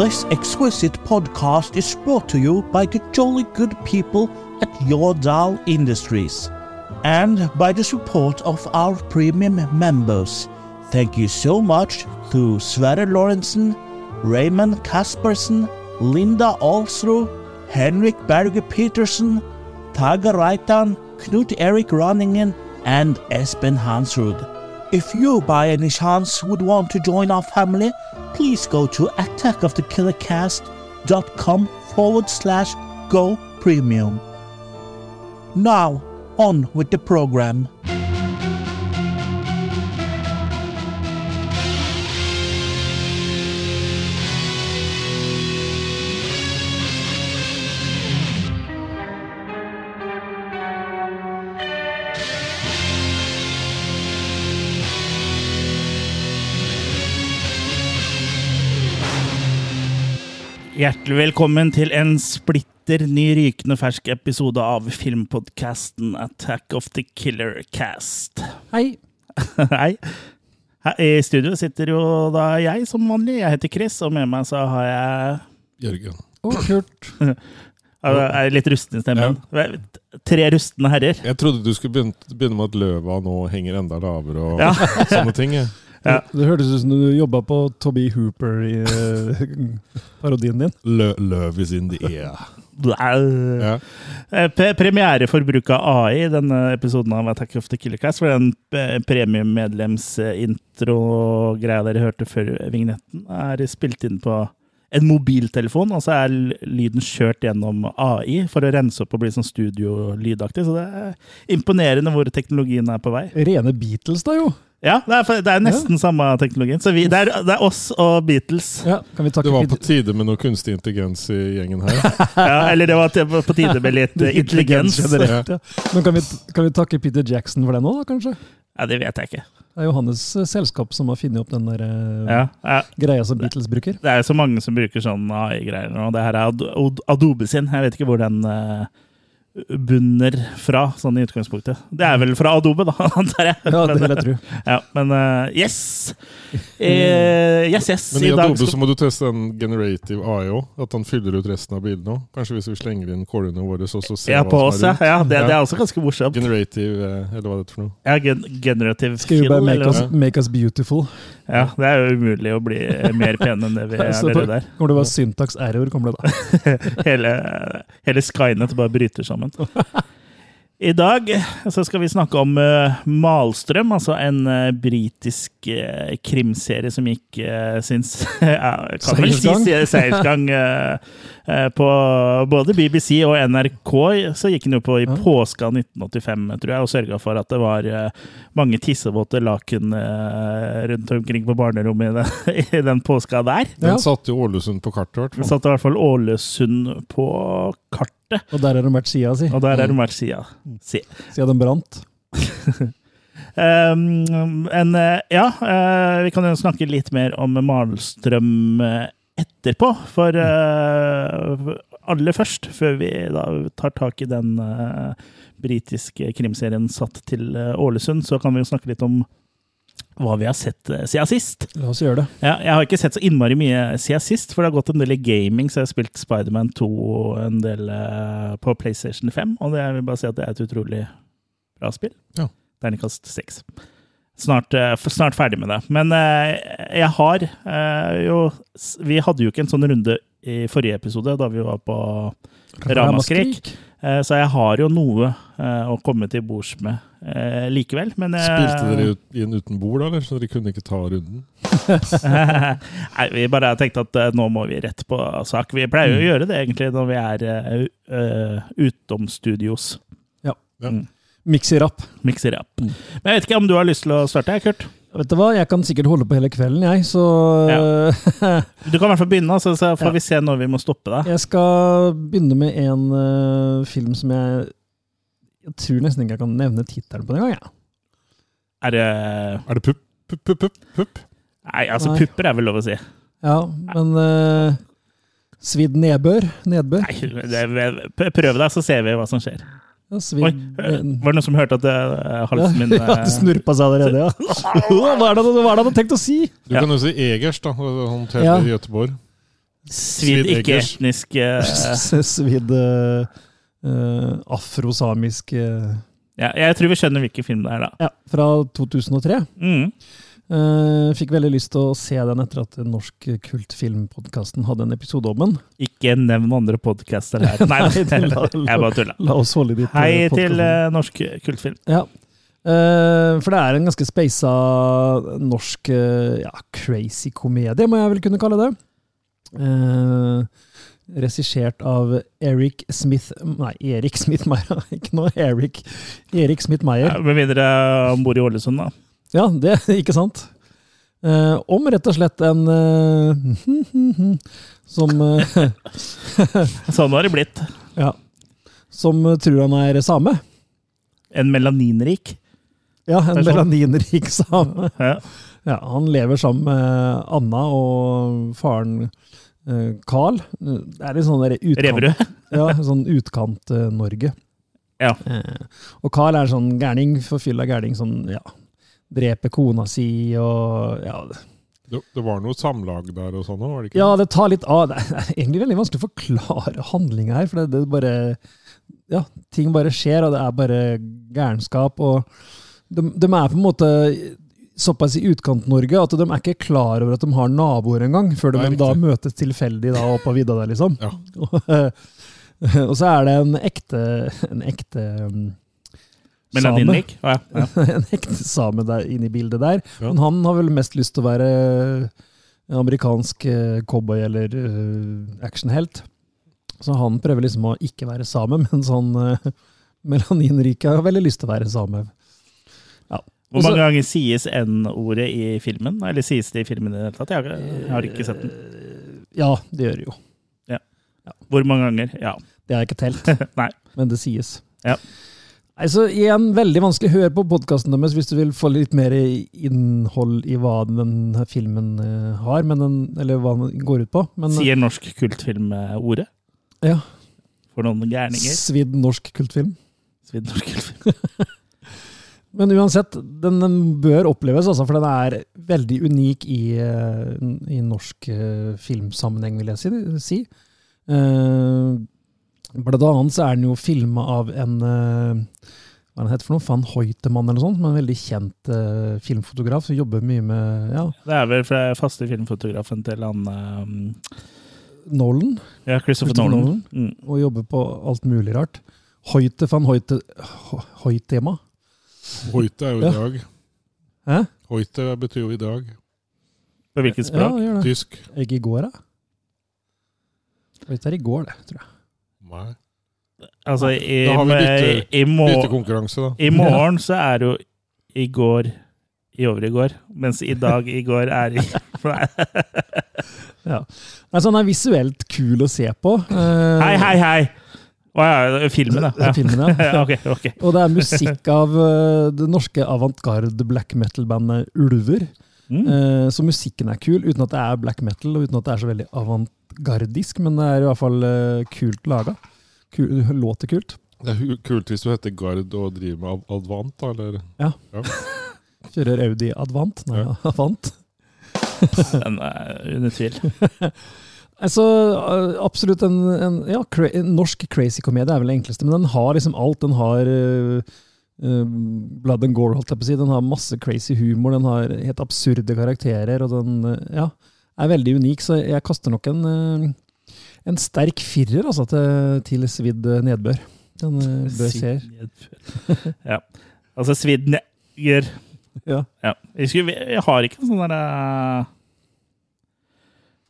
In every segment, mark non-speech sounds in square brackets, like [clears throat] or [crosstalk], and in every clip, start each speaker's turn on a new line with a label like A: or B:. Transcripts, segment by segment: A: This exquisite podcast is brought to you by the jolly good people at Yordal Industries and by the support of our premium members. Thank you so much to Sverre Lorentzen, Raymond Kaspersen, Linda Alsrud, Henrik Berger Petersen, Taga Reitan, Knut Erik Ranningen, and Espen Hansrud. If you by any chance would want to join our family, please go to attackofthekillercast.com forward slash go premium. Now, on with the program. Hjertelig velkommen til en splitter ny rykende fersk episode av filmpodkasten Attack of the Killer Cast.
B: Hei.
A: [laughs] Hei. Her I studio sitter jo da jeg som vanlig. Jeg heter Chris, og med meg så har jeg
C: Jørgen.
B: Å, kult.
A: jeg er litt rusten i stemmen. Tre rustne herrer.
C: Jeg trodde du skulle begynne, begynne med at løva nå henger enda lavere og
A: Ja.
C: [laughs] sånne ting. jeg.
A: Ja.
D: Det hørtes ut som du jobba på Toby Hooper i eh, parodien din.
C: Lø, løv is in the air.
A: Blæ.
C: Ja.
A: Eh, P premiere for bruk av AI i denne episoden av Attack of the Killer Cast. For den eh, premiummedlemsintro-greia dere hørte før vignetten, er spilt inn på en mobiltelefon, og så er l- lyden kjørt gjennom AI for å rense opp og bli sånn studiolydaktig. Så det er imponerende hvor teknologien er på vei.
D: Rene Beatles, da, jo!
A: Ja, det er, for- det er nesten samme teknologien. Så vi, det, er, det er oss og Beatles.
D: Ja, kan vi
C: Det
D: takke
C: var på
D: Pete-
C: tide med noe kunstig intelligens i gjengen her.
A: [laughs] Ja, eller det var til- på tide med litt eh, [laughs] intelligens.
D: generelt, ja. Men kan vi, kan vi takke Peter Jackson for den òg, da, kanskje?
A: Ja, det vet jeg ikke.
D: Det er jo hans eh, selskap som har funnet opp den der eh,
A: Ja, ja.
D: greia som Beatles bruker.
A: Det er jo så mange som bruker sånn AI-greier nå. Det her er Ad- Ad- Adobe sin. Jeg vet ikke hvor den eh, bunner fra, sånn i utgangspunktet. Det er vel fra Adobe, da, [laughs] antar jeg.
D: Ja, det
A: men,
D: vil
A: [laughs]
D: jeg tro.
A: ja, men eh, yes! Eh, yes, yes.
C: Men i
A: I dag
C: Adobe
A: skal-
C: så må du teste den generative AI òg. At han fyller ut resten av bildet òg. Kanskje hvis vi slenger inn kålene våre, så, så ser
A: ja,
C: vi
A: på
C: hva
A: oss,
C: som
A: ja.
C: er rundt.
A: ja det, det er også ganske morsomt.
C: Generative, eh, eller hva det er for noe.
A: Ja, gen generative
D: Skal vi
A: fill,
D: bare make
A: eller
D: us,
A: noe.
D: make us beautiful?
A: Ja, det er jo umulig å bli mer pen enn det vi er
D: [laughs] Så på-
A: allerede der.
D: Kommer det å være syntax error? Kommer det da?
A: [laughs] Hele, hele Skynet bare bryter sammen. I dag så skal vi snakke om eh, Malstrøm, altså en eh, britisk eh, krimserie som gikk uh, sinns [laughs] ja, Kan vel si
D: Seiersgang.
A: se- seiersgang eh, eh, på både BBC og NRK. Så gikk den jo på i
D: Ja.
A: påska 1985, tror jeg, og sørga for at det var eh, mange tissevåte laken eh, rundt omkring på barnerommet i den, [laughs] i den påska der.
C: Den
D: Ja.
C: satte jo Ålesund på kartet, i hvert
A: Vi
C: fall.
A: satte i hvert fall Ålesund på kartet,
D: Og der har de vært sida si,
A: og der er det vært sida. Si.
D: siden den brant.
A: Um, en, eh, ja, eh, vi kan jo snakke litt mer om Malstrøm eh, etterpå, for eh, aller først, før vi da tar tak i den eh, britiske krimserien satt til eh, Ålesund, så kan vi jo snakke litt om hva vi har sett eh, siden sist.
D: La oss gjøre det.
A: Ja, jeg har ikke sett så innmari mye siden sist, for det har gått en del i gaming, så jeg har spilt Spiderman 2 og en del eh, på PlayStation 5, og det, jeg vil bare si at det er et utrolig bra spill.
C: Ja.
A: Terningkast 6. Snart, eh, f- snart ferdig med det. Men eh, jeg har eh, jo s- Vi hadde jo ikke en sånn runde i forrige episode, da vi var på Ramaskrik. eh, Så jeg har jo noe eh, å komme til bords med eh, likevel. Men eh,
C: Spilte dere ut, inn uten bord, da, eller? Så dere kunne ikke ta runden?
A: [laughs] Nei, vi bare tenkte at eh, nå må vi rett på sak. Vi pleier jo å gjøre det egentlig når vi er eh, u- eh, utom studios.
D: Mixi-rapp.
A: Mikser opp. Men jeg vet ikke om du har lyst til å starte, jeg, Kurt?
D: Vet du hva, jeg kan sikkert holde på hele kvelden, jeg, så [laughs]
A: Du kan i hvert fall begynne, altså, så får
D: Ja.
A: vi se når vi må stoppe deg.
D: Jeg skal begynne med en eh, film som jeg Jeg tror nesten ikke jeg kan nevne tittelen på den engang. Ja.
A: Er det
C: Er det pupp, pupp, pupp, pupp? pupp?
A: Nei, altså
D: Nei.
A: pupper er vel lov å si.
D: ja, men eh, Svidd nedbør? Nedbør?
A: Nei, det, prøv deg, så ser vi hva som skjer.
D: Ja, svidd-
A: Oi, eh, var det noen som hørte at eh, [laughs] halsen min
D: ja, det
A: eh,
D: snurpa seg allerede,
A: [laughs]
D: ja. [laughs] Hva er det hva er det han har tenkt å si?
C: Du
A: Ja.
C: kan jo si Egers, da. Han teller
D: Ja.
C: i Göteborg.
A: Svidd
C: Svidd eggers.
A: ikke-etnisk
D: [laughs]
A: eh,
D: Svidd eh, eh, afrosamisk eh,
A: ja, Jeg tror vi skjønner hvilken film det er, da.
D: Ja, fra 2003.
A: Mm.
D: Eh, fikk veldig lyst til å se den etter at Norsk Kultfilmpodkasten hadde en episode om den.
A: Ikke nevn andre podcaster
D: [laughs]
A: her. Nei,
D: Nei, det
A: jeg
D: la-
A: bare tulla.
D: La oss holde ditt eh,
A: Hei
D: podcasten.
A: til eh, norsk kultfilm.
D: Ja. Eh, for det er en ganske speisa norsk eh, ja, crazy komedie, må jeg vel kunne kalle det. Uh, Regissert av Eric Smith Nei, Erik Smith Meyer. [laughs] Ikke noe Eric. Erik Smith Meyer.
A: Ja, Med mindre han bor i Ålesund, da.
D: Ja, det [laughs] ikke sant? Eh, om rett og slett en eh, [laughs] som, eh, [laughs]
A: Sånn har det blitt.
D: ja, som tror han er same.
A: En melaninrik.
D: Ja, en
A: Det er sånn.
D: melaninrik same.
A: Ja.
D: Ja, han lever sammen med Anna og faren eh, Carl. Det er litt sånn der utkant,
A: Reverud.
D: [laughs] ja, sånn utkant eh, Norge.
A: Ja.
D: Eh, og Carl er en sånn gærning, forfylla gærning, som ja, dreper kona si og ja,
C: Det, det var noe samlag der og sånn òg, var det ikke?
D: Ja, det tar litt av. [laughs] Det er egentlig veldig vanskelig å forklare handlinga her, for det, det bare Ja, ting bare skjer, og det er bare gærenskap. Og de, de er på en måte såpass i utkant-Norge at de er ikke klar over at de har naboer engang, før de
C: Nei, riktig.
D: da møtes tilfeldig da oppe på vidda der, liksom.
C: Ja.
D: Og, [laughs] og så er det en ekte, en ekte um, same.
A: Melaninrik. Å, Ja,
D: [laughs]
A: ja.
D: En ekte same der, inne i bildet der.
C: Ja.
D: Men han har vel mest lyst til å være en amerikansk eh, cowboy eller eh, actionhelt. Så han prøver liksom å ikke være same, [laughs] mens han eh, melaninrike har veldig lyst til å være same.
A: Hvor
D: Også-
A: mange ganger sies N-ordet i filmen? Eller sies det i filmen i det hele tatt? Jeg har, jeg har ikke sett den.
D: Eh, Ja, det gjør det jo.
A: Hvor mange ganger? Ja. [laughs]
D: Det har jeg ikke telt,
A: Nei.
D: men det sies.
A: Ja.
D: Nei, så igjen, veldig vanskelig. Hør på podkasten deres hvis du vil få litt mer innhold i hva den her filmen eh, har, men den, eller hva den går ut på. Men, eh,
A: Sier norsk kultfilm-ordet?
D: Ja.
A: For noen gærninger.
D: Svidd norsk kultfilm.
A: Svidd norsk kultfilm.
D: Men uansett, den, den bør oppleves, altså, for den er veldig unik i, eh, i norsk eh, filmsammenheng, vil jeg si. si. Eh, blant annet så er den jo filma av en eh, hva er det heter for noe, Van Hoitemann eller noe sånt, men en veldig kjent eh, filmfotograf som jobber mye med ja,
A: Det er vel fra faste filmfotografen til han um,
D: Nolan,
A: Ja, Christopher
D: Christopher
A: Nolan. Mm.
D: og jobber på alt mulig rart. Hoite van Hoite Ho- Hoitema?
C: Hoite er jo i
D: Ja.
C: dag.
D: Hæ?
C: Hoite betyr jo i dag.
A: På hvilket
D: Ja,
A: språk?
D: gjør det.
C: Tysk.
D: Ikke i går, da? Hoite er i går, det, tror jeg.
C: Nei.
A: Altså, i,
C: Da har vi bytte-
A: i, mor
C: Byttekonkurranse, da.
A: i morgen så er det jo i går i overgår, mens i dag i går er i
D: Altså, han er visuelt kul å se på. eh,
A: Hei, hei, hei! Å ja, filmen, da.
D: den Filmen, [laughs] ja.
A: [laughs] Ja. ok, ok.
D: Og det er musikk av eh, det norske avantgarde black metal-bandet Ulver.
A: Mm.
D: Eh, så musikken er kul, uten at det er black metal og uten at det er så veldig avantgardisk. Men det er i hvert fall eh, kult laga. Kul, låter kult.
C: Det er hu- kult hvis du heter Gard og driver med ad- advant, da, eller
D: Kjører Audi Advant. Nei,
C: Ja.
D: [laughs] Avant.
A: Den er under tvil.
D: [laughs] Altså, eh, absolutt en, en, ja, cra en norsk crazy komedie er vel det enkleste, men den har liksom alt. Den har eh, eh, blood and gore, holdt jeg på å si. Den har masse crazy humor, den har helt absurde karakterer, og den eh, ja, er veldig unik. Så jeg kaster nok en, eh, en sterk firer altså, til, til svidd nedbør. Den
A: [laughs]
D: eh, bør ser.
A: Svidd- Ja. Altså svidd neger.
D: Ja.
A: Ja. Jeg, skulle, jeg har ikke en sånn der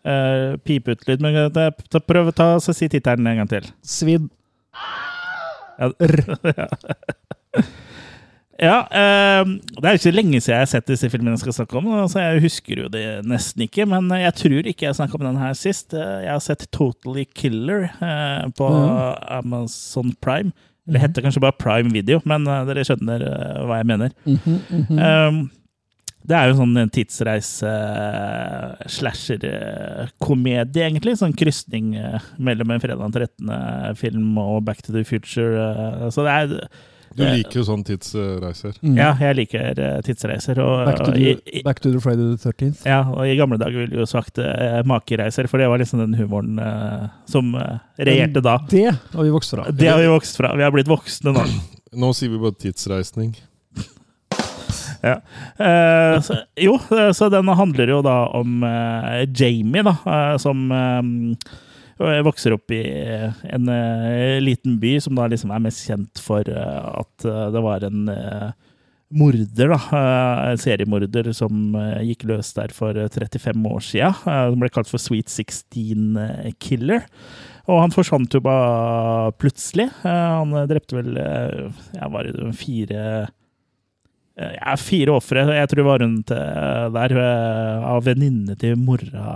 A: eh, eh, pipeutlyd, men jeg- jeg- ta- prøv å ta, så si tittelen en gang til.
D: Svidd
A: Ja.
D: r.
A: Ja, eh, Det er ikke så lenge siden jeg har sett disse filmene jeg skal snakke om, så jeg husker jo det nesten ikke. Men jeg tror ikke jeg snakka om den her sist. Eh, Jeg har sett Totally Killer eh, på
D: Ja. Mhm.
A: Amazon Prime. Eller heter kanskje bare Prime Video, men eh, dere skjønner eh, hva jeg mener.
D: Mhm, mhm.
A: Um, Det er jo en sånn tidsreise-slasher-komedie, egentlig. Sånn krysning eh, mellom en Fredag den 13.-film og Back to the Future. eh, Så det er
C: Du liker jo sånn tidsreiser.
D: Mm.
A: Ja, jeg liker eh, tidsreiser. Og,
D: Back, to
A: i-
D: the,
A: i-
D: back to the Friday the 13th.
A: ja, og i gamle dager ville vi jo sagt eh, makereiser, for det var liksom den humoren eh, som eh, regjerte da.
D: Det har vi vokst fra.
A: Det har vi vokst fra. Vi har blitt voksne nå.
C: Nå sier vi bare tidsreisning.
A: Eh, så, jo, eh, så den handler jo da om eh, Jamie, da, eh, som eh, vokser opp i en eh, liten by som da liksom er mest kjent for eh, at eh, det var en eh, morder, da. eh, en seriemorder som eh, gikk løs der for eh, 35 år siden. eh, som ble kalt for Sweet 16 eh, Killer. Og han forsvant jo bare plutselig. Eh, han eh, drepte vel eh, ja, var det fire Eh, Ja, fire ofre. Jeg tror det var rundt eh, der eh, av venninnene til mora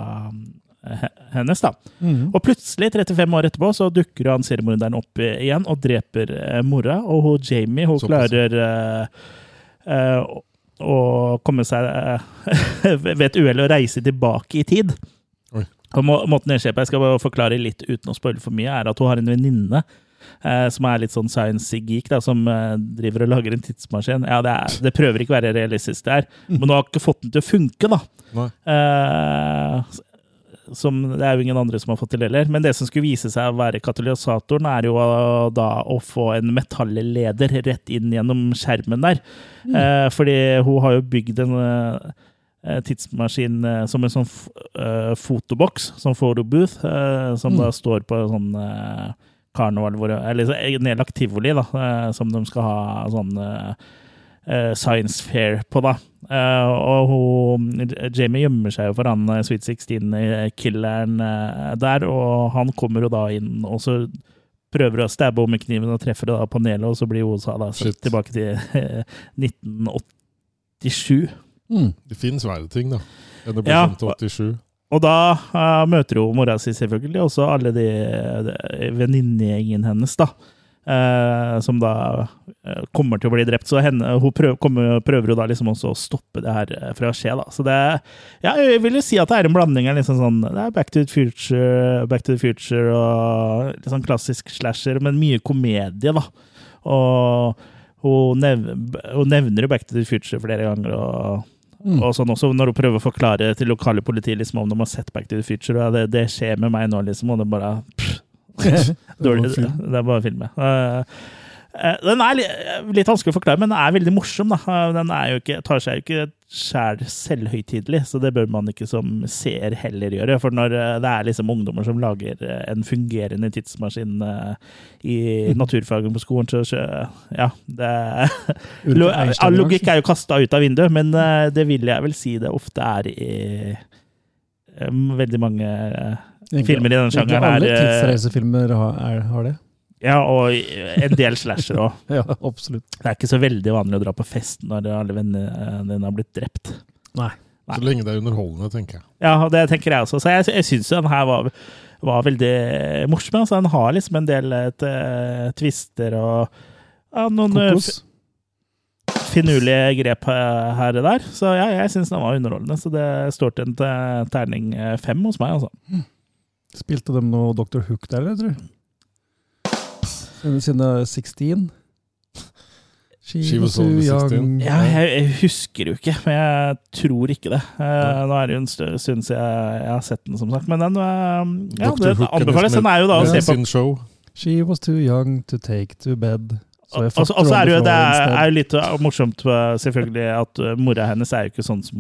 A: eh, hennes, da.
D: Mhm.
A: Og plutselig, 35 år etterpå, så dukker jo han seriemorderen opp i- igjen og dreper eh, mora. Og hun Jamie, hun
C: Såpass.
A: klarer eh, eh, å- å komme seg eh, [laughs] ved et uhell å reise tilbake i tid.
C: Oi.
A: Og må, måten det skjer på, jeg skal bare forklare litt uten å spoile for mye, er at hun har en venninne eh, som er litt sånn science-geek, da, som eh, driver og lager en tidsmaskin. Ja, det, er, det prøver ikke å være realistisk, det her, men hun har ikke fått den til å funke, da.
C: Nei.
A: Eh, som det er jo ingen andre som har fått til heller. Men det som skulle vise seg å være katalysatoren, er jo eh, da å få en metalleder rett inn gjennom skjermen der. Eh, fordi hun har jo bygd en eh, tidsmaskin eh, som en sånn f eh, fotoboks, sånn photobooth, eh, som da står på en sånn eh, karneval, hvor, eller så- eh, nedlagt tivoli, da, eh, som de skal ha sånn eh, eh, science fair på, da. Eh, og hun, Jamie gjemmer seg jo for han eh, Sweet 16-killeren der, og han kommer jo da inn, og så prøver å stabbe henne med kniven og treffer da panelet, og så blir hun sa da sendt
C: Shit.
A: tilbake til eh, 1987.
D: Mhm.
C: Det fins verre ting, da. Enn å bli
A: Ja.
C: sendt til 87.
A: Og da eh, møter hun mora si, selvfølgelig, og så alle de, de venninnegjengen hennes, da. eh, som da eh, kommer til å bli drept. Så henne, hun prøver, kommer, prøver jo da liksom også å stoppe det her eh, fra å skje, da. Så det Ja, jeg vil jo si at det er en blanding av liksom sånn Det er Back to the Future, Back to the Future og litt sånn klassisk slasher, men mye komedie, da. Og hun, nev hun nevner jo Back to the Future flere ganger, og
D: Mm. [laughs]
A: og [laughs] sånn også når hun prøver å forklare til lokale politi liksom, om de har sett Back to the Future. Og ja, det, det skjer med meg nå, liksom. Og det bare pff, dårlig,
D: Det var film.
A: Det er bare å filme. Eh, eh, den er li litt vanskelig å forklare, men den er veldig morsom. Da. Eh, Den er jo ikke, tar seg jo ikke sjæl selvhøytidelig, så det bør man ikke som seer heller gjøre. For når eh, det er liksom ungdommer som lager eh, en fungerende tidsmaskin eh, i naturfagen på skolen, så, så ja, det
D: Ulf
A: Lo ja,
D: Einstein sånn? i dag,
A: logikk er jo kasta ut av vinduet, men eh, det vil jeg vel si det ofte er i eh, veldig mange eh,
D: Egentlig-
A: filmer i denne
D: egentlig
A: sjangeren
D: Alle
A: er, eh,
D: tidsreisefilmer har, er, har
A: [laughs]
D: det.
A: Ja, og en del slasher òg.
D: Ja, absolutt.
A: Det er ikke så veldig vanlig å dra på fest når alle vennene eh, dine har blitt drept.
D: Nei.
A: Nei.
C: Så lenge det er underholdende, tenker jeg.
A: Ja, og det tenker jeg også. Så jeg, jeg syns den her var, var veldig morsom. Altså, den har liksom en del eh, t- eh, twister og ja, noen eh,
D: Kokos.
A: finurlige grep eh, her og der. Så ja, jeg syns den var underholdende. Så det står til en te- terning eh, fem hos meg, altså.
D: Spilte de noe Dr. Hook der, eller, tror du? Siden- Siden det er 16?
A: [laughs]
D: She,
C: She was
D: too
C: only
D: young.
C: 16.
A: Ja, jeg, jeg husker jo ikke, men jeg tror ikke det. Eh, nå er det jo en stø- stund siden jeg, jeg har sett den, som sagt. Men den eh, ja,
C: Dr.
A: det
C: Hook er
A: anbefales.
C: nesten
A: Den er jo da å
C: Det
D: Ja.
A: se
C: er
A: på.
C: sin show.
D: She was too young to take to bed.
A: Og og
D: jeg
A: så
D: fucker
A: og så
D: on
A: altså, er det jo
D: the
A: det
D: floor
A: er,
D: instead.
A: er jo litt eh, morsomt, eh, selvfølgelig, at eh, mora hennes er jo ikke sånn som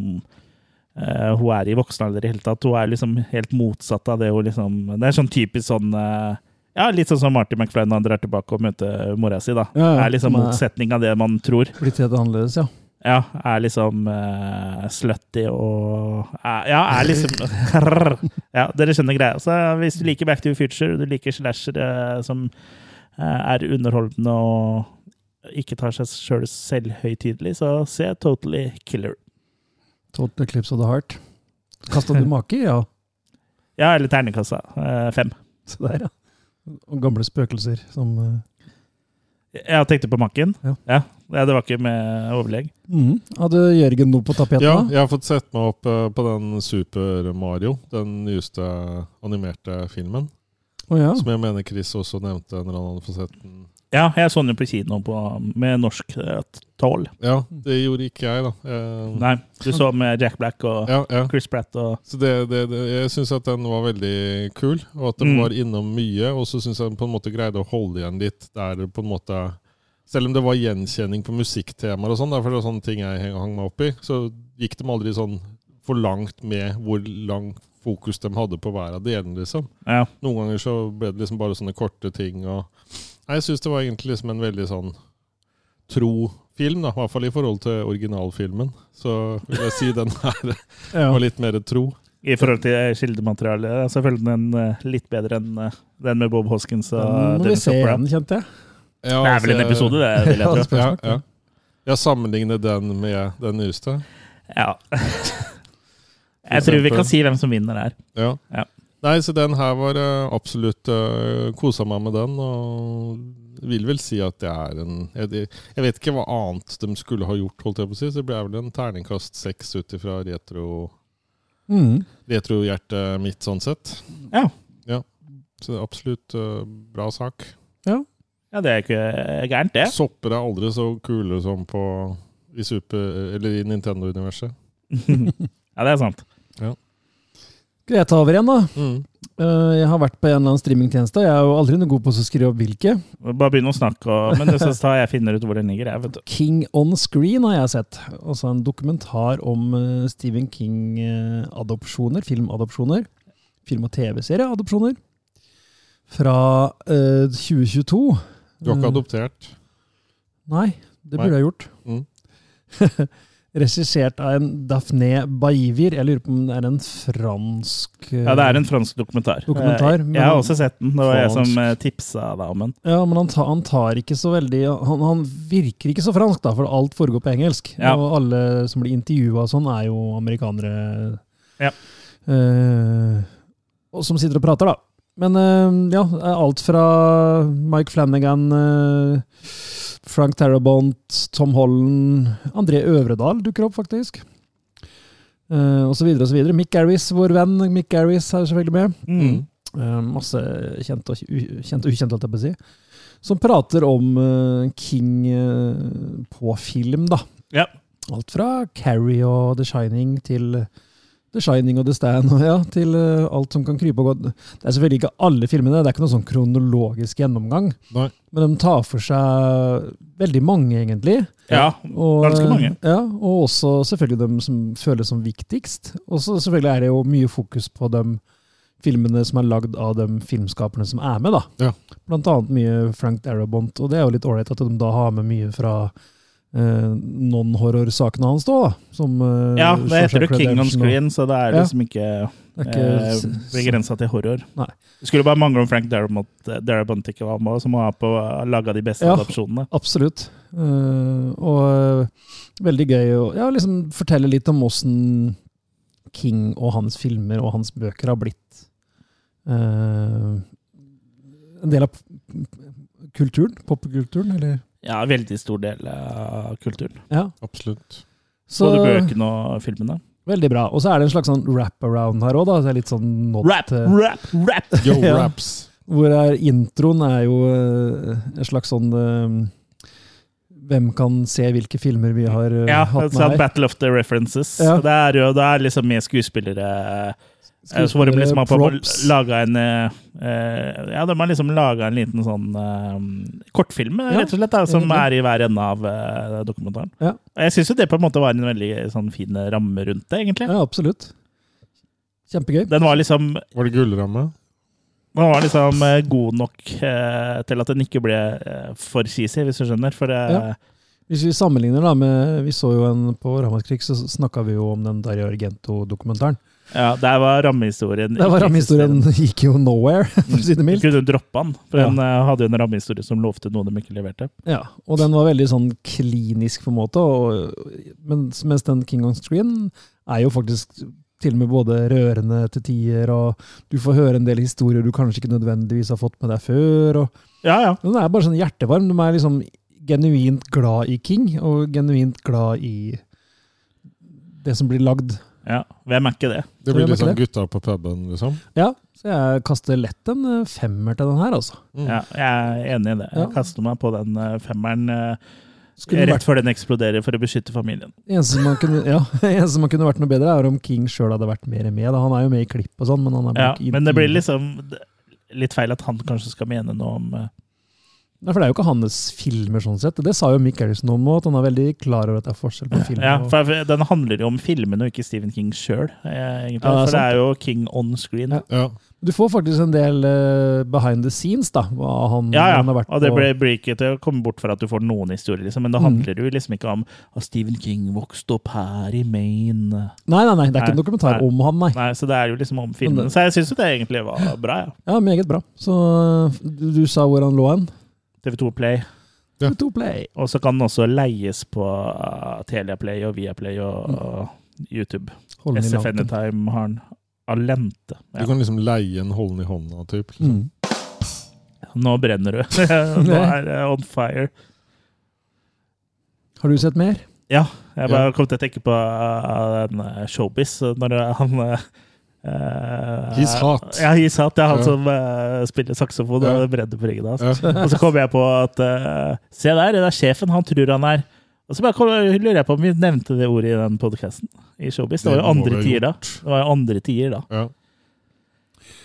A: eh, hun er i voksen alder i hele tatt. Hun er liksom helt motsatt av det hun liksom Det er sånn typisk sånn eh, ja, Litt sånn som Martin McFly når han drar tilbake og møter mora si. da.
D: Ja, ja.
A: Er liksom
D: Nei.
A: motsetning av det man tror.
D: Blitt helt annerledes, ja.
A: Ja, er liksom eh, slutty og er, Ja, er liksom [laughs] Ja, dere skjønner greia. Så eh, hvis du liker Back to the Future, og du liker slasher eh, som eh, er underholdende og ikke tar seg sjøl selvhøytidelig, så se Totally Killer.
D: Total Eclipse of the Heart.
A: [laughs]
D: Kasta du make? Ja.
A: Ja, eller Ternekassa. fem.
D: Se der, ja. Og gamle spøkelser som eh,
A: Jeg tenkte på makken.
D: Ja.
A: Ja. ja, det var ikke med overlegg.
D: Mhm. Hadde Jørgen noe på tapetet?
C: Ja,
D: da?
C: jeg har fått sett meg opp eh, på den Super Mario, den nyeste eh, animerte filmen.
D: Å ja.
C: Som jeg mener Chris også nevnte når han hadde fått sett den.
A: Ja, jeg så den jo på kino på, med norsk eh, tål.
C: Ja, det gjorde ikke jeg, da. Eh,
A: Nei, du så med Jack Black og
C: Ja, ja.
A: Chris Pratt og
C: Så det, det, det, jeg syns at den var veldig kul, og at den
A: Mm.
C: var innom mye. Og så syns jeg den på en måte greide å holde igjen litt der på en måte Selv om det var gjenkjenning på musikktemaer og sånn, da, for det var sånne ting jeg heng- hang meg opp i, så gikk de aldri sånn for langt med hvor langt fokus de hadde på hver av delene, liksom.
A: Ja.
C: Noen ganger så ble det liksom bare sånne korte ting. Og Nei, jeg syns det var egentlig liksom en veldig sånn tro film, da, i hvert fall i forhold til originalfilmen. Så vil jeg si den her
D: Ja.
C: var litt mer tro.
A: I forhold til eh, kildematerialet, selvfølgelig den eh, litt bedre enn eh, den med Bob Hoskins og
D: Den må vi
A: eh, Dennis
D: se
A: Hopper.
D: igjen, kjente jeg.
C: Ja,
A: Det er vel
C: altså,
A: en episode, det vil jeg tro.
D: Ja,
C: Ja, ja. Jeg sammenligner den med den nyeste.
A: [laughs] Ja. Jeg tror vi
C: eksempel.
A: kan si hvem som vinner her.
C: Ja.
A: Ja.
C: Nei, så den her var eh, absolutt uh, Kosa meg med den, og vil vel si at det er en Jeg, jeg vet ikke hva annet de skulle ha gjort, holdt jeg på å si, så det ble vel en terningkast seks ut ifra retro,
D: Mhm.
C: retrohjertet mitt, sånn sett.
A: Ja.
C: ja. Så det er absolutt eh, bra sak.
A: Ja, det er ikke gærent,
D: [laughs]
A: det.
C: Sopper er aldri så kule som på i, super- eller i Nintendo-universet.
A: Ja, det er sant.
D: Skal jeg ta over igjen, da?
C: Mm.
D: Eh, Jeg har vært på en eller annen streamingtjeneste. Jeg er jo aldri noe god på å skrive opp hvilke.
A: Bare begynn å snakke, og, men så tar jeg finner ut hvor den ligger. Jeg, vet du.
D: King on Screen har jeg sett. Altså en dokumentar om eh, Stephen King-adopsjoner, filmadopsjoner. Film- og TV-serieadopsjoner. Fra eh, 2022.
C: Du har
D: Eh,
C: ikke adoptert?
D: Nei, det burde
C: Nei.
D: jeg gjort.
C: Mm.
D: [laughs] Regissert av en Daphne Baivir. Jeg lurer på om det er en fransk eh,
A: Ja, det er en fransk dokumentar.
D: Dokumentar,
A: Eh,
D: men-
A: Jeg har også sett den. Det var jeg
C: Fransk.
A: som eh, tipsa deg om den.
D: Ja, men han, ta, han tar ikke så veldig han, han virker ikke så fransk, da, for alt foregår på engelsk.
A: Ja.
D: Og alle som blir intervjua sånn, er jo amerikanere
A: Ja.
D: Eh, og som sitter og prater, da. Men eh, ja, alt fra Mike Flanagan, eh, Frank Terabont, Tom Holland André Øvredal dukker opp, faktisk. Eh, og så videre og så videre. Mick Garris, vår venn Mick Garris, er selvfølgelig med.
A: Mm.
D: Eh, masse kjente og u- kjente- ukjente, holdt jeg på å si. Som prater om eh, King eh, på film, da.
A: Ja.
D: Alt fra Carrie og The Shining til The Shining og The Stand [laughs] og ja, til eh, alt som kan krype og gå. Det er selvfølgelig ikke alle filmene, det er ikke noen sånn kronologisk gjennomgang.
C: Nei.
D: Men de tar for seg veldig mange, egentlig.
A: Ja.
D: Og,
A: Ganske mange.
D: Ja, og også selvfølgelig dem som føles som viktigst. Og så selvfølgelig er det jo mye fokus på de filmene som er lagd av de filmskaperne som er med, da.
C: Ja.
D: Blant annet mye Frank Darabont, og det er jo litt ålreit at de da har med mye fra eh, non-horror-sakene hans, da. da, Som eh,
A: ja, det heter jo
D: Shawshank
A: King on
D: Redemption og-
A: Screen, så det er
D: Ja.
A: liksom ikke,
D: Det er
A: eh,
D: ikke,
A: begrensa til horror.
D: Nei.
A: Det skulle bare mangle om Frank Darabont, eh, Darabont ikke var med, som har på laga de beste
D: Ja.
A: adopsjonene.
D: Absolutt. Eh, og eh, veldig gøy å ja, liksom fortelle litt om åssen King og hans filmer og hans bøker har blitt eh, en del av p- p- kulturen, popkulturen, eller?
A: Ja, veldig stor del av kulturen.
D: Ja.
C: Absolutt.
D: Så
A: Både bøkene og filmene.
D: veldig bra. Og så er det en slags sånn wrap-around her òg, da. Det er litt sånn not,
A: Rap,
D: eh,
A: rap, rap!
C: Yo,
D: [laughs] Ja.
C: raps!
D: Hvor er introen er jo eh, en slags sånn eh, Hvem kan se hvilke filmer vi har eh,
A: Ja,
D: hatt
A: så
D: med her?
A: Battle of the References.
D: Ja.
A: Det er jo det er liksom med skuespillere Eh, Så var det liksom at man
D: Props.
A: laga en eh, eh, Ja, de har liksom laga en liten sånn eh, kortfilm,
D: Ja,
A: rett og slett, da, som
D: egentlig.
A: er i hver ende av eh, dokumentaren.
D: Ja.
A: Og jeg syns jo det på en måte var en veldig sånn fin ramme rundt det, egentlig.
D: Ja, absolutt. Kjempegøy.
A: Den var liksom
C: Var det gullramme?
A: den var liksom eh, god nok eh, til at den ikke ble eh, for cheesy, hvis du skjønner. For eh, det,
D: Ja. Hvis vi sammenligner da med Vi så jo en på Ramaskrik, så snakka vi jo om den Dario Argento-dokumentaren.
A: ja, der var rammehistorien
D: Der var
A: ikke Mm.
D: rammehistorien [laughs]
A: eksisterende.
D: gikk jo nowhere, [laughs] for å si det
A: Du
D: mildt.
A: kunne droppe den, for
D: Ja.
A: den eh, hadde jo en rammehistorie som lovte noe de ikke leverte.
D: Ja, og den var veldig sånn klinisk, på en måte. Og, mens, mens den King on Screen er jo faktisk til og med både rørende til tider, og du får høre en del historier du kanskje ikke nødvendigvis har fått med deg før. og
A: Ja, ja.
D: den er bare sånn hjertevarm. De er liksom genuint glad i King, og genuint glad i det som blir lagd.
A: ja. Hvem er ikke det?
C: Det blir
D: Tror jeg
C: litt
D: det er
C: sånn gutta på puben, liksom.
D: Ja, så jeg kaster lett en eh, femmer til den her, altså.
C: Mm.
A: Ja, jeg er enig i det. Jeg
D: Ja.
A: kaster meg på den eh, femmeren eh,
D: Skulle
A: rett før den eksploderer, for å beskytte familien.
D: Det eneste man kunne, ja, [laughs] det eneste man kunne vært noe bedre, er om King sjøl hadde vært mer med. Da. Han er jo med i klipp og sånn, men han er
A: Ja,
D: bare ikke
A: men det blir
D: inne.
A: liksom litt feil at han kanskje skal mene noe om eh,
D: Nei, For det er jo ikke hans filmer, sånn sett. Det sa jo Mick Harrison om nå, at han er veldig klar over at det er forskjell på film.
A: Ja,
D: og-
A: for den handler jo om filmene og ikke Stephen King sjøl, egentlig.
D: Ja, det er
A: for det
D: sant.
A: er jo King on screen.
D: Ja.
A: Ja,
C: Ja.
D: Du får faktisk en del eh, behind the scenes, da. Hva han,
A: ja.
D: han har vært
A: Og det
D: på.
A: blir, blir ikke til å komme bort fra at du får noen historier, liksom. Men det
D: Mm.
A: handler jo liksom ikke om at Stephen King vokste opp her i Maine.
D: Nei, nei, nei, det er ikke en
A: Nei,
D: dokumentar
A: nei.
D: om han, nei.
A: Nei, så det er jo liksom om
D: Men
A: filmen.
D: det-
A: Så jeg syns jo det egentlig var bra, ja.
D: Ja, meget bra. Så du, du sa hvor han lå hen?
A: TV2 Play.
C: Ja.
D: To play.
A: Og så kan den også leies på uh, Telia Play og Viaplay og uh, YouTube.
D: Hold Mm. den i
A: SF
D: langt.
A: Anytime har den alente.
C: Du
A: Ja.
C: kan liksom leie en holden i hånda, typ. Liksom.
D: Mm.
A: Nå brenner du. [laughs] Nå er det on fire.
D: Har du sett mer?
A: Jeg bare kom til å tenke på uh, den uh, Showbiz, uh, når uh, han uh, uh,
C: He's hot.
A: Ja, he's hot. Det er han
C: Ja.
A: som uh, spiller saksofon
C: Ja.
A: og brenner på ryggen hans.
C: Ja.
A: Og så kom jeg på at uh, Se der, det er sjefen han tror han er. Og så bare kom, lurer jeg på om vi nevnte det ordet i den podkasten. I Showbiz. Det var
C: Det
A: jo
C: må vi
A: andre
C: ha
A: tider da. Det var jo andre tider da.
C: Ja.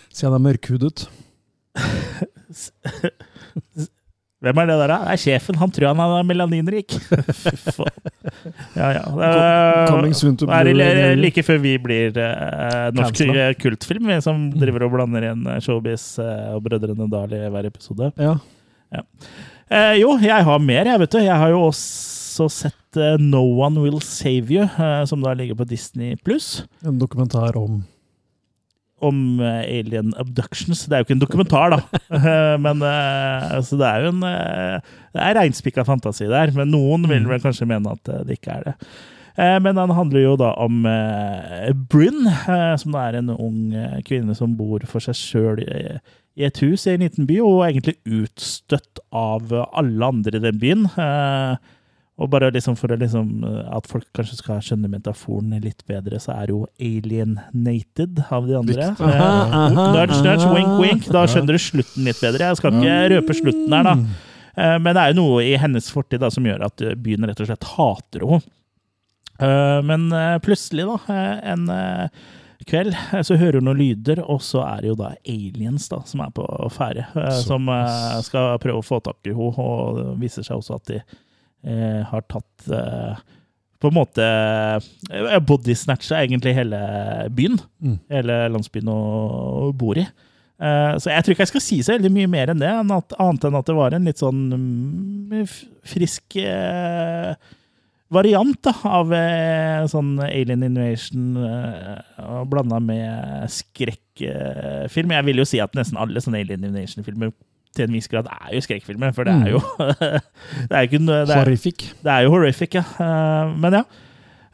D: Siden han er mørkhudet.
A: Hvem er det der, da? Det er sjefen. Han tror han er
C: [laughs]
A: melaninrik. Fy faen. Ja, ja. Det er,
D: Coming soon to
A: Eh, det er
D: Blu-ray,
A: li-
D: eller-
A: like før vi blir eh, norsk
D: Cancela.
A: kultfilm, vi som driver og blander igjen Showbiz eh, og Brødrene Dal i hver episode.
D: Ja.
A: Eh, jo, jeg har mer, jeg, vet du. Jeg har jo også sett eh, No One Will Save You, eh, som da ligger på Disney pluss.
D: En dokumentar om
A: om eh, alien abductions. Det er jo ikke en dokumentar, da. [laughs] Eh, men eh, altså, det er jo en eh, Det er reinspikka fantasi der, men noen vil vel kanskje mene at eh, det ikke er det. Eh, Men den handler jo da om eh, Brynn, eh, som da er en ung eh, kvinne som bor for seg sjøl i et hus i en liten by, og er egentlig utstøtt av eh, alle andre i den byen. Eh, Og bare liksom for å liksom, eh, at folk kanskje skal skjønne metaforen litt bedre, så er jo alienated av de andre.
C: Riktig.
A: Eh,
D: Aha,
A: Nudge, nudge,
D: aha.
A: wink, wink. Da skjønner du slutten litt bedre. Jeg skal ikke røpe slutten her,
D: Mm.
A: da. Eh, Men det er jo noe i hennes fortid da, som gjør at eh, byen rett og slett hater henne. Eh, Men eh, plutselig, da, eh, en eh, kveld, eh, så hører hun noen lyder, og så er det jo da aliens da, som er på ferde, eh,
C: Såpass.
A: som eh, skal prøve å få tak i henne. Og det viser seg også at de eh, har tatt eh, på en måte eh, bodysnatcha egentlig hele byen.
D: Mm.
A: Hele landsbyen hun bor i. Eh, Så jeg tror ikke jeg skal si så veldig mye mer enn det, enn at, annet enn at det var en litt sånn mm, f- frisk eh, variant da, av eh, sånn alien invasion uh, blanda med skrekkfilm. Jeg vil jo si at nesten alle sånne alien invasion-filmer til en viss grad er jo skrekkfilmer, for det er jo [laughs] Det er jo ikke noe- det er,
D: Horrific.
A: det er jo horrific, ja. Eh, Men ja.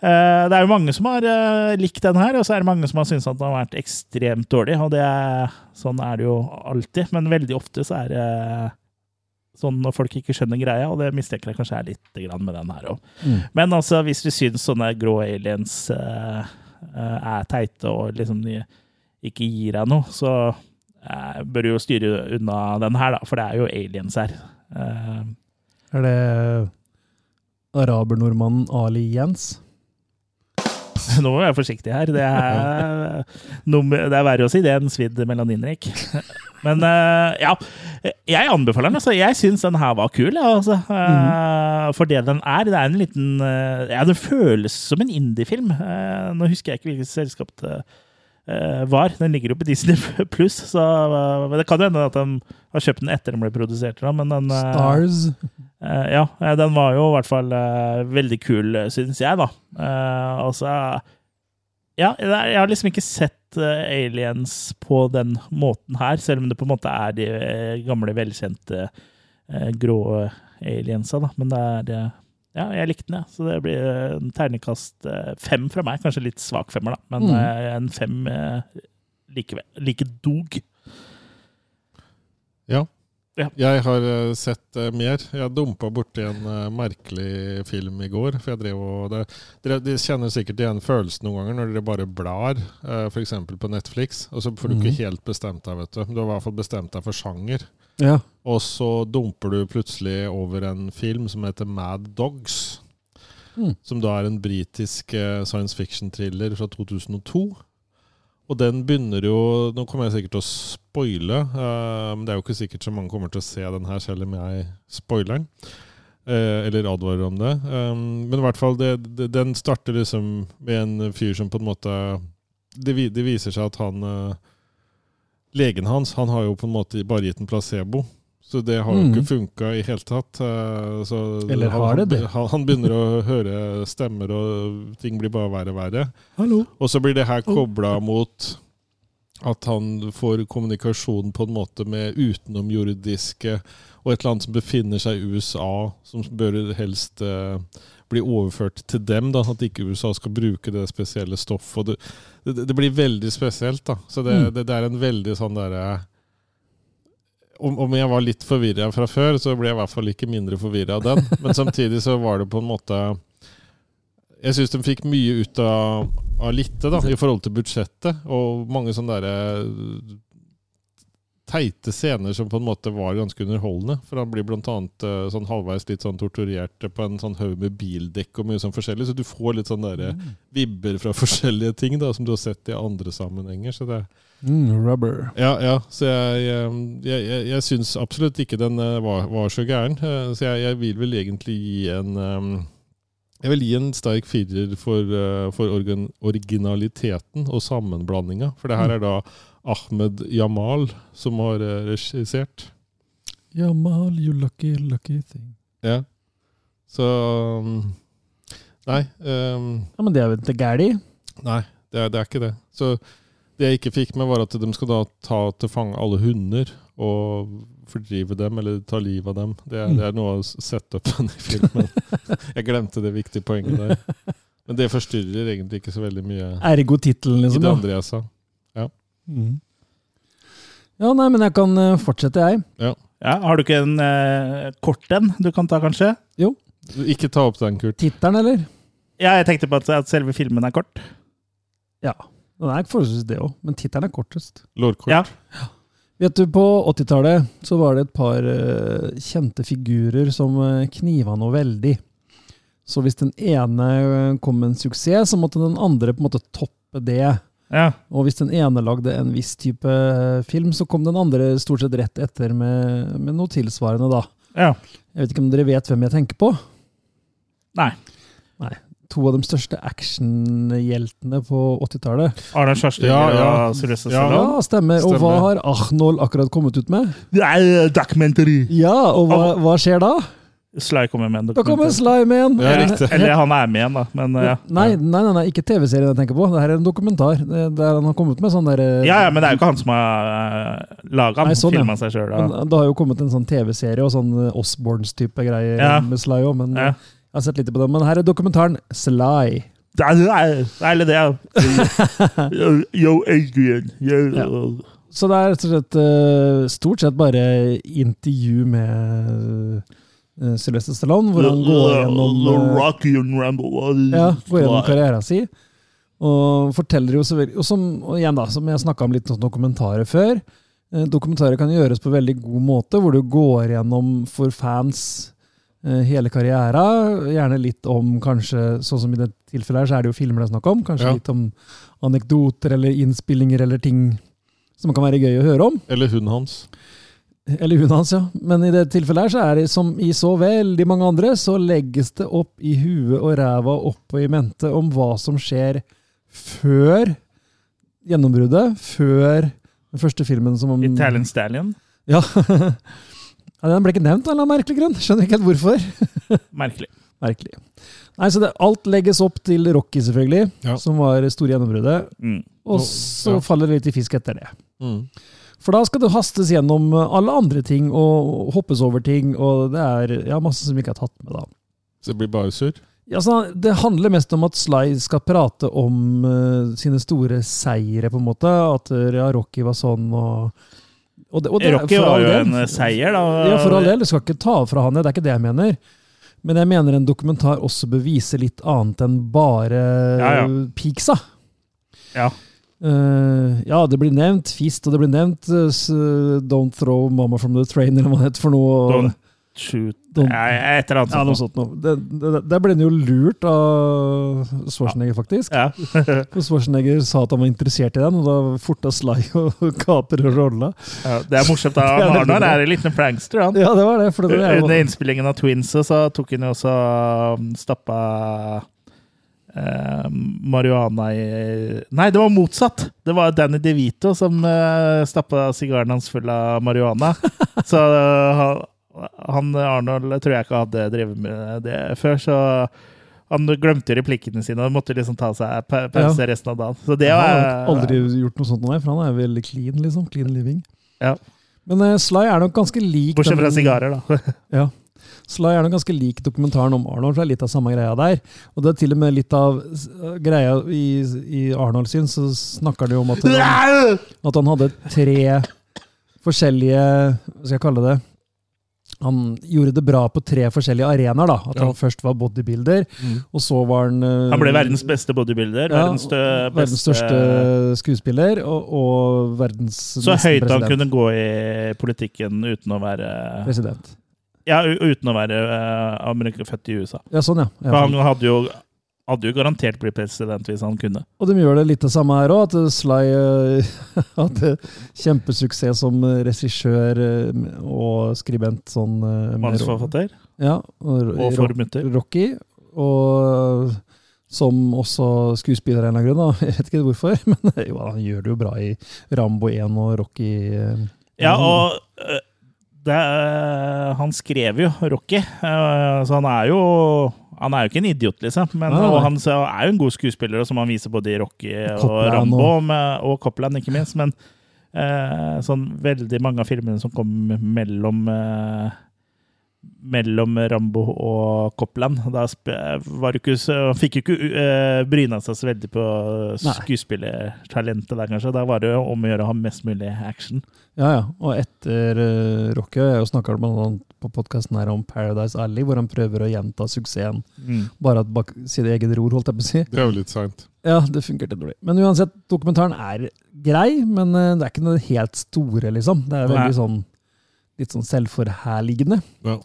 A: Eh, Det er jo mange som har eh, likt den her, og så er det mange som har syntes at den har vært ekstremt dårlig. Og det er, sånn er det jo alltid, men veldig ofte så er det eh, sånn når folk ikke skjønner greia, og det mistenker jeg kanskje er litt grann med den her òg.
D: Mm.
A: Men altså, hvis du syns sånne grå aliens eh, eh, er teite og liksom de ikke gir deg noe, så eh, bør du jo styre unna den her, da, for det er jo aliens her. Eh,
D: Er det arabernordmannen Ali Jens?
A: [laughs] Nå må vi være forsiktige her. Det er, nummer, det er verre å si det enn svidd melaninrik. Men eh, ja, jeg anbefaler den. Altså. Jeg syns den her var kul. ja, Altså. Eh, For det den er. Det er en liten eh, Ja, det føles som en indiefilm. Eh, Nå husker jeg ikke hvilket selskap det eh, var. Den ligger jo på Disney pluss, så eh, men det kan jo hende at de har kjøpt den etter den ble produsert. Da, men den, eh,
D: Stars?
A: Eh, ja, eh, den var jo i hvert fall eh, veldig kul, eh, synes jeg, da. Eh, og så Ja, det er- jeg har liksom ikke sett eh, aliens på den måten her, selv om det på en måte er de eh, gamle, velkjente eh, grå aliensa, da. Men det er eh, Ja, jeg likte den, jeg. Så det blir eh, en terningkast eh, fem fra meg. Kanskje litt svak femmer, da, men
D: Mm.
A: eh, en fem eh, likevel. Like dog.
C: Ja.
A: Ja.
C: Jeg har eh, sett eh, mer. Jeg dumpa borti en eh, merkelig film i går. For jeg drev og det, dere, dere kjenner sikkert igjen følelsen noen ganger når dere bare blar, uh, f.eks. på Netflix. Og så får du
D: Mhm.
C: ikke helt bestemt deg, vet du. Du har i hvert fall bestemt deg for sjanger.
D: Ja.
C: Og så dumper du plutselig over en film som heter Mad Dogs.
D: Mm.
C: Som da er en britisk eh, science fiction-thriller fra 2002. Og den begynner jo Nå kommer jeg sikkert til å spoile, eh, men det er jo ikke sikkert så mange kommer til å se den her, selv om jeg spoiler den. Eh, eller advarer om det. Um, men i hvert fall, det, det, den starter liksom med en fyr som på en måte Det, vi- det viser seg at han eh, Legen hans han har jo på en måte bare gitt en placebo. Så det har jo
D: Mm.
C: ikke funka i hele tatt. eh, Så
D: Eller
C: han-
D: har det det?
C: Han, han begynner å høre stemmer, og ting blir bare verre og verre.
D: Hallo.
C: Og så blir det her kobla mot at han får kommunikasjon på en måte med utenomjordiske og et eller annet som befinner seg i USA, som bør helst eh, bli overført til dem. Da, sånn at ikke USA skal bruke det spesielle stoffet. Og det, det, det blir veldig spesielt. da. Så det,
D: Mm.
C: det, det er en veldig sånn derre om, om jeg var litt forvirra fra før, så ble jeg i hvert fall ikke mindre forvirra av den. Men samtidig så var det på en måte Jeg syns de fikk mye ut av, av lite, da, i forhold til budsjettet. Og mange sånne derre teite scener som på en måte var ganske underholdende. For han blir blant annet eh, sånn halvveis litt sånn torturert på en sånn haug med bildekk og mye sånn forskjellig. Så du får litt sånn derre vibber fra [laughs] forskjellige ting da, som du har sett i andre sammenhenger. Så det
D: Mm, rubber.
C: ja, ja. Så jeg, ehm, jeg, jeg, jeg syns absolutt ikke den eh, var, var så gæren. Eh, Så jeg, jeg vil vel egentlig gi en ehm, Jeg vil gi en sterk firer for, eh, for organ, originaliteten og sammenblandinga. For det her er da Ahmed Jamal som har eh, regissert.
D: Jamal, you lucky, lucky thing.
C: Ja. Så ehm, Nei. ehm,
D: Ja, men det er vel ikke gæli?
C: Nei, det er, det er ikke det. Så det jeg ikke fikk med, var at de skal da ta til fange alle hunder og fordrive dem, eller ta livet av dem. Det er, det er noe av setupen i filmen. Jeg glemte det viktige poenget der. Men det forstyrrer egentlig ikke så veldig mye
D: Ergo
C: i
D: tittelen, liksom.
C: det
D: da.
C: andre jeg sa.
D: Mm. Ja, nei, men jeg kan eh, fortsette, jeg.
A: Ja, har du ikke en eh, kort en du kan ta, kanskje?
C: Ikke ta opp den, Kurt.
D: Tittelen, eller?
A: Ja, jeg tenkte på at, at selve filmen er kort.
D: Ja. Den er forholdsvis det òg, men tittelen er kortest.
C: Lårkort.
A: Ja.
D: Vet du, På 80-tallet så var det et par eh, kjente figurer som eh, kniva noe veldig. Så hvis den ene eh, kom med en suksess, så måtte den andre på en måte toppe det.
A: Ja.
D: Og hvis den ene lagde en viss type eh, film, så kom den andre stort sett rett etter med, med noe tilsvarende, da.
A: ja.
D: Jeg vet ikke om dere vet hvem jeg tenker på?
A: Nei.
D: Nei. To av de største actionhjeltene på 80-tallet.
A: Arne Kjærstad
C: Ja, ja.
A: og Sylvester
C: Ja.
D: Ja,
A: Stallone.
D: stemmer. Og hva
C: Stemmer.
D: har Arnold akkurat kommet ut med?
A: Ja. Documentary!
D: Ja, og hva, hva skjer da?
A: Sly kommer med en
D: Da kommer
A: dokumentar.
D: Slime igjen!
C: Ja,
D: [laughs]
C: riktig.
A: [laughs] Eller han er med igjen, da. Men, eh, ja.
D: Nei, nei, nei, nei, ikke TV-serien jeg tenker på. Det her er en dokumentar eh, der han har kommet med sånn der eh,
A: Ja, ja, men det er jo ikke han som har uh, laga
D: Nei,
A: den.
D: sånn, ja.
A: Filma seg sjøl.
D: men Det har jo kommet en sånn TV-serie og sånn eh, Osborns-type greier
A: Ja.
D: med Sly òg, men eh,
A: Ja.
D: jeg har sett litt på den. Men her er dokumentaren Sly.
A: Det er- det er- Eller det, ja. [laughs] Yo, Yo, Adrian. Yo, uh,
D: Ja. Så det er rett og slett eh, stort sett bare intervju med eh, Sylvester Stallone, hvor han går gjennom
A: uh, The
D: eh,
A: Rocky and Ramble.
D: ja, går gjennom karrieren sin. Og forteller jo så veldig og, som, og igjen, da, som jeg snakka om litt sånn dokumentarer før. eh, Dokumentarer kan gjøres på veldig god måte, hvor du går gjennom for fans eh, hele karrieren. Gjerne litt om kanskje, sånn som i det tilfellet her, så er det jo filmer det er snakk om. Kanskje
C: Ja.
D: litt om anekdoter eller innspillinger eller ting som kan være gøy å høre om.
C: Eller hunden hans.
D: Eller hunden hans, ja. Men i det tilfellet her, så er det som i så veldig mange andre, så legges det opp i huet og ræva opp og i mente om hva som skjer før gjennombruddet, før den første filmen som om
A: Italian Stallion.
D: Ja. [laughs] ja. Den ble ikke nevnt av en eller annen merkelig grunn. Skjønner ikke helt hvorfor.
A: Merkelig.
D: Merkelig. Nei, så det, alt legges opp til Rocky, selvfølgelig,
C: Ja.
D: som var det store gjennombruddet.
A: Mm.
D: Og
C: Nå-
D: så
C: ja.
D: faller det litt i fisk etter det.
C: Mm.
D: For da skal det hastes gjennom eh, alle andre ting og hoppes over ting, og det er ja, masse som vi ikke har tatt med, da.
C: Så det blir bare surr.
D: Ja, så han- det handler mest om at Sly skal prate om eh, sine store seire, på en måte. At eh, ja, Rocky var sånn, og, og, det, og det er
A: Rocky
D: for all
A: var jo
D: del.
A: en eh, seier, da.
D: Ja, for all del. Du skal ikke ta fra han det, det er ikke det jeg mener. Men jeg mener en dokumentar også bør vise litt annet enn bare
A: Ja, ja.
D: peaksa.
A: Ja.
D: Eh, ja, det blir nevnt fist, og det blir nevnt eh, s- Don't throw mama from the train, eller hva det heter for noe.
A: Don't shoot
D: Don't-
A: Nei, Et eller annet.
D: ja, noe sånt noe. Det, det, der ble han jo lurt av Schwarzenegger, faktisk.
A: Ja. [laughs]
D: For Schwarzenegger sa at han var interessert i den, og da forta Sly [laughs] og kaper rolla.
A: Ja, det er
D: [laughs]
A: morsomt. da.
D: Det er
A: Han
D: veldig
A: Arnold
D: bra.
A: er en liten prankster, han.
D: Ja, det var det. For det, var-
A: Under innspillingen av Twins så tok han jo også um, stappa eh, marihuana i Nei, det var motsatt! Det var Danny DeVito som eh, stappa sigaren hans full av
D: [laughs]
A: marihuana. Så eh, han- han Arnold tror jeg ikke hadde drevet med det før, så han glemte replikkene sine og måtte liksom ta seg pa- pause resten av dagen. Så det
D: Jeg har
A: var
D: nok aldri gjort noe sånt, nei, for han er veldig clean, liksom. Clean living.
A: Ja.
D: Men eh, Sly er nok ganske lik
A: Bortsett fra
D: den-
A: sigarer, da.
D: Ja. Sly er nok ganske lik dokumentaren om Arnold, for det er litt av samme greia der. Og det er til og med litt av s- eh, greia i, i Arnold sin, [laughs] så snakker
A: [laughs]
D: de om at han, at han hadde tre forskjellige Hva skal jeg kalle det? Han gjorde det bra på tre forskjellige arenaer. da. At
C: Ja.
D: han først var bodybuilder, og så var han eh,
A: Mm. Han ble verdens beste bodybuilder.
D: Ja,
A: verdens, stø, beste,
D: verdens største skuespiller og, og verdens
A: Så
D: nesten
A: høyt han
D: president.
A: kunne gå i politikken uten å være
D: President.
A: Ja, u- uten å være eh, amerik- født i USA.
D: Ja, sånn, ja.
A: For
D: ja.
A: han hadde jo, hadde jo garantert blitt president hvis han kunne.
D: Og de gjør det litt det samme her òg, at eh, Sly eh, [laughs] hadde kjempesuksess som eh, regissør eh, og skribent. sånn... eh, med-
A: Manusforfatter
D: Ja, og,
A: og
D: Ro-
A: formutter.
D: Rocky. Og eh, som også skuespiller av en eller annen grunn. da. [laughs] Jeg vet ikke hvorfor, men eh, jo, han gjør det jo bra i Rambo 1 og Rocky. eh,
A: Ja, og eh, det, eh, han skrev jo Rocky, eh, så han er jo han er jo ikke en idiot, liksom. Men,
D: Nei, nei.
A: og han så er jo en god skuespiller, og som han viser både i Rocky og
D: Copland
A: Rambo,
D: og-
A: med, og Copland, ikke minst. Men eh, sånn veldig mange av filmene som kom mellom eh, mellom Rambo og Copland. Da sp var det ikke, så, han fikk jo ikke eh, bryna seg så veldig på
D: Nei.
A: skuespillertalentet der, kanskje. Da var det jo om å gjøre å ha mest mulig action.
D: Ja, ja. Og etter eh, Rocky Jeg har jo snakka blant annet på podkasten her om Paradise Alley, hvor han prøver å gjenta suksessen. Bare at bak sine egne ord, holdt jeg på å si.
C: Det er jo litt seint.
D: Ja, det funkerte dårlig. Men uansett, dokumentaren er grei, men eh, det er ikke noe helt store, liksom. Det er
A: Nei.
D: veldig sånn litt sånn selvforherligende.
C: Ja.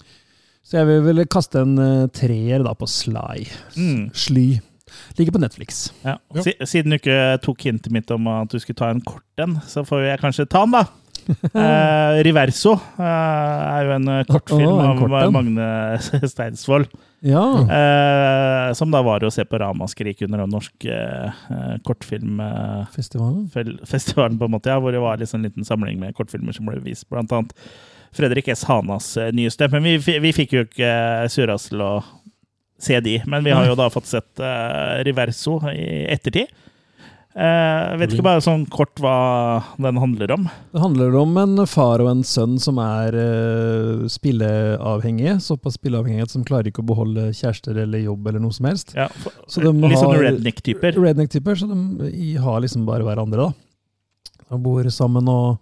D: Så jeg vil vel kaste en eh, treer da på Sly.
A: Mm.
D: Sly. Ligger på Netflix.
A: Ja.
C: Ja.
A: Si- Siden du ikke tok hintet mitt om at du skulle ta en kort en, så får jeg kanskje ta
D: [laughs]
A: den, da. [laughs] Eh, 'Riverso' eh, er jo en eh, kortfilm
D: Åh, en
A: av
D: kort en.
A: Magne [laughs] Steinsvold.
D: [laughs] Ja.
A: eh, som da var å se på Ramaskrik under den norske eh, kortfilmfestivalen,
D: Festivalen.
A: [laughs] på en måte, ja, hvor det var liksom en liten samling med kortfilmer som ble vist, blant annet Fredrik S. Hanas eh, nyeste. Men vi, fi- vi fikk jo ikke eh, Suras til å se de, men vi har jo da fått sett eh, Riverso i ettertid. Eh, vet ikke bare sånn kort hva den handler om.
D: Det handler om en far og en sønn som er eh, spilleavhengige. Såpass spilleavhengighet som klarer ikke å beholde kjærester eller jobb eller noe som helst.
A: Ja, for,
D: Så de
A: litt sånn
D: har-
A: redneck-typer.
D: Redneck-typer, så de i- har liksom bare hverandre, da. De bor sammen og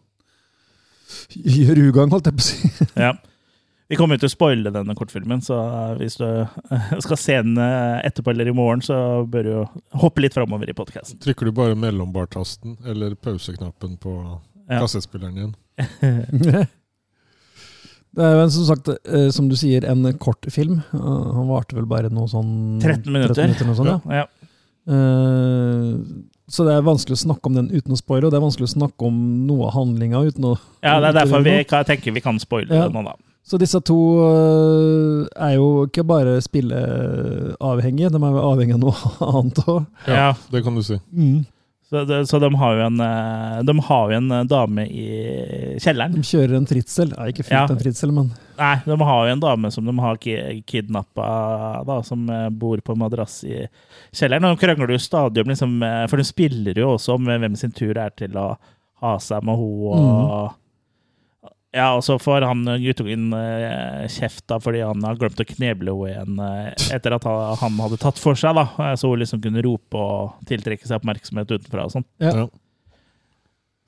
D: gjør ugagn, holdt jeg på å si. [laughs]
A: Ja. Vi kommer jo til å spoile denne kortfilmen, så hvis du eh, skal se den eh, etterpå eller i morgen, så bør du jo hoppe litt framover i
D: [laughs]
A: podkasten.
C: Trykker du bare mellombartasten eller pauseknappen på
A: Ja.
C: kassettspilleren din?
D: Det er jo en, som sagt, eh, som du sier, en kort film. Eh, Han varte vel bare noe sånn
A: 13 minutter.
D: noe sånt, ja.
A: Ja.
D: Eh, Så det er vanskelig å snakke om den uten å spoile, og det er vanskelig å snakke om noe av handlinga uten å
A: ja, det er derfor vi ka- tenker vi kan spoile
D: Ja.
A: den nå, da.
D: Så disse to øh, er jo ikke bare spilleavhengige, de er jo avhengige av noe [laughs] annet òg.
C: Ja.
A: Ja.
C: Det kan du si.
A: Så, de, så de har jo en, eh, de har jo en eh, dame i kjelleren.
D: De kjører en fritsel. Nei, ikke fullt
A: Ja.
D: en fritsel, men
A: Nei, de har jo en dame som de har kidnappa, da, som eh, bor på en madrass i kjelleren. Og de krangler jo stadig om liksom eh, For de spiller jo også om hvem sin tur det er til å ha seg med henne og Ja, og så får han eh, guttungen eh, kjeft da, fordi han har glemt å kneble henne igjen eh, etter at han han hadde tatt for seg, da. Eh, Så hun liksom kunne rope og tiltrekke seg oppmerksomhet utenfra og sånn.
D: Ja.
C: Ja.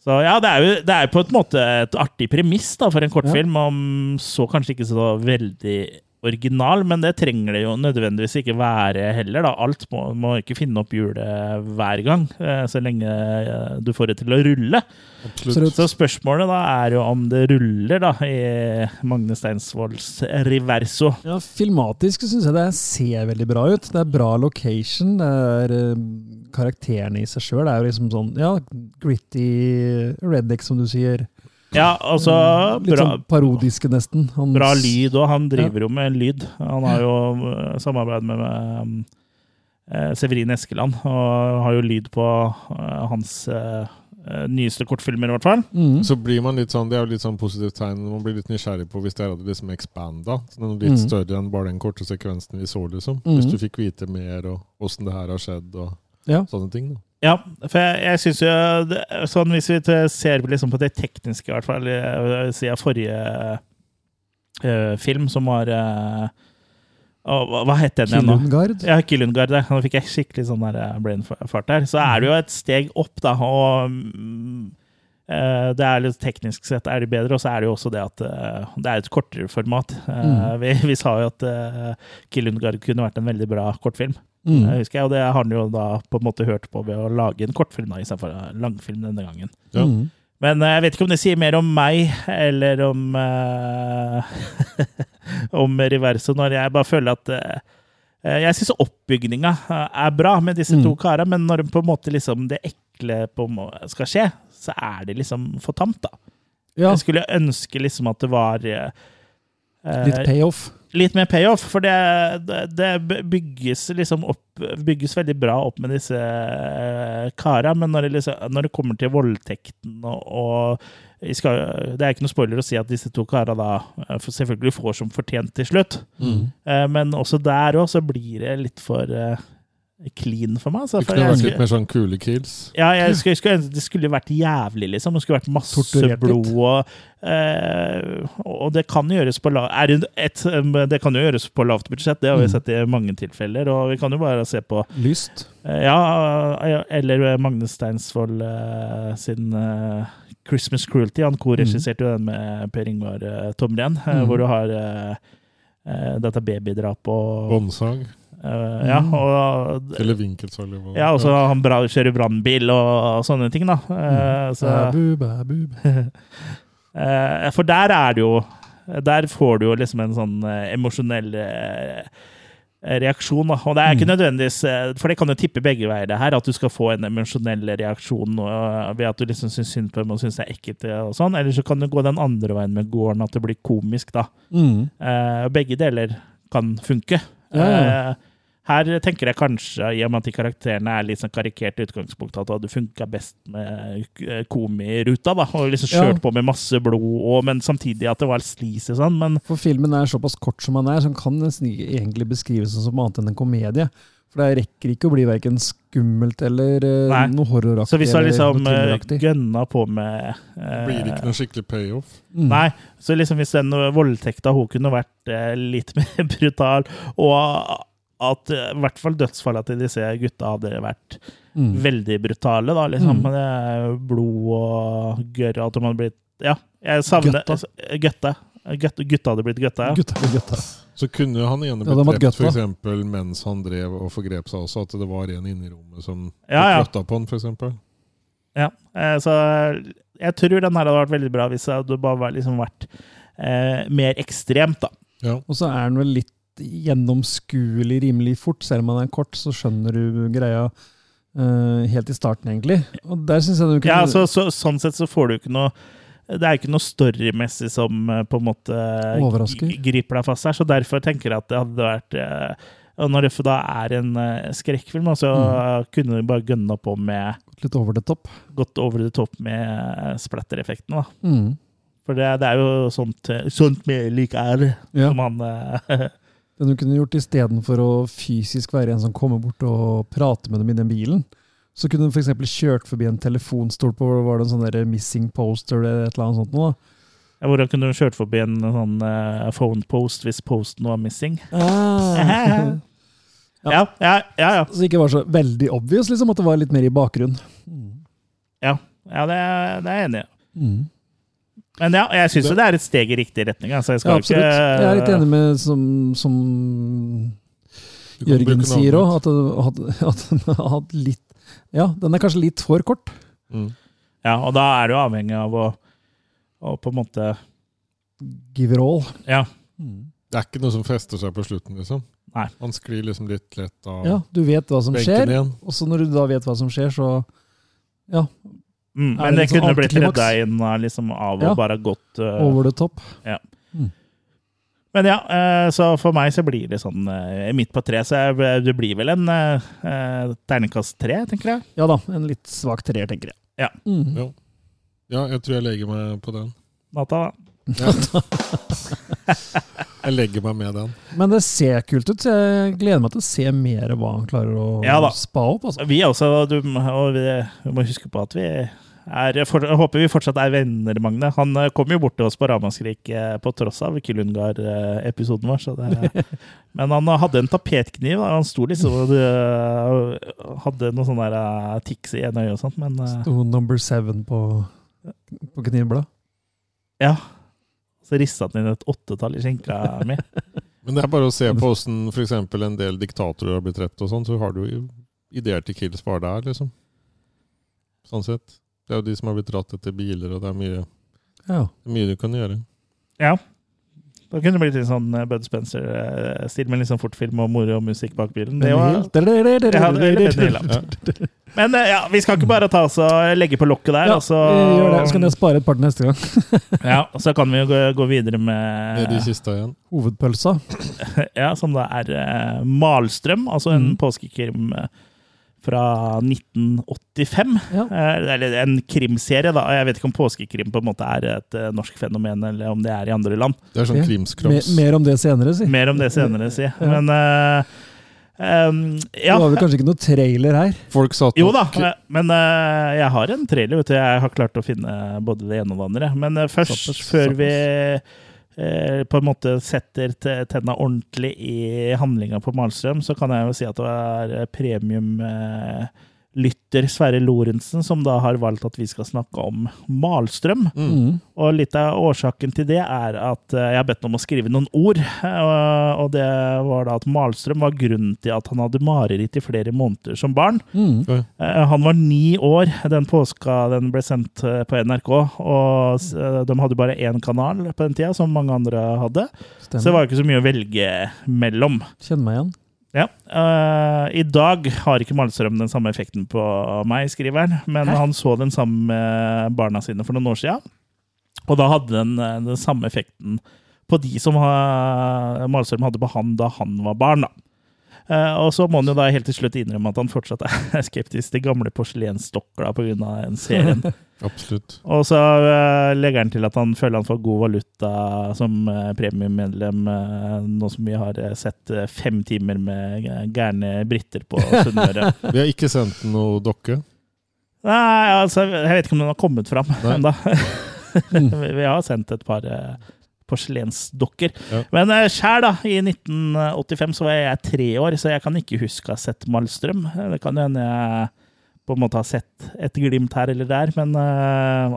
A: Så ja, det er jo det er på en måte et artig premiss da, for en
D: Ja.
A: kortfilm, om så kanskje ikke så veldig original, men det trenger det jo nødvendigvis ikke være heller. Da. Alt må, må ikke finne opp hjulet hver gang, eh, så lenge eh, du får det til å rulle.
C: Absolutt.
A: Så spørsmålet da er jo om det ruller da, i Magne Steinsvolds Reverso.
D: Ja, Filmatisk syns jeg det ser veldig bra ut. Det er bra location. Det er eh, karakterene i seg sjøl. Det er jo liksom sånn ja, gritty redneck, som du sier.
A: Ja, altså
D: Litt
A: bra,
D: sånn parodiske, nesten. Hans-
A: bra lyd òg. Han driver jo med lyd. Han har jo eh, samarbeid med, med eh, Severin Eskeland, og har jo lyd på eh, hans eh, eh, nyeste kortfilmer, i hvert fall.
D: Mm.
C: Så blir man litt sånn, Det er jo litt sånn positivt tegn man blir litt nysgjerrig på hvis det hadde liksom expanda. Så den er litt
D: Mhm.
C: større enn bare den korte sekvensen vi så, liksom. Hvis
D: Mhm.
C: du fikk vite mer og åssen det her har skjedd og
D: Ja.
C: sånne ting. da.
A: Ja, for jeg, jeg syns jo det, sånn Hvis vi te- ser liksom på det tekniske, i hvert fall eh, siden forrige eh, film, som var eh, å, hva- Hva het den igjen nå?
D: Killengard.
A: Ja, Kyllungard. der. Nå fikk jeg skikkelig sånn der eh, brain fart der. Så er det jo et steg opp, da. Og mm, eh, det er litt teknisk sett er det bedre, og så er det jo også det at eh, det er et kortere format. Eh, vi, vi sa jo at uh, Kyllungard kunne vært en veldig bra kortfilm.
D: Mm.
A: Jeg husker jeg, Og det har han jo da på en måte hørt på ved å lage en kortfilm da, istedenfor en eh, langfilm denne gangen.
C: Ja.
D: Mm.
A: Men eh, jeg vet ikke om det sier mer om meg eller om eh, [laughs] om Reverso, når jeg bare føler at eh, eh, Jeg syns oppbygninga eh, er bra med disse to
D: Mm.
A: kara, men når på en måte liksom det ekle på en må- skal skje, så er det liksom for tamt, da.
D: ja.
A: Jeg skulle ønske liksom at det var eh, eh,
D: Litt payoff.
A: litt mer payoff, for det, det, det bygges liksom opp Bygges veldig bra opp med disse eh, kara, men når det, liksom, når det kommer til voldtekten og, og jeg skal, Det er ikke noe spoiler å si at disse to kara da eh, for- selvfølgelig får som fortjent til slutt, eh, men også der òg så blir det litt for eh, clean for meg. Altså,
C: Det
A: for
C: kunne
A: jeg
C: vært
A: skulle-
C: litt mer sånn kule kills.
A: ja, jeg skulle, jeg skulle, ønske- det skulle vært jævlig, liksom. Det skulle vært masse
D: Torturert litt.
A: blod og eh, Og det kan gjøres på la- er det et, um, Det kan jo gjøres på lavt budsjett, det har vi
D: Mm.
A: sett i mange tilfeller. Og vi kan jo bare se på
D: Lyst.
A: eh, Ja, eller Magne Steinsvold eh, sin eh, 'Christmas Cruelty'. Han korregisserte jo den med Per Ingvar eh, Tomren, eh,
D: Mm.
A: hvor du har eh, eh, dette babydrapet og
C: Båndsag
A: eh, Ja,
D: Mm.
A: og
C: eller vinkelsag. eller hva-
A: ja, altså, og så han bra, kjører brannbil og, og sånne ting, da.
D: Mm.
A: Eh, så,
D: Bæbu, bæbu, bæbu.
A: [laughs] eh, for der er det jo Der får du jo liksom en sånn eh, emosjonell eh, reaksjon, da. Og det er ikke nødvendigvis eh, For det kan jo tippe begge veier, det her. At du skal få en emosjonell reaksjon eh, ved at du liksom syns synd på dem og syns det er ekkelt og sånn. Eller så kan du gå den andre veien med gården, at det blir komisk, da.
D: Mm.
A: Eh, og begge deler kan funke.
D: Ja, ja.
A: Eh, her tenker jeg kanskje, i og med at de karakterene er litt sånn karikert i utgangspunktet, at det hadde funka best med eh, komiruta, da. Og liksom
D: Ja.
A: kjørt på med masse blod, og, men samtidig at det var sleazy og sånn. Men
D: For filmen er såpass kort som den er, så den kan nesten ikke egentlig beskrives som annet enn en komedie. For det rekker ikke å bli verken skummelt eller eh,
A: Nei.
D: noe horroraktig.
A: så hvis han
D: eller
A: liksom
D: noe
A: eh,
D: thrilleraktig.
A: gønna på med eh,
C: Blir det ikke noe skikkelig payoff?
D: Mm.
A: Nei, så liksom hvis den voldtekta hun kunne vært eh, litt [laughs] mer brutal, og at eh, i hvert fall dødsfalla til disse gutta hadde vært
D: Mm.
A: veldig brutale, da, liksom.
D: Mm.
A: Det er blod og gørr og at de hadde blitt Ja, jeg savner
D: Gøtta.
A: Gøtta. Gøtta. Gutta hadde blitt gøtta, ja.
D: Gutta, gutta.
C: Så kunne han ene
D: Ja, det
C: blitt
D: hadde vært
C: drept for
D: godt,
C: eksempel, mens han drev og forgrep seg også, at det var en inne i rommet som
A: Ja, ja.
C: kløtta på han, f.eks.
A: ja. Eh, Så jeg tror den her hadde vært veldig bra hvis det hadde bare vært- liksom vært eh, mer ekstremt, da.
C: Ja.
D: Og så er den vel litt gjennomskuelig rimelig fort. Selv om den er kort, så skjønner du greia eh, helt i starten, egentlig. Og der synes jeg du kunne
A: Ja, så, så, sånn sett så får du ikke noe det er ikke noe storymessig som eh, på en måte
D: Overrasker.
A: gri- griper deg fast her, så derfor tenker jeg at det hadde vært eh, og Når det for da er en eh, skrekkfilm, så
D: Mm.
A: kunne du bare gønna på med
D: litt over the top.
A: gått over det topp med splattereffektene, da.
D: Mm.
A: For det, det er jo sånt, eh, sånt vi liker er,
D: Ja.
A: som han eh, [laughs]
D: Den du kunne gjort istedenfor å fysisk være en som kommer bort og prater med dem i den bilen, så kunne du f.eks. kjørt forbi en telefonstol på var det en sånn der missing poster eller et eller annet sånt noe. da.
A: Hvor han kunne kjørt forbi en sånn eh, phone post hvis posten var missing. [laughs]
D: Ah.
A: Ja, ja, ja. ja.
D: [laughs] Så det ikke var så veldig obvious, liksom, at det var litt mer i bakgrunnen.
A: ja det, er, det er jeg enig i.
D: Mm.
A: Men ja, jeg syns det er et steg i riktig retning. Altså, jeg
D: Ja,
A: skal
D: absolutt.
A: ikke
D: Jeg er litt enig med som, som
C: Du kan bruke
D: Jørgen
C: noe
D: sier
C: annet.
D: òg, at, at, [laughs] at den har hatt litt Ja, den er kanskje litt for kort.
C: Mm.
A: Ja, og da er du avhengig av å, å på en måte
D: Giverall.
A: Ja.
C: Det er ikke noe som fester seg på slutten, liksom.
A: Nei.
C: Man sklir liksom litt lett av
D: Ja, du vet hva som
C: benken
D: skjer,
C: igjen.
D: og så når du da vet hva som skjer, så Ja,
A: Mm,
D: Er det
A: men det
D: litt sånn
A: kunne blitt
D: antiklimaks?
A: redda inn av, liksom, av
D: Ja.
A: å bare ha gått eh,
D: over the top.
A: Men ja, eh, så for meg så blir det sånn eh, midt på tre, så jeg, det blir vel en eh, eh, terningkast tre, tenker jeg.
D: Ja da, en litt svak treer, tenker jeg.
A: Ja.
D: Mm.
C: Ja.
D: [laughs]
C: Ja, jeg tror jeg legger meg på den.
A: Nata, da.
C: Jeg legger meg med den.
D: Men det ser kult ut, så jeg gleder meg til å se mer hva han klarer å
A: Ja da.
D: spa opp. Altså.
A: Vi er også, du, og vi, vi må huske på at vi er, for, jeg håper vi fortsatt er venner, Magne. Han eh, kom jo bort til oss på Ramaskrik eh, på tross av Kyllungar-episoden vår. Så det, men han eh, hadde en tapetkniv. da. Han sto liksom og eh, hadde noe sånn der eh, tics i ene øyet og sånt, men eh,
D: Sto number seven på, på knivbladet.
A: ja. Så rista han inn et åttetall i skinka mi.
C: Men det er bare å se på åssen f.eks. en del diktatorer har blitt drept og sånn, så har du jo ideer til kills bare der, liksom. Sånn sett. Det er jo de som har blitt dratt etter biler, og det er mye,
D: Ja.
C: mye du kan gjøre.
A: Ja. Da kunne det blitt litt sånn eh, Bud Spencer-stil, med litt sånn fortfilm og moro og musikk bak bilen. Det var, Ja, det er Benny Hill,
D: Ja,
C: ja.
A: men eh, ja, vi skal ikke bare ta oss og legge på lokket der, og så
D: vi gjør det. Så kan jeg spare et par til neste gang.
A: ja, og så kan vi jo gå, gå videre
C: Ned i
A: med
C: kista igjen.
D: Hovedpølsa.
A: ja, Som da er eh, Malstrøm, altså en
D: Mm.
A: påskekrim eh, fra 1985.
D: [laughs] Ja.
A: Eh, Eller en krimserie, da. Jeg vet ikke om påskekrim på en måte er et eh, norsk fenomen, eller om det er i andre land.
C: Det er sånn
D: Ja. Mer,
C: krimskrams.
D: mer om det senere, si.
A: Mer om det senere, si. Men eh, em,
D: Det
A: ja.
D: var vel kanskje ikke noe trailer her.
C: Folk satt
A: Jo da,
C: nok-
A: eh, men eh, jeg har en trailer. vet du. Jeg har klart å finne både det ene og det andre. Men eh, først,
D: Såpass,
A: før vi eh, på en måte setter te- tenna ordentlig i handlinga på Malstrøm, så kan jeg jo si at det er eh, premiumlytter Sverre Lorentzen som da har valgt at vi skal snakke om Malstrøm.
C: Mm.
A: Og litt av årsaken til det er at eh, jeg har bedt ham om å skrive noen ord. eh, Og det var da at Malstrøm var grunnen til at han hadde mareritt i flere måneder som barn.
D: Mm.
A: Eh, Han var ni år den påska den ble sendt eh, på NRK. Og s- eh, de hadde bare én kanal på den tida, som mange andre hadde. Så det
D: Stemmer.
A: var ikke så mye å velge mellom.
D: Kjenner meg igjen.
A: Ja. eh, I dag har ikke Malstrøm den samme effekten på meg, skriver han. Men
D: Hæ?
A: han så den sammen med barna sine for noen år sia. Og da hadde den eh, den samme effekten på de som eh, Malstrøm hadde på han da han var barn. da. Eh, og så må han jo da helt til slutt innrømme at han fortsatt er [laughs] skeptisk til gamle porselensstokker da, på grunn av den serien.
C: Absolutt.
A: Og så eh, legger han til at han føler han får god valuta som eh, premiummedlem, eh, nå som vi har eh, sett eh, fem timer med eh, gærne briter på Sunnmøre.
C: Vi har ikke sendt noe dokke.
A: Nei, altså, jeg vet ikke om den har kommet fram
C: Nei.
A: ennå. [laughs] vi vi har sendt et par eh, porselensdokker.
C: Ja.
A: Men eh, sjæl, da, i 1985 så var jeg tre år, så jeg kan ikke huske å ha sett Malstrøm. Eh, Det kan jo hende jeg på en måte har sett et glimt her eller der, men eh,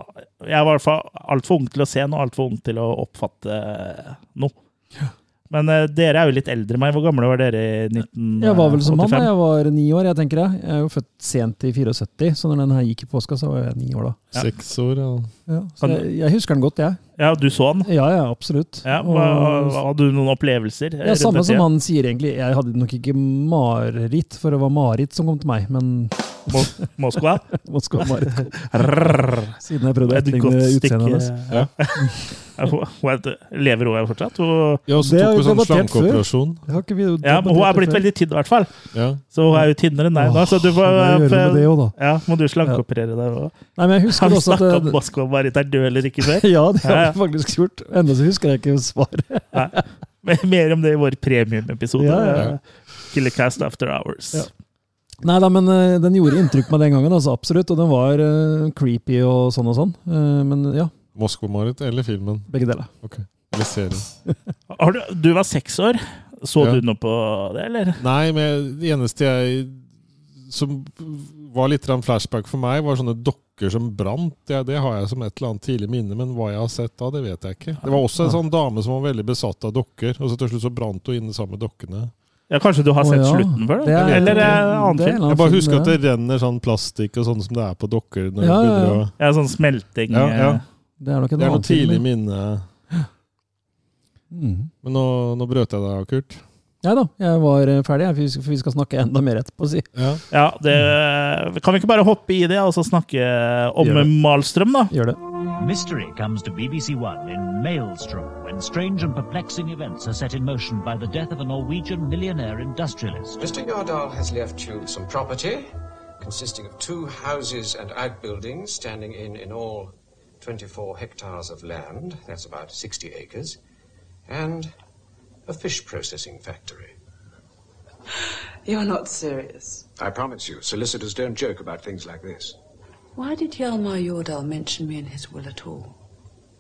A: jeg var i hvert fall altfor ung til å se noe, altfor ung til å oppfatte eh, noe. Men eh, dere er jo litt eldre enn meg. Hvor gamle var dere i 1985?
D: Jeg var vel som mann, da. jeg var ni år, jeg tenker jeg. Jeg er jo født sent i 74, så når den her gikk i påska, så var jeg ni år da.
A: Ja.
C: Seks år, ja.
D: Ja,
A: Kan-
D: så jeg, jeg husker den godt, jeg.
A: Ja, du så den?
D: Ja, ja, absolutt.
A: Ja,
D: Og-
A: hva, hadde du noen opplevelser?
D: ja, samme som han sier egentlig. Jeg hadde nok ikke mareritt, for det var Marit som kom til meg. Men [laughs]
A: han. Moskva?
D: Moskva Marit kom.
A: Rrrr.
D: Siden jeg prøvde å
A: Et
D: etterligne
A: godt
D: utseendet hennes.
A: stykke Ja, hun- hun er- Lever hun fortsatt? Hun,
C: Ja, og så
D: Det har
C: tok vi
D: vi
C: sånn
D: debattert før.
C: slankeoperasjon.
D: Det har ikke vi
A: ja, men hun er
D: debattert
A: blitt
D: før.
A: veldig tynn, i hvert fall.
C: Ja.
A: Så hun er jo tynnere enn deg nå. Så du
D: Hva gjør vi med det
A: får, eh,
D: også, da?
A: ja, må du slankeoperere deg òg.
D: Nei, men jeg
A: Har
D: husker
A: vi
D: også
A: snakka
D: at
A: om Moskva Marit er død eller ikke før?
D: [laughs]
A: [laughs]
D: Ja, det
A: Ja, ja.
D: har vi faktisk gjort. Enda så husker jeg ikke svaret.
A: Nei. Men Mer om det i vår premiumepisode.
D: Ja, ja,
C: ja.
A: Killercast After Hours.
D: Ja. Nei da, men eh, den gjorde inntrykk på meg den gangen, altså, absolutt. Og den var eh, creepy og sånn og sånn. Eh, men ja.
C: Moskva-Marit eller filmen?
D: Begge deler.
C: Eller serien?
A: Har du, du var seks år. Så
C: Ja.
A: du noe på det, eller?
C: Nei, men det eneste jeg som var litt grann flashback for meg, var sånne dokker som brant. Ja, det har jeg som et eller annet tidlig minne, men hva jeg har sett da, det vet jeg ikke. Det var også en sånn dame som var veldig besatt av dokker, og så til slutt så brant hun inne sammen med dokkene.
A: Ja, kanskje du har
D: Å,
A: sett
D: ja.
A: slutten før?
D: Det
A: Da?
D: er-
A: Eller
D: det
A: eh,
D: er en
A: annen
D: annen
A: film?
C: Jeg bare
D: film,
C: husker at
D: det.
C: det renner sånn plastikk og sånn som det er på dokker. Når
D: Ja,
C: det
D: ja, ja.
C: begynner å-
A: Ja, sånn smelting
C: Ja, ja.
A: eh,
D: Det er nok en
C: Det er
D: annen
C: noe tidlig
D: film.
C: minne.
D: Mm.
C: Men nå, nå brøt jeg deg av, Kurt.
D: Nei da, jeg var eh, ferdig, jeg, for vi skal- for vi skal snakke enda mer etterpå. Si.
C: Ja.
A: ja det, Kan vi ikke bare hoppe i det og så snakke om
D: Gjør det.
A: Malstrøm, da?
D: Gjør det.
E: Mystery comes to BBC One in Maelstrom when strange and perplexing events are set in motion by the death of a Norwegian millionaire industrialist.
F: Mr. Yardal has left you some property consisting of two houses and outbuildings standing in, in all 24 hectares of land, that's about 60 acres, and a fish processing factory.
G: You're not serious.
F: I promise you, solicitors don't joke about things like this.
G: Why did Hjalmar Jordahl mention me in his will at all?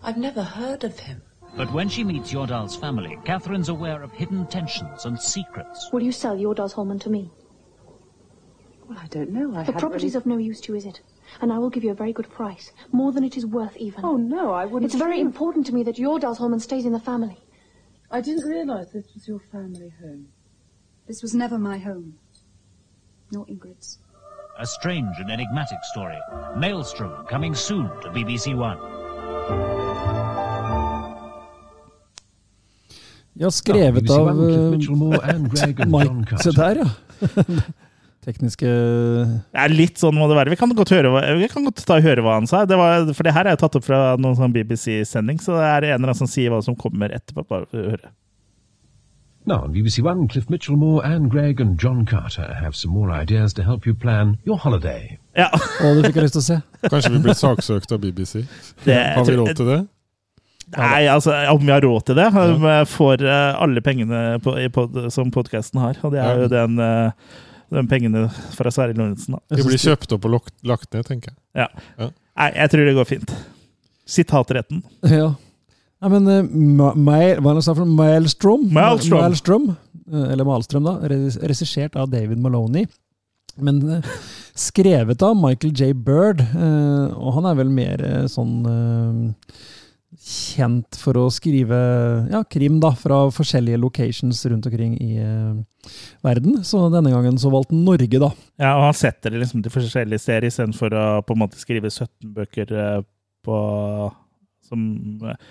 G: I've never heard of him.
E: But when she meets Yordal's family, Catherine's aware of hidden tensions and secrets.
H: Will you sell your Dawes Holman to me?
G: Well, I don't know. I
H: the property's of no use to you, is it? And I will give you a very good price, more than it is worth even.
G: Oh no, I wouldn't.
H: it's very important to me that your Dawes Holman stays in the family.
G: I didn't realise this was your family home.
I: This was never my home. Nor Ingrid's.
E: A strange and enigmatic story. Maelstrom coming soon to BBC One.
D: Ja, skrevet av eh, Mike Se der, ja. [laughs] Tekniske
A: Ja, litt sånn må det være. Vi kan godt, høre, hva- vi kan godt ta og høre hva han sa. Det var, for det her er jo tatt opp fra noen sånn BBC-sending, så det er en eller annen som sier hva som kommer etterpå. Bare høre.
J: Now on BBC One, Cliff Mitchellmore, Anne Gregg and John Carter have some more ideas to help you plan your holiday.
A: Ja,
D: Å, det fikk jeg lyst til å se.
C: Kanskje vi blir saksøkt av BBC?
A: det,
C: Har vi råd til det?
A: Nei, altså, om vi har råd til det. Om jeg får eh, alle pengene på, i pod, som podkasten har, og det er jo
C: Ja.
A: den, eh, den pengene fra Sverre Lorentzen, da.
C: Vi blir kjøpt opp og lagt, lagt ned, tenker jeg.
A: Ja.
C: Ja.
A: Nei, jeg tror det går fint. Sitatretten.
D: Ja. Nei, men eh, Ma- Ma- Hva er det han sa for noe? Maelstrom?
A: Maelstrom.
D: Maelstrom, eh, Eller Malstrøm, da. res- Regissert av David Maloney. Men eh, skrevet av Michael J. Bird. eh, Og han er vel mer eh, sånn eh, kjent for å skrive ja, krim da, fra forskjellige locations rundt omkring i eh, verden. Så denne gangen så valgte han Norge, da.
A: Ja, og han setter det liksom til forskjellige steder istedenfor å på en måte skrive 17 bøker eh, på som eh,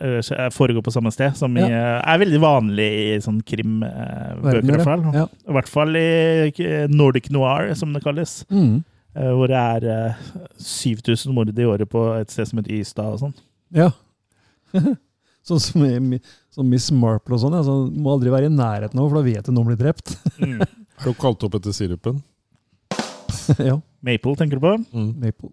A: eh, foregår på samme sted, som i, eh, er veldig vanlig i sånn krimbøker, i hvert fall.
D: ja.
A: I hvert fall i eh, Nordic noir, som det kalles.
D: Mm.
A: Eh, hvor det er eh, 7000 mord i året på et sted som heter Ystad og sånn.
D: Ja. [laughs] sånn som i Mi- sånn Miss Marple og sånn. Ja. Sånn, må aldri være i nærheten av, for da vet du noen blir drept. [laughs]
C: Er du kalt opp etter sirupen?
D: ja,
A: [laughs] Maple, tenker du på?
D: Maple.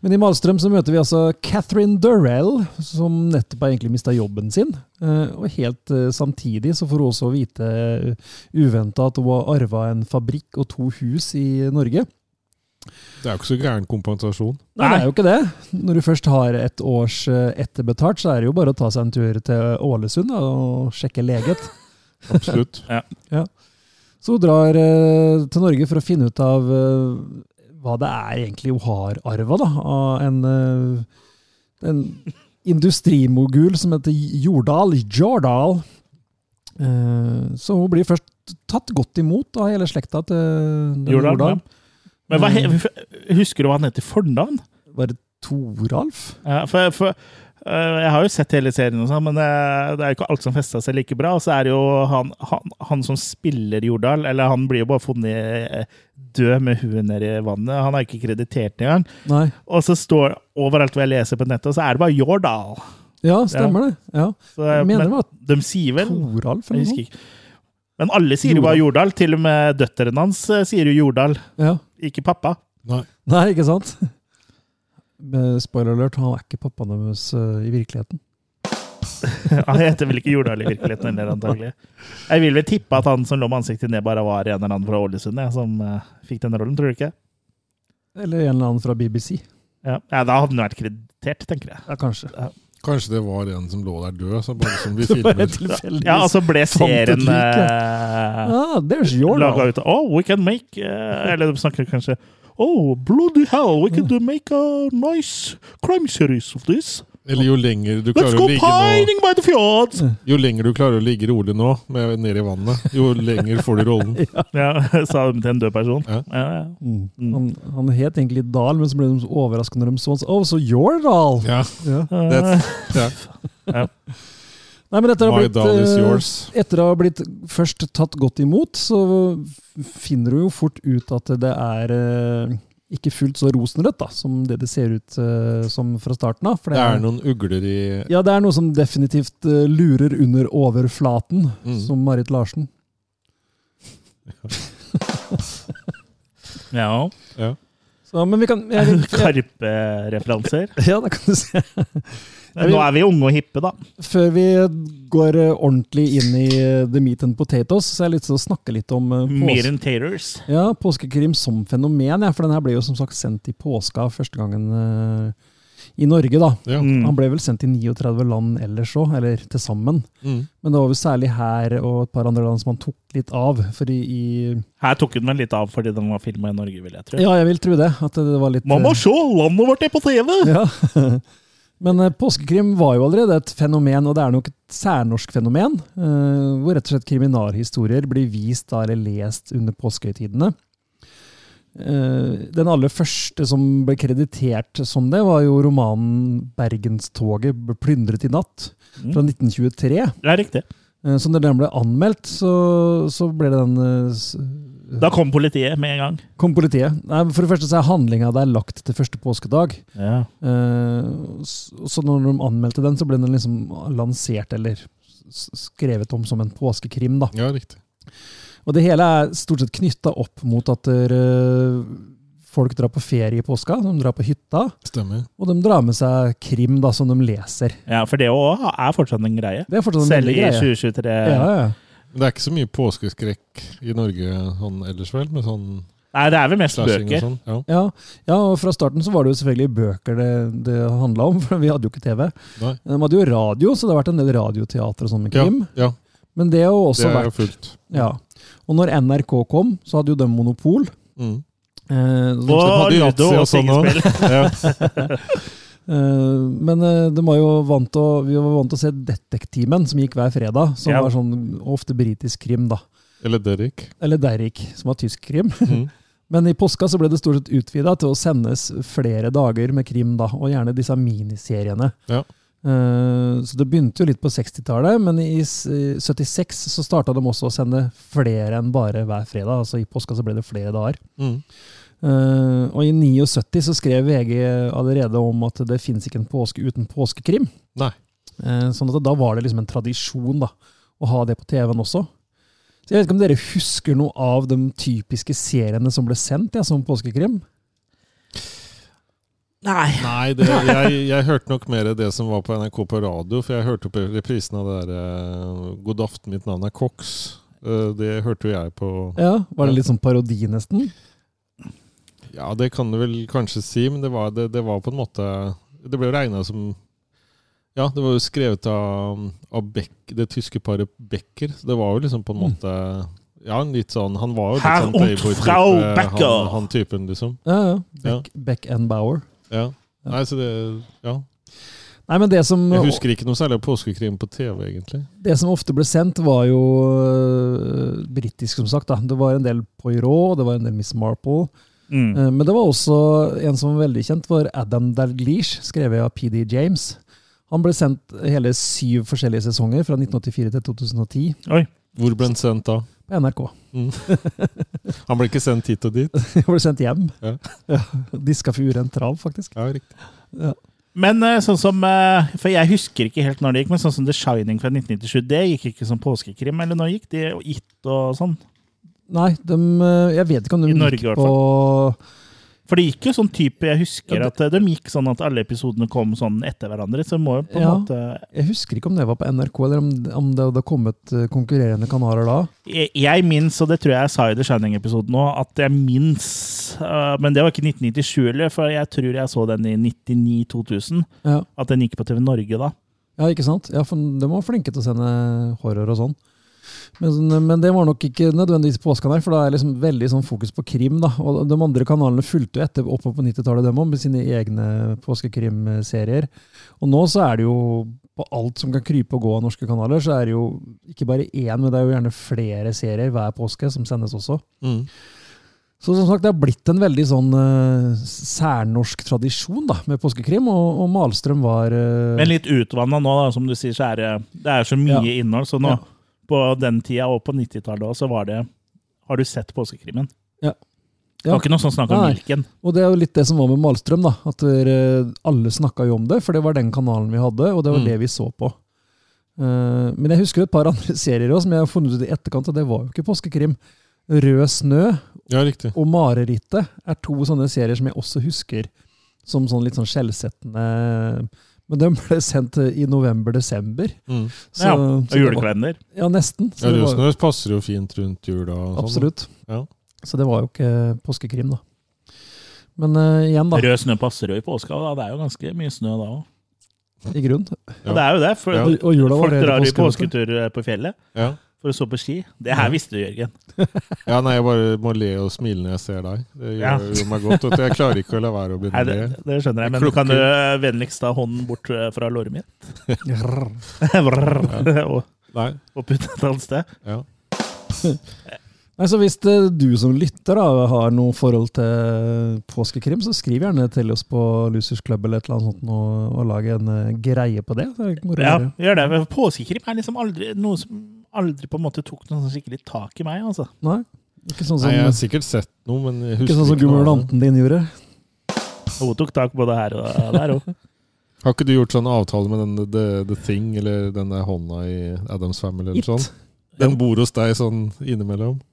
D: Men i Malstrøm så møter vi altså Catherine Durrell, som nettopp har egentlig mista jobben sin. Eh, Og helt eh, samtidig så får hun også vite uventa at hun har arva en fabrikk og to hus i Norge.
C: Det er jo ikke så gæren kompensasjon.
D: Nei, det er jo ikke det. Når du først har et års eh, etterbetalt, så er det jo bare å ta seg en tur til Ålesund da, og sjekke leget.
C: Absolutt.
D: Så hun drar eh, til Norge for å finne ut av eh, hva det er egentlig hun har arva, da, av en, eh, en industrimogul som heter Jordal. Jordal. Eh, så hun blir først tatt godt imot av hele slekta til den
A: Jordal,
D: Jordal.
A: Men hva,
D: Mm.
A: he- husker du hva han heter til fornavn?
D: Eh, Var det Toralf?
A: Ja, for, for, øh, jeg har jo sett hele serien, og sånn, men øh, det er jo ikke alt som festa seg like bra. Og så er det jo han, han, han som spiller Jordal, eller han blir jo bare funnet øh, død med huet nedi vannet. Han er ikke kreditert engang.
D: Nei.
A: Og så står overalt hvor jeg leser på nettet, så er det bare Jordal.
D: Ja, stemmer det. Ja.
A: Så, øh,
D: Jeg mener det var
A: de sier vel
D: Toralf
A: Jeg
D: eller
A: husker
D: noe sånt.
A: ikke. Men alle sier jo bare Jordal. Til og med døtrene hans eh, sier jo Jordal,
D: Ja.
A: ikke pappa.
C: Nei.
D: Nei, ikke sant? [laughs] Eh, Spoiler alert, han er ikke pappaen deres eh, i virkeligheten.
A: Han heter vel ikke Jordal i virkeligheten heller, antagelig. Jeg vil vel tippe at han som lå med ansiktet ned, bare var en eller annen fra Ålesund jeg, som eh, fikk den rollen, tror du ikke?
D: Eller en eller annen fra BBC.
A: Ja, ja Da hadde den vært kreditert, tenker jeg.
D: Ja, [laughs] kanskje.
A: Ja.
C: Kanskje det var en som lå der død, så bare som vi
D: Det var
C: filmer.
D: helt tilfeldigvis.
A: Ja, og så ble
D: fant et
A: serien
D: lik,
A: eh,
D: Ah, there's your
A: laga
D: dog.
A: ut av Oh, we can make eh, Eller de snakker kanskje Oh, bloody hell, we can do make a nice crime series of this.
C: Eller jo lenger du
A: Let's
C: klarer
A: go
C: å ligge nå,
A: pining by the fjords!
C: jo lenger du klarer å ligge rolig nå, med, ned i vannet, jo lenger får du rollen.
A: Ja, [laughs] sa de til en død person.
C: Ja.
A: Ja, ja.
D: Mm. Han, han het egentlig Dahl, men så ble de så overrasket når de så han. så, Oh, so your Dahl!
C: Ja,
D: Ja.
C: that's, ja.
D: Nei, men etter å ha
C: My
D: blitt,
C: doll is
D: eh,
C: yours.
D: etter å ha blitt først tatt godt imot, så finner du jo fort ut at det er eh, ikke fullt så rosenrødt da, som det det ser ut eh, som fra starten av. For
C: Det er noen ugler i
D: Ja, det er noe som definitivt eh, lurer under overflaten,
C: Mm.
D: som Marit Larsen.
A: Ja.
C: ja.
D: Så, men vi kan... Jeg,
C: [laughs]
D: vil- jeg,
A: Karpe-referanser.
D: [laughs] ja, da kan du
A: [laughs]
D: se. vil-
A: Nå er vi unge og hippe, da.
D: Før vi går eh, ordentlig inn i eh, the meat and potatoes, så er jeg litt til å snakke litt om eh, pås-
A: Mer enn taters.
D: ja, påskekrim som fenomen. Ja, for den her ble jo som sagt sendt i påska første gangen eh, i Norge, da.
C: ja.
A: Mm.
D: Han ble vel sendt i 39 land ellers òg, eller til sammen.
C: Mm.
D: Men det var jo særlig her og et par andre land som han tok litt av. For i, i
A: Her tok hun vel litt av fordi den var filma i Norge, vil jeg tro.
D: Ja, jeg vil tro det. At det var litt eh,
A: Man må se! Landet vårt er på TV!
D: Ja. [laughs] Men eh, påskekrim var jo allerede et fenomen, og det er nok et særnorsk fenomen. eh, Hvor rett og slett kriminalhistorier blir vist da, eller lest under påskehøytidene. Eh, Den aller første som ble kreditert som det, var jo romanen 'Bergenstoget ble plyndret i natt' fra 1923.
A: Det er riktig.
D: Eh, Så når den ble anmeldt, så, så ble den eh, s-
A: Da kom politiet med en gang.
D: Kom politiet. Nei, men for det første så er handlinga der lagt til første påskedag.
A: Ja.
D: Eh, s- Så når de anmeldte den, så ble den liksom lansert eller s- skrevet om som en påskekrim. da.
C: ja, riktig.
D: Og det hele er stort sett knytta opp mot at eh, folk drar på ferie i påska. De drar på hytta,
C: Stemmer.
D: og de drar med seg krim da, som de leser.
A: For det òg er fortsatt en greie.
D: Det er fortsatt en
A: Selv
D: veldig
A: i
D: greie.
A: 2023.
D: Ja, ja.
C: Men det er ikke så mye påskeskrekk i Norge sånn ellers, vel? Med sånn
A: Nei, det er vel mest
C: slashing og
A: bøker.
C: sånn. Ja.
D: Ja, ja, og fra starten så var det jo selvfølgelig bøker det, det handla om, [laughs] for vi hadde jo ikke TV.
C: Nei.
D: De hadde jo radio, så det har vært en del radioteater og sånn med
C: Ja,
D: krim.
C: ja,
D: Men det har jo også
C: det er jo
D: vært
C: fullt.
D: Ja. Og når NRK kom, så hadde jo de monopol.
C: Mm.
D: Eh,
A: Og
C: De hadde jo
A: ludo
C: yatzy
A: og
C: og sånn også.
A: singelspill.
C: Ja.
D: eh, men eh, de var jo vant til, å- vi var vant til å se Detektimen, som gikk hver fredag. Som
A: Ja.
D: var sånn ofte britisk krim, da.
C: [laughs] Eller Derek.
D: Eller Derrik, som var tysk krim. [laughs]
C: Mm.
D: Men i påska så ble det stort sett utvida til å sendes flere dager med krim, da. Og gjerne disse miniseriene.
C: Ja.
D: Eh, Så det begynte jo litt på 60-tallet, men i s- i 76 så starta de også å sende flere enn bare hver fredag. Altså i påska så ble det flere dager.
C: Mm.
D: Eh, og i 79 så skrev VG allerede om at det fins ikke en påske uten påskekrim.
C: Nei.
D: Eh, sånn at da var det liksom en tradisjon da, å ha det på TV-en også. Så Jeg vet ikke om dere husker noe av de typiske seriene som ble sendt ja, som påskekrim?
A: Nei.
C: Nei, det, jeg, jeg hørte nok mer det som var på NRK på radio, for jeg hørte på reprisen av det der eh, 'God aften, mitt navn er Cox'. Eh, Det hørte jo jeg på
D: Ja, Var det litt sånn parodi, nesten?
C: Ja, det kan du vel kanskje si, men det var, det, det var på en måte Det ble jo regna som Ja, det var jo skrevet av, av Beck, det tyske paret Becker. Så det var jo liksom på en måte Ja, en litt sånn Han var jo litt
A: Mm. Herr
C: sånn
A: und
C: playboy-type.
A: Frau
C: Han,
A: Becker.
C: han typen, liksom.
D: Ja, ja. Beck, Beck and Bauer.
C: Ja. Nei, så det Ja.
D: Nei, men det som
C: Jeg husker ikke noe særlig av påskekrim på TV, egentlig.
D: Det som ofte ble sendt, var jo øh, britisk, som sagt. Da. Det var en del Poirot, det var en del Miss Marple.
A: Mm.
D: Eh, Men det var også en som var veldig kjent, var Adam Dalglish, skrevet av PD James. Han ble sendt hele syv forskjellige sesonger, fra 1984 til 2010,
A: Oi.
C: Hvor ble han sendt da?
D: på NRK. [laughs]
C: Han ble ikke sendt hit og dit.
D: Han ble sendt hjem.
C: Ja.
D: [laughs] Ja, Diska for urent trav, faktisk.
C: Ja, riktig.
A: Men eh, sånn som eh, For jeg husker ikke helt når det gikk, men sånn som The Shining fra 1997, det gikk ikke som påskekrim, eller når gikk det? Og It og sånn.
D: Nei, de, øh, jeg vet ikke om de
A: I Norge, i hvert
D: på
A: For det gikk jo sånn type Jeg husker at de gikk sånn at alle episodene kom sånn etter hverandre. Så det må jo på en
D: Ja.
A: måte
D: Jeg husker ikke om det var på NRK, eller om, om det hadde kommet eh, konkurrerende kanaler da.
A: Jeg, jeg minnes, og det tror jeg jeg sa i The Shining-episoden òg, at jeg minnes øh, Men det var ikke 1997, eller, for jeg tror jeg så den i 99-2000.
D: Ja.
A: At den gikk på TV Norge da.
D: ja, ikke sant? Ja, for De var flinke til å sende horror og sånn. Men, sånn- men det var nok ikke nødvendigvis påsken her, for da er liksom veldig sånn fokus på krim. da. Og De andre kanalene fulgte jo etter oppe på 90-tallet dem også, med sine egne påskekrimserier. Og nå så er det jo på alt som kan krype og gå av norske kanaler, så er det jo ikke bare én, men det er jo gjerne flere serier hver påske som sendes også.
C: Mm.
D: Så som sagt, det har blitt en veldig sånn eh, særnorsk tradisjon da, med påskekrim, og, og Malstrøm var eh,
A: Men litt utvanna nå, da, som du sier, så er det, det er så mye innhold. Så nå,
D: Ja.
A: på den tida og på 90-tallet òg, så var det Har du sett påskekrimmen?
D: Ja.
A: Det var ikke noe sånn snakk om
D: Nei.
A: hvilken.
D: Og det er jo litt det som var med Malstrøm, da. At eh, alle snakka jo om det, for det var den kanalen vi hadde, og det var
C: Mm.
D: det vi så på. Eh, men jeg husker et par [laughs] andre serier også, som jeg har funnet ut i etterkant, og det var jo ikke påskekrim. Rød snø
C: Ja, riktig.
D: og Marerittet er to sånne serier som jeg også husker som sånn litt sånn skjellsettende Men de ble sendt i november-desember.
C: Mm.
A: ja,
D: så- så
A: og
D: det var-
A: julekalender.
D: Ja, nesten. Så
C: Ja,
D: det var-
C: Røsnøs passer jo fint rundt jula. og sånn, da.
D: Absolutt.
C: Ja.
D: Så det var jo ikke påskekrim, da. Men eh, igjen, da.
A: Rød snø passer jo i påska, og da. det er jo ganske mye snø da òg.
D: I grunn.
A: Ja. Det er jo det, for
C: Ja.
D: Og, og jula var
A: folk
D: allerede
A: drar i
D: påske, vet du.
A: påsketur eh, på fjellet
C: Ja.
A: for å stå på ski. Det her visste du, Jørgen.
C: ja, nei, jeg bare må le og smile når jeg ser deg. Det gjør
A: Ja.
C: jo meg godt. vet du. Jeg klarer ikke å la være å
A: Nei,
C: begynne
A: det,
C: å le.
A: det skjønner jeg, men
C: Klukker.
A: kan du eh, vennligst ta hånden bort eh, fra låret mitt? [laughs] Vrrr. og,
C: Nei.
A: og putte et annet sted?
C: Ja.
D: Nei, så Hvis eh, du som lytter da, har noe forhold til påskekrim, så skriv gjerne til oss på Losers Club eller et eller annet sånt, nå, og lag en eh, greie på det. Så er det moro å
A: Ja,
D: høre.
A: gjør det. men Påskekrim er liksom aldri noe som aldri på en måte tok noe sånn skikkelig tak i meg, altså.
D: Nei, ikke sånn som,
C: Nei, jeg har sikkert sett noe, men jeg
D: ikke
C: husker
D: sånn
C: noe
D: som
C: av det.
D: gumulanten din gjorde.
A: Hun tok tak både her og der òg.
C: Har ikke du gjort sånn avtale med den The, the Thing eller den der hånda i Adams Family eller
D: It.
C: sånn? Den bor hos deg sånn innimellom?
D: [laughs]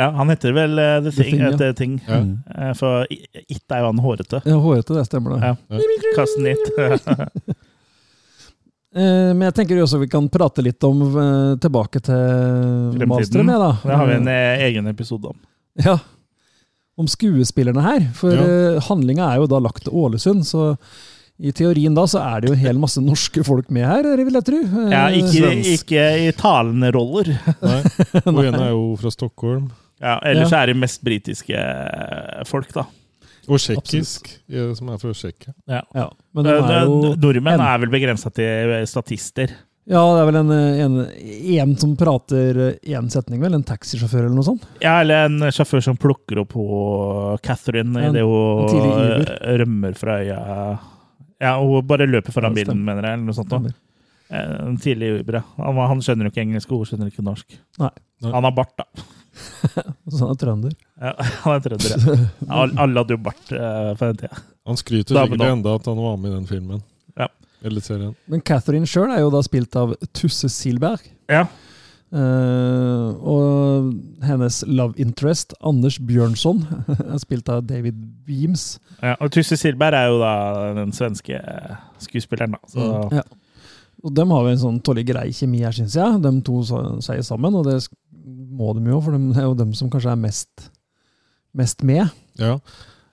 A: Ja, han heter vel eh, The Thing.
D: Thing,
A: eh,
D: ja.
A: The Thing.
C: Ja.
D: Mm.
A: Eh, For I- It er jo han hårete.
D: Ja, Hårete, det stemmer det.
A: Ja. Kasten It. [laughs]
D: [laughs] Eh, men jeg tenker jo også vi kan prate litt om eh, tilbake til
A: Fremtiden.
D: Malstrøm, jeg, da.
A: Det har vi en eh, egen episode om.
D: [laughs] Ja. Om skuespillerne her. For
C: Ja.
D: ja. handlinga er jo da lagt til Ålesund, så i teorien da så er det jo en hel masse norske folk med her, er det vil jeg tro. Eh,
A: Ja, ikke,
C: svensk.
A: ikke i talende roller.
C: Nei. Hun ene er jo fra Stockholm.
A: Ja, ellers er det mest britiske eh, folk, da.
C: Og tsjekkisk, eh, som er fra Tsjekkia.
D: Ja, men de
A: Eh,
D: er jo
A: Nordmenn
D: en-
A: er vel begrensa til eh, statister.
D: Ja, det er vel en, en, en som prater én setning, vel? En taxisjåfør eller noe sånt?
A: Ja, eller en sjåfør som plukker opp ho- Catherine
D: En-
A: idet hun
D: en tidlig iver.
A: eh, rømmer fra øya. Ja, hun bare løper foran
D: Ja,
A: bilen,
D: stemmer.
A: mener jeg. eller noe sånt. da. Eh, En tidlig Uber, ja. Han, var- han skjønner jo ikke engelsk, og hun skjønner ikke norsk.
D: Nei.
C: Nei.
A: Han har bart, da.
D: Sånn er trønder.
A: Ja, [laughs] han er trønder. ja.
D: [laughs]
A: Ja, alle- Alle hadde jo bart eh, på den tida.
C: Han skryter
A: Da,
C: sikkert
A: men da.
C: enda at han var med i den filmen.
A: Ja.
C: Eller serien.
D: Men Catherine sjøl er jo da spilt av Tusse Silberg.
A: Ja.
D: Eh, og hennes love interest, Anders Bjørnson, [laughs] er spilt av David Beams.
A: Ja, og Tusse Silberg er jo da den svenske eh, skuespilleren, da. Så,
D: Ja. Og de har jo en sånn tålelig grei kjemi her, syns jeg. De to sa- sier sammen, og det sk- må de jo, for de det er jo dem som kanskje er mest, mest med.
C: Ja.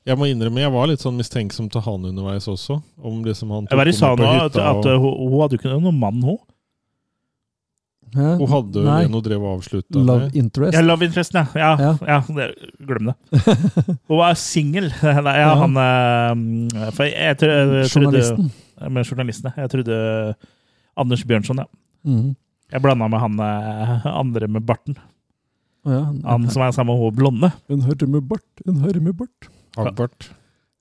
C: Jeg må innrømme, jeg var litt sånn mistenksom til han underveis også. Om liksom han
A: Jeg bare
C: henne
A: sa nå
C: på
A: at,
C: hytta,
A: at hun, hun hadde jo ikke noen mann, hun.
D: Hæ?
C: og hun hadde jo
D: Nei.
C: en hun drev og avslutta
D: Love
C: med.
D: interest.
A: Oh, Ja, Love Interest, ja. Ja, ja.
D: Ja.
A: det, glem det.
D: [laughs]
A: Hun var singel. [laughs] Nei, Ja, han eh, For jeg, tro- jeg trodde
D: Journalisten.
A: Med journalistene. Jeg trodde Anders Bjørnson, ja.
D: Mhm.
A: Jeg blanda med han eh, andre med barten.
D: Å Ja, han-
A: Han som er sammen med hun blonde.
D: En herre med bart, en herre med bart.
C: Hagbart.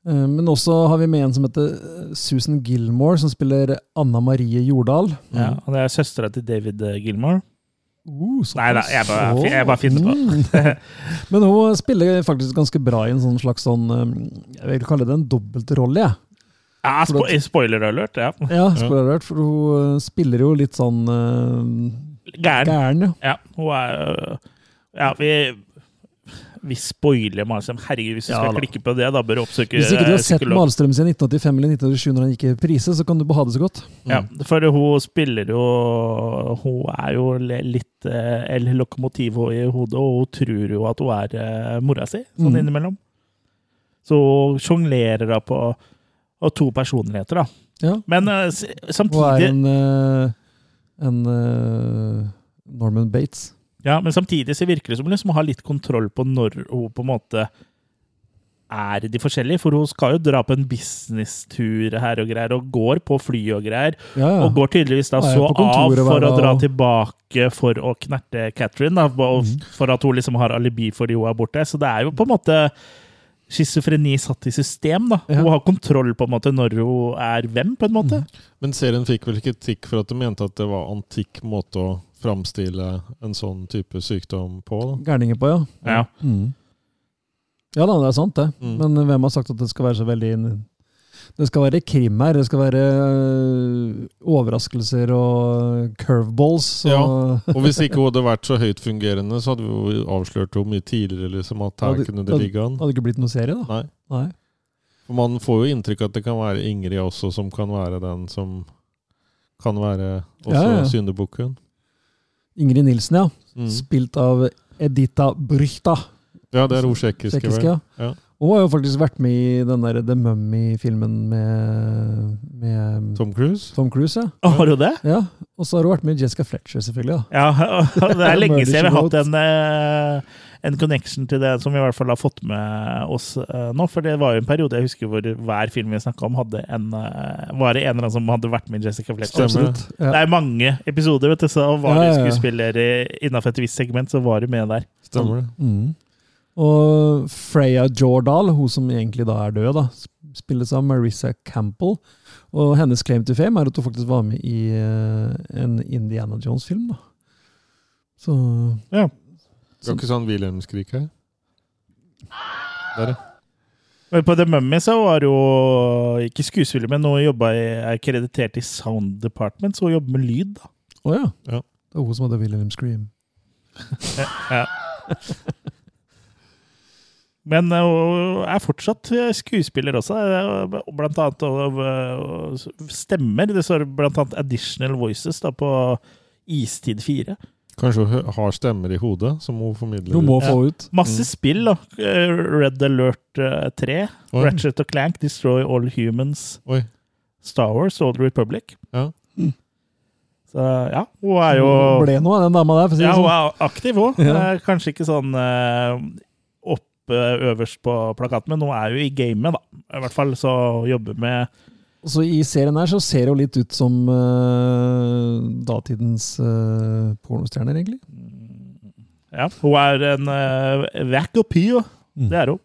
D: Eh, Men også har vi med en som heter eh, Susan Gilmore, som spiller Anna Marie Jordal.
A: Ja, og det er søstera til David eh, Gilmore.
D: Uh, så-
A: Nei da, jeg bare, jeg bare finner på. [laughs]
D: Mm. Men hun spiller faktisk ganske bra i en sånn slags sånn eh, Jeg vil kalle det en dobbeltrolle, jeg.
A: Ja, spo spoiler alert. Ja.
D: Ja, spør jeg rart, for hun eh, spiller jo litt sånn eh,
A: Gæren.
D: gæren, ja.
A: Ja, hun er øh, Ja, eh, vi vi spoiler Malstrøm. Herregud, hvis du
D: Ja
A: skal
D: da.
A: klikke på det, da bør du oppsøke eh,
D: Hvis ikke du har sett
A: psykolog.
D: Malstrøm siden 1985 eller 1987 når han gikk i prise, så kan du bare ha det så godt.
A: Ja, for hun spiller jo Hun er jo le- litt eh, El Lokomotivo i hodet, og hun tror jo at hun er eh, mora si, sånn
D: Mhm.
A: innimellom. Så hun sjonglerer da på og to personligheter, da.
D: Ja.
A: Men eh, s-
D: Og er
A: samtidig
D: en, eh, en eh, Norman Bates.
A: Ja, men samtidig så virker det som hun liksom har litt kontroll på når hun på en måte er de forskjellige, for hun skal jo dra på en businesstur her og greier, og går på fly og greier,
D: Ja, ja.
A: og går tydeligvis da
D: Ja, ja,
A: så
D: på
A: av
D: kontoret hver
A: for å
D: dag,
A: dra
D: og-
A: tilbake for å knerte Catherine, da, og
D: Mhm.
A: for at hun liksom har alibi fordi hun er borte. Så det er jo på en måte schizofreni satt i system, da.
D: Ja. Mhm.
A: Hun har kontroll på en måte når hun er hvem, på en måte.
C: Men serien fikk vel kritikk for at de mente at det var antikk måte å framstille en sånn type sykdom på? da.
D: Gærninger på, ja.
A: Ja.
D: Mm. Ja da, det er sant det.
C: Mm.
D: Men hvem har sagt at det skal være så veldig Det skal være krim her. Det skal være øh, overraskelser og curveballs. Og,
C: Ja, Og hvis ikke hun hadde vært så høyt fungerende, så hadde vi jo avslørt henne mye tidligere liksom, at her
D: Ja, det-
C: kunne det ligge an.
D: [laughs] Det hadde ikke blitt noen serie, da.
C: Nei.
D: Nei.
C: For man får jo inntrykk at det kan være Ingrid også som kan være den som kan være også
D: Ja, ja.
C: syndebukken.
D: Ingrid Nilsen, ja.
C: Mm.
D: Spilt av Edita Brychta.
C: Ja, det er hun tsjekkiske,
D: Tsjekkiske,
C: vel.
D: ja.
C: Ja.
D: Hun har jo faktisk vært med i den der The Mummy-filmen med, med
C: Tom Cruise.
D: Tom Cruise. ja.
A: Har hun det?
D: ja. Og så har hun vært med i Jessica Fletcher, selvfølgelig. da.
A: Ja, [laughs] det er lenge
D: Murder, she
A: siden vi har hatt
D: wrote.
A: en, eh, en connection til det som vi i hvert fall har fått med oss eh, nå. For det var jo en periode jeg husker hvor hver film vi snakka om, hadde en, eh, var det en eller annen som hadde vært med i Jessica Fletcher.
C: Stemmer.
D: Absolutt. Ja.
A: Det er mange episoder, vet du, så var det
D: Ja, ja, ja.
A: skuespillere innafor et visst segment, så var du med der.
C: Stemmer det.
D: Mm. Og Freya Jordal, hun som egentlig da er død, da, spilles av Marissa Campbell. Og hennes claim to fame er at hun faktisk var med i eh, en Indiana Jones-film. da. Så
C: Det var ikke sånn Wilhelmskrik her. Der, ja.
A: Men på The Mummy så var det jo ikke skuespiller, men hun jobba i, er kreditert i Sound Department, så hun jobber med lyd. da.
D: Å ja.
C: Ja.
D: Det var hun som hadde Wilhelm Scream.
A: Men eh, hun er fortsatt eh, skuespiller også, eh, og blant annet og, eh, og stemmer. Det står blant annet additional voices da, på Istid 4.
C: Kanskje hun hø- har stemmer i hodet som hun formidler.
D: Hun må
A: Ja.
D: få ut.
A: Masse
C: Mm.
A: spill, da. Eh, Red Alert eh, 3,
C: Oi.
A: Ratchet og Clank, Destroy All Humans,
C: Oi.
A: Star Wars, Old Republic.
C: Ja.
A: Så ja, hun er jo
D: Hun Mm. ble noe av den dama der, for å si
A: Ja,
D: det
A: hun
D: sånn.
A: er aktiv òg.
D: Ja.
A: Kanskje ikke sånn eh, opp eh, øverst på plakaten, men hun er jo i gamet, da. I hvert fall så jobber med
D: Og Så I serien her så ser hun litt ut som eh, datidens eh, pornostjerner, egentlig.
A: Ja, hun er en uh, vacker pio.
D: Mm.
A: Det er hun.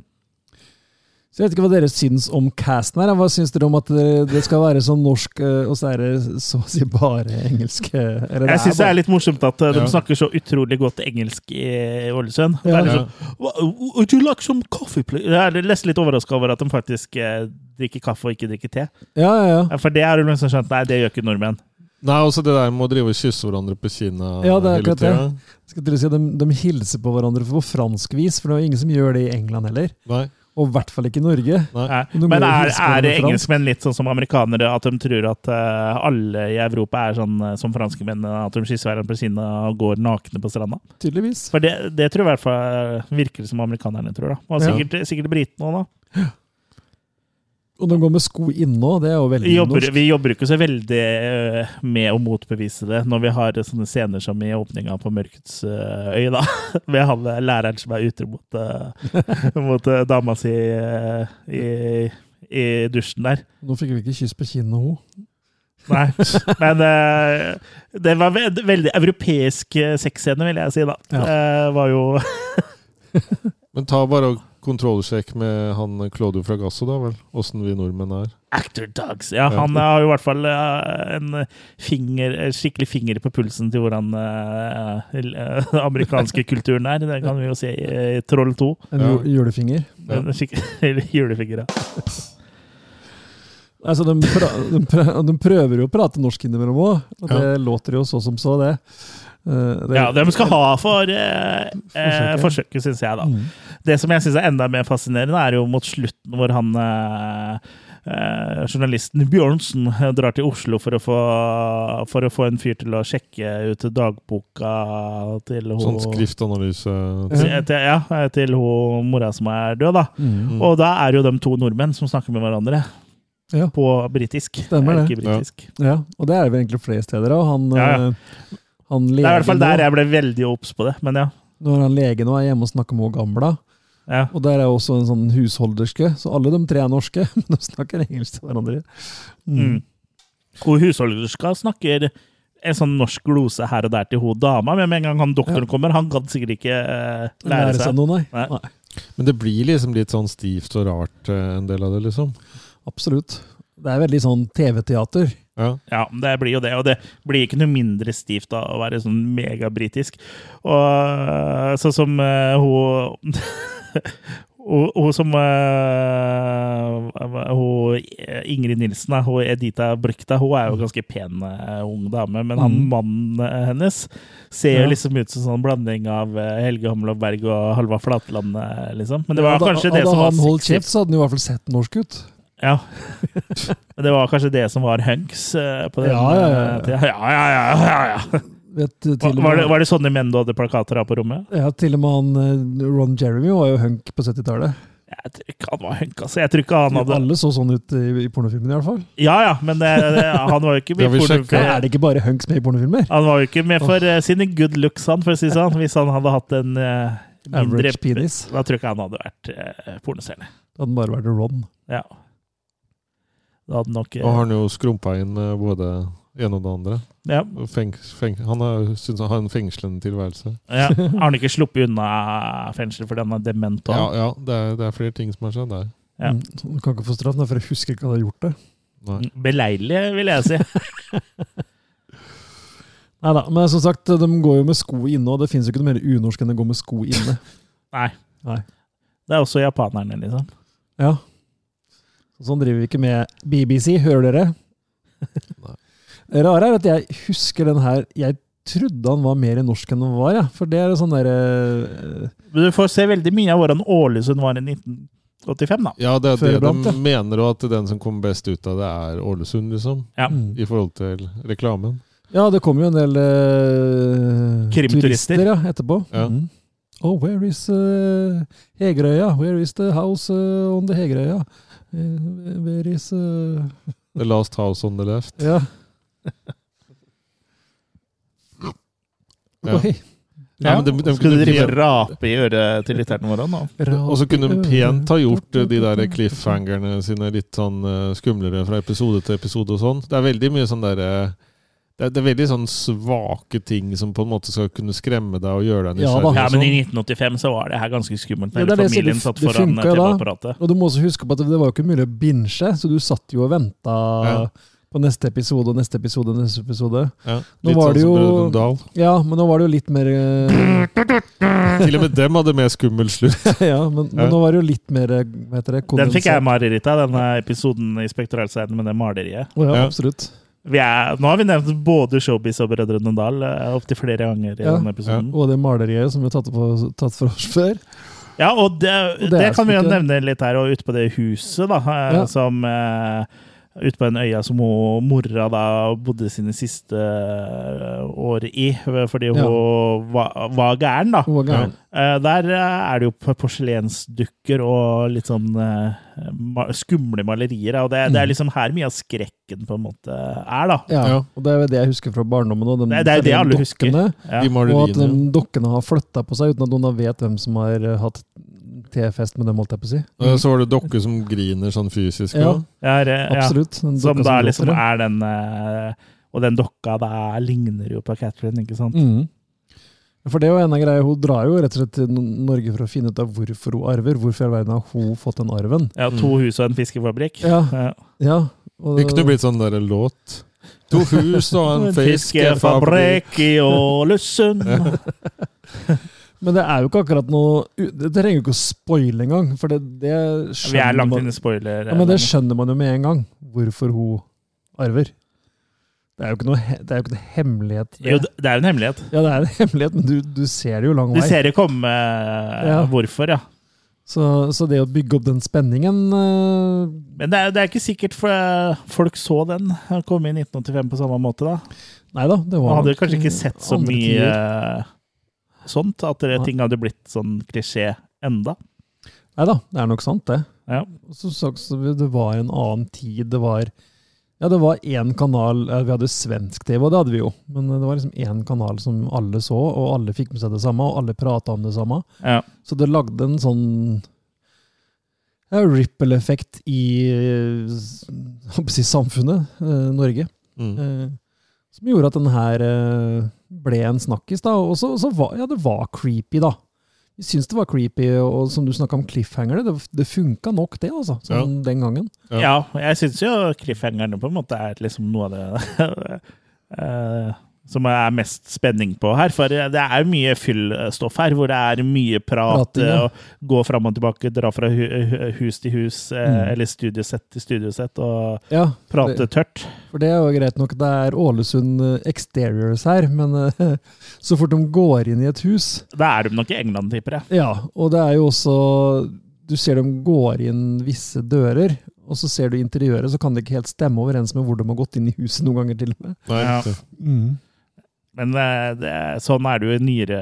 D: Så jeg vet ikke hva dere syns om casten her. Hva syns dere om at det, det skal være sånn norsk, eh, og så er det så å si bare engelsk? eh, Eller
A: Jeg syns det er
D: bare-
A: litt morsomt at eh, de
C: Ja.
A: snakker så utrolig godt engelsk i Ålesund. Det
D: Ja.
A: er
C: Ja.
A: liksom, "Wha- Would you like some coffee, please? Jeg er nesten litt overraska over at de faktisk eh, drikker kaffe og ikke drikker te.
D: Ja, ja, ja.
A: Ja, For det har du liksom skjønt, nei, det gjør ikke nordmenn.
C: Nei, også det der med å drive og kysse hverandre på kinna
D: Ja, det er
C: hele
D: akkurat det.
C: tiden.
D: Skal til å si at de, de hilser på hverandre på fransk vis, for det er jo ingen som gjør det i England heller.
C: Nei.
D: Og i hvert fall ikke i Norge.
A: Nei.
D: Men du må
A: Men
D: jo
A: er,
D: hilse på
A: er det
D: hverandre fransk.
A: engelskmenn litt sånn som amerikanere, at de tror at eh, alle i Europa er sånn eh, som franskmenn, at de kysser hverandre på kinnet og går nakne på stranda?
D: Tydeligvis.
A: For det, det tror jeg i hvert fall eh, virker det som amerikanerne tror. da. Og
D: Ja.
A: sikkert, sikkert britene òg, da.
D: Og de går med sko inne òg, det er jo
A: Vi
D: veldig
A: jobber,
D: norsk.
A: vi jobber ikke så veldig øh, med å motbevise det når vi har sånne scener som i åpninga på Mørkets øh, øy, da. [laughs] Med han øh, læreren som er utro mot, øh, [laughs] mot øh, dama si øh, i, i dusjen der.
D: Nå fikk vi ikke kyss på kinnet, hun.
A: Nei. Men øh, det var ve veldig europeisk øh, sexscene, vil jeg si, da.
D: Ja.
A: Eh, var jo
C: Men ta bare og kontrollsjekk med han Claudio Fragasso, da vel. Åssen vi nordmenn er.
A: Actor Dogs. Ja, han har jo i hvert fall eh, en finger, en skikkelig finger på pulsen til hvordan eh, l- eh, den
D: [laughs]
A: amerikanske kulturen er. Det kan vi jo se i eh, Troll 2.
D: En
C: Ja.
D: ju- julefinger.
C: Ja.
A: En [laughs] skikkelig julefinger, ja.
D: Altså, de, pra, de, pra, de prøver jo å prate norsk innimellom òg, og det låter jo så som så, det. Eh, det-
A: ja. De skal ha for eh, eh,
D: Forsøket.
A: forsøket, syns jeg, da.
D: Mm.
A: Det som jeg syns er enda mer fascinerende, er jo mot slutten hvor han eh, eh, journalisten Bjørnsen eh, drar til Oslo for å, få, for å få en fyr til å sjekke ut dagboka til hun
C: Sånn skriftanalyse
A: til, til- ja, eh, til hun mora som er død, da.
D: Mm.
A: Og da er jo de to nordmenn som snakker med hverandre
D: Ja.
A: på britisk.
D: Stemmer det.
A: Ikke britisk.
D: Ja, og det er vel egentlig flere steder. Og han,
A: Ja, ja.
D: eh, han
A: Det er i hvert
D: legen
A: fall der
D: nå,
A: jeg ble veldig obs på det, men ja.
D: når han lege nå er hjemme og snakker med hun gamla,
A: ja.
D: og der er også en sånn husholderske, så alle de tre er norske, [laughs] men de snakker engelsk til hverandre.
A: Mm. Og husholderska snakker en sånn norsk glose her og der til hun dama, men med en gang han doktoren kommer, han gadd sikkert ikke eh, lære seg
D: noe, nei.
A: Nei.
D: nei.
C: Men det blir liksom litt sånn stivt og rart, eh, en del av det, liksom.
D: Absolutt. Det er veldig sånn TV-teater.
C: Ja.
A: Ja, det blir jo det, og det blir ikke noe mindre stivt av å være sånn megabritisk. Og sånn som eh, [laughs] hun Hun hun som eh, hun Ingrid Nilsen, da, hun Edita Brykta, hun er jo ganske pen eh, ung dame. Men han
D: Mm.
A: mannen eh, hennes ser
D: Ja.
A: jo liksom ut som sånn blanding av eh, Helge Hamlov Berg og Halvard Flatland, eh, liksom. Men det var
D: Hadde-
A: kanskje det
D: hadde
A: som var
D: han holdt
A: sexy.
D: kjeft, så hadde han jo i hvert fall sett norsk ut.
A: Ja. [laughs] Men det var kanskje det som var hunks eh, på den
D: Ja, ja, ja, ja.
A: eh, tida. Ja, ja, ja, ja, ja.
D: Vet, du, til,
A: Var,
D: og
A: var, det,
D: med-
A: var det sånne menn du hadde plakater av på rommet?
D: Ja, til og med han eh, Ron Jeremy var jo hunk på 70-tallet.
A: Jeg tror ikke han var hunk, altså. Jeg tror ikke han hadde
D: Alle så sånn ut i, i pornofilmen i hvert fall.
A: Ja ja, men eh, det, det, han var jo ikke
C: Det
A: med
C: har vi
A: for,
C: sjekket.
D: Ja, er det ikke bare hunks med i pornofilmer?
A: Han var jo ikke med for eh, sine good looks, han, for å si det sånn. Hvis han hadde hatt en eh, mindre
D: Average penis.
A: Da tror jeg ikke han hadde vært eh, pornostjerne.
D: Det hadde bare vært Ron.
A: Ja. Da hadde nok eh,
C: Og har han jo skrumpa inn eh, både det ene og det andre.
A: ja,
C: Og Feng, feng, han har- synes han har en fengslende tilværelse.
A: ja. Har han ikke sluppet unna fengsel fordi han er dement? og-
C: Ja, ja det, er, det er flere ting som har skjedd der.
A: Ja.
D: Mm, så Du kan ikke få straff, da, for jeg husker ikke at jeg har gjort det. Mm.
C: Nei.
A: Beleilig, vil jeg si.
D: Neida, men som sagt, de går jo med sko inne, og det finnes jo ikke noe mer unorsk enn å gå med sko inne.
A: Nei.
D: Nei.
A: Det er også japanerne, liksom.
D: [laughs] Ja. Sånn driver vi ikke med BBC, hører dere?
C: Nei.
D: [laughs] Det rare er at jeg husker den her Jeg trodde han var mer norsk enn han var, ja. for det er jo sånn eh, derre
A: Men du får se veldig mye av hvordan Ålesund var i 1985, da.
C: Ja, det er
D: Før
C: det
D: iblant, ja.
C: de mener, og at den som kommer best ut av det, er Ålesund, liksom.
A: Ja.
D: Mm.
C: I forhold til reklamen.
D: Ja, det kom jo en del eh,
A: Krimturister.
D: turister ja, etterpå.
C: Ja.
D: Mm. Oh, where is eh, Hegerøya? Where is the house eh, on the Hegerøya? Eh, where is eh,
C: The Last House on the Left.
D: Ja.
C: Ja.
D: Oi.
C: Ja, men de, de,
A: Skulle
C: kunne
A: du drive
C: pent-
A: og rape i øret til lytterne våre nå?
C: og så kunne de pent ha gjort eh, de der cliffhangerne sine litt sånn eh, skumlere fra episode til episode og sånn. Det er veldig mye sånn derre det, er- det er veldig sånn svake ting som på en måte skal kunne skremme deg og gjøre deg
D: Ja
C: nysgjerrig.
D: da.
A: Ja,
C: og
A: men i
C: sånn.
A: 1985 så var det her ganske skummelt.
D: Ja,
A: Når
D: det er
A: hele
D: det, så det-
A: familien satt
D: det
A: foran
D: funka jo da.
A: TV-apparatet.
D: Og du må også huske på at det var jo ikke mulig å binche, så du satt jo og venta
C: Ja.
D: på neste episode og neste episode og neste episode.
C: Ja,
D: Nå
C: litt
D: var det
C: sånn som
D: jo-
C: Brødrene Dal.
D: Ja, men nå var det jo litt mer eh, [laughs]
C: Til og med dem hadde mer skummel slutt.
D: Ja, men, men
C: Ja.
D: nå var det jo litt mer eh, Hva heter det?
A: Den fikk jeg
D: kondensert.
A: mareritt av, denne episoden i Spektralscenen med det maleriet.
D: Å, ja,
C: Ja.
D: absolutt.
A: Vi er, nå har vi nevnt både Showbiz og Brødrene Dal eh, opptil flere ganger i
D: Ja.
A: denne episoden.
D: Og det maleriet som vi har tatt, på, tatt for oss før.
A: Ja, og det,
D: Og det
A: det,
D: er
A: kan vi jo
D: spooky.
A: nevne litt her, og ute på det huset, da, eh,
D: Ja.
A: som eh, Ute på den øya som hun, mora da bodde sine siste eh, år i, fordi hun
D: Ja.
A: var, var gæren, da.
D: Hun var gæren.
A: Eh, Der eh, er det jo p- porselensdukker og litt sånn eh, ma- skumle malerier, da, og det,
D: Mm.
A: det er liksom her mye av skrekken på en måte er, da.
D: Ja.
C: Ja.
D: Og det er jo det jeg husker fra barndommen. Og de,
A: Det, det er jo det alle husker.
D: dokkene,
A: Ja.
C: De
D: Og at de
C: maleriene.
D: dokkene har flytta på seg uten at noen da vet hvem som har eh, hatt tefest med dem, holdt jeg på å si.
C: Og Så var det dokker som griner sånn fysisk.
D: Ja,
C: også.
A: Ja, eh, ja.
D: absolutt. Den
A: Som
D: dokka
A: da
D: gråter,
A: liksom
D: ja.
A: er den eh, Og den dokka da ligner jo på Catherine, ikke sant?
D: Mm. For det er jo en av greiene, Hun drar jo rett og slett til N- Norge for å finne ut av hvorfor hun arver. Hvorfor i all verden har hun fått den arven?
A: Ja, To hus og en fiskefabrikk.
D: Ja,
A: Ja.
D: ja. Og,
C: Det kunne blitt sånn der låt. To hus
D: [laughs]
C: og en fiskefabrikk.
A: Fiskefabrikk i Ålesund.
D: men det er jo ikke akkurat noe u- Det trenger jo ikke å spoile engang, for det, det
A: Vi er
D: skjønner
A: langt
D: man
A: inne i spoiler. eh,
D: ja, Men det skjønner man jo med en gang, hvorfor hun arver. Det er jo ikke noe, he- det er jo ikke noe hemmelighet. i
A: jo,
D: det.
A: det det er jo en hemmelighet.
D: [laughs] Ja, det er en hemmelighet, men du, du ser det jo lang
A: Du
D: vei.
A: ser det komme eh,
D: Ja.
A: hvorfor, ja.
D: Så, så det å bygge opp den spenningen eh,
A: Men det er, det er ikke sikkert for, eh, folk så den komme i 1985 på samme måte, da.
D: Nei da, det
A: Man
D: var
A: hadde
D: nok,
A: kanskje
D: eh,
A: ikke sett så
D: andre
A: mye
D: tider.
A: eh, sånt, at det,
D: Nei.
A: ting hadde blitt sånn klisjé enda.
D: Nei da, det er nok sant, det.
A: Ja.
D: Og Som sagt, så det var en annen tid. Det var ja, det var én kanal eh, Vi hadde jo svensk TV, og det hadde vi jo. Men det var liksom én kanal som alle så, og alle fikk med seg det samme, og alle prata om det samme.
A: ja.
D: Så det lagde en sånn ja, ripple-effekt i eh, s- jeg håper å si, samfunnet, eh, Norge.
C: Mm.
D: Eh, som gjorde at den her eh, ble en snakkis, da. Og så, så var ja, det var creepy, da. Vi syns det var creepy, og som du snakka om cliffhangere, det, det funka nok, det, altså. Sånn den gangen.
C: Ja.
A: ja, jeg syns jo cliffhangerne på en måte er liksom noe av det [laughs] eh, som er mest spenning på her. For det er mye fyllstoff her, hvor det er mye prat eh,
D: Prating, ja.
A: og gå fram og tilbake, dra fra hu hu- hus til hus, eh,
D: Mm.
A: eller studiosett til studiosett, og
D: Ja,
A: prate
D: det,
A: tørt.
D: for det er jo greit nok, det er Ålesund eh, Exteriors her, men eh, [laughs] så fort de går inn i et hus,
A: Da er de nok i England, tipper jeg.
D: Ja, og det er jo også Du ser de går inn visse dører, og så ser du interiøret, så kan det ikke helt stemme overens med hvor de har gått inn i huset noen ganger, til og med.
C: Nei,
A: Ja.
C: riktig.
D: Mm.
A: Men eh, det, sånn er det jo i nyere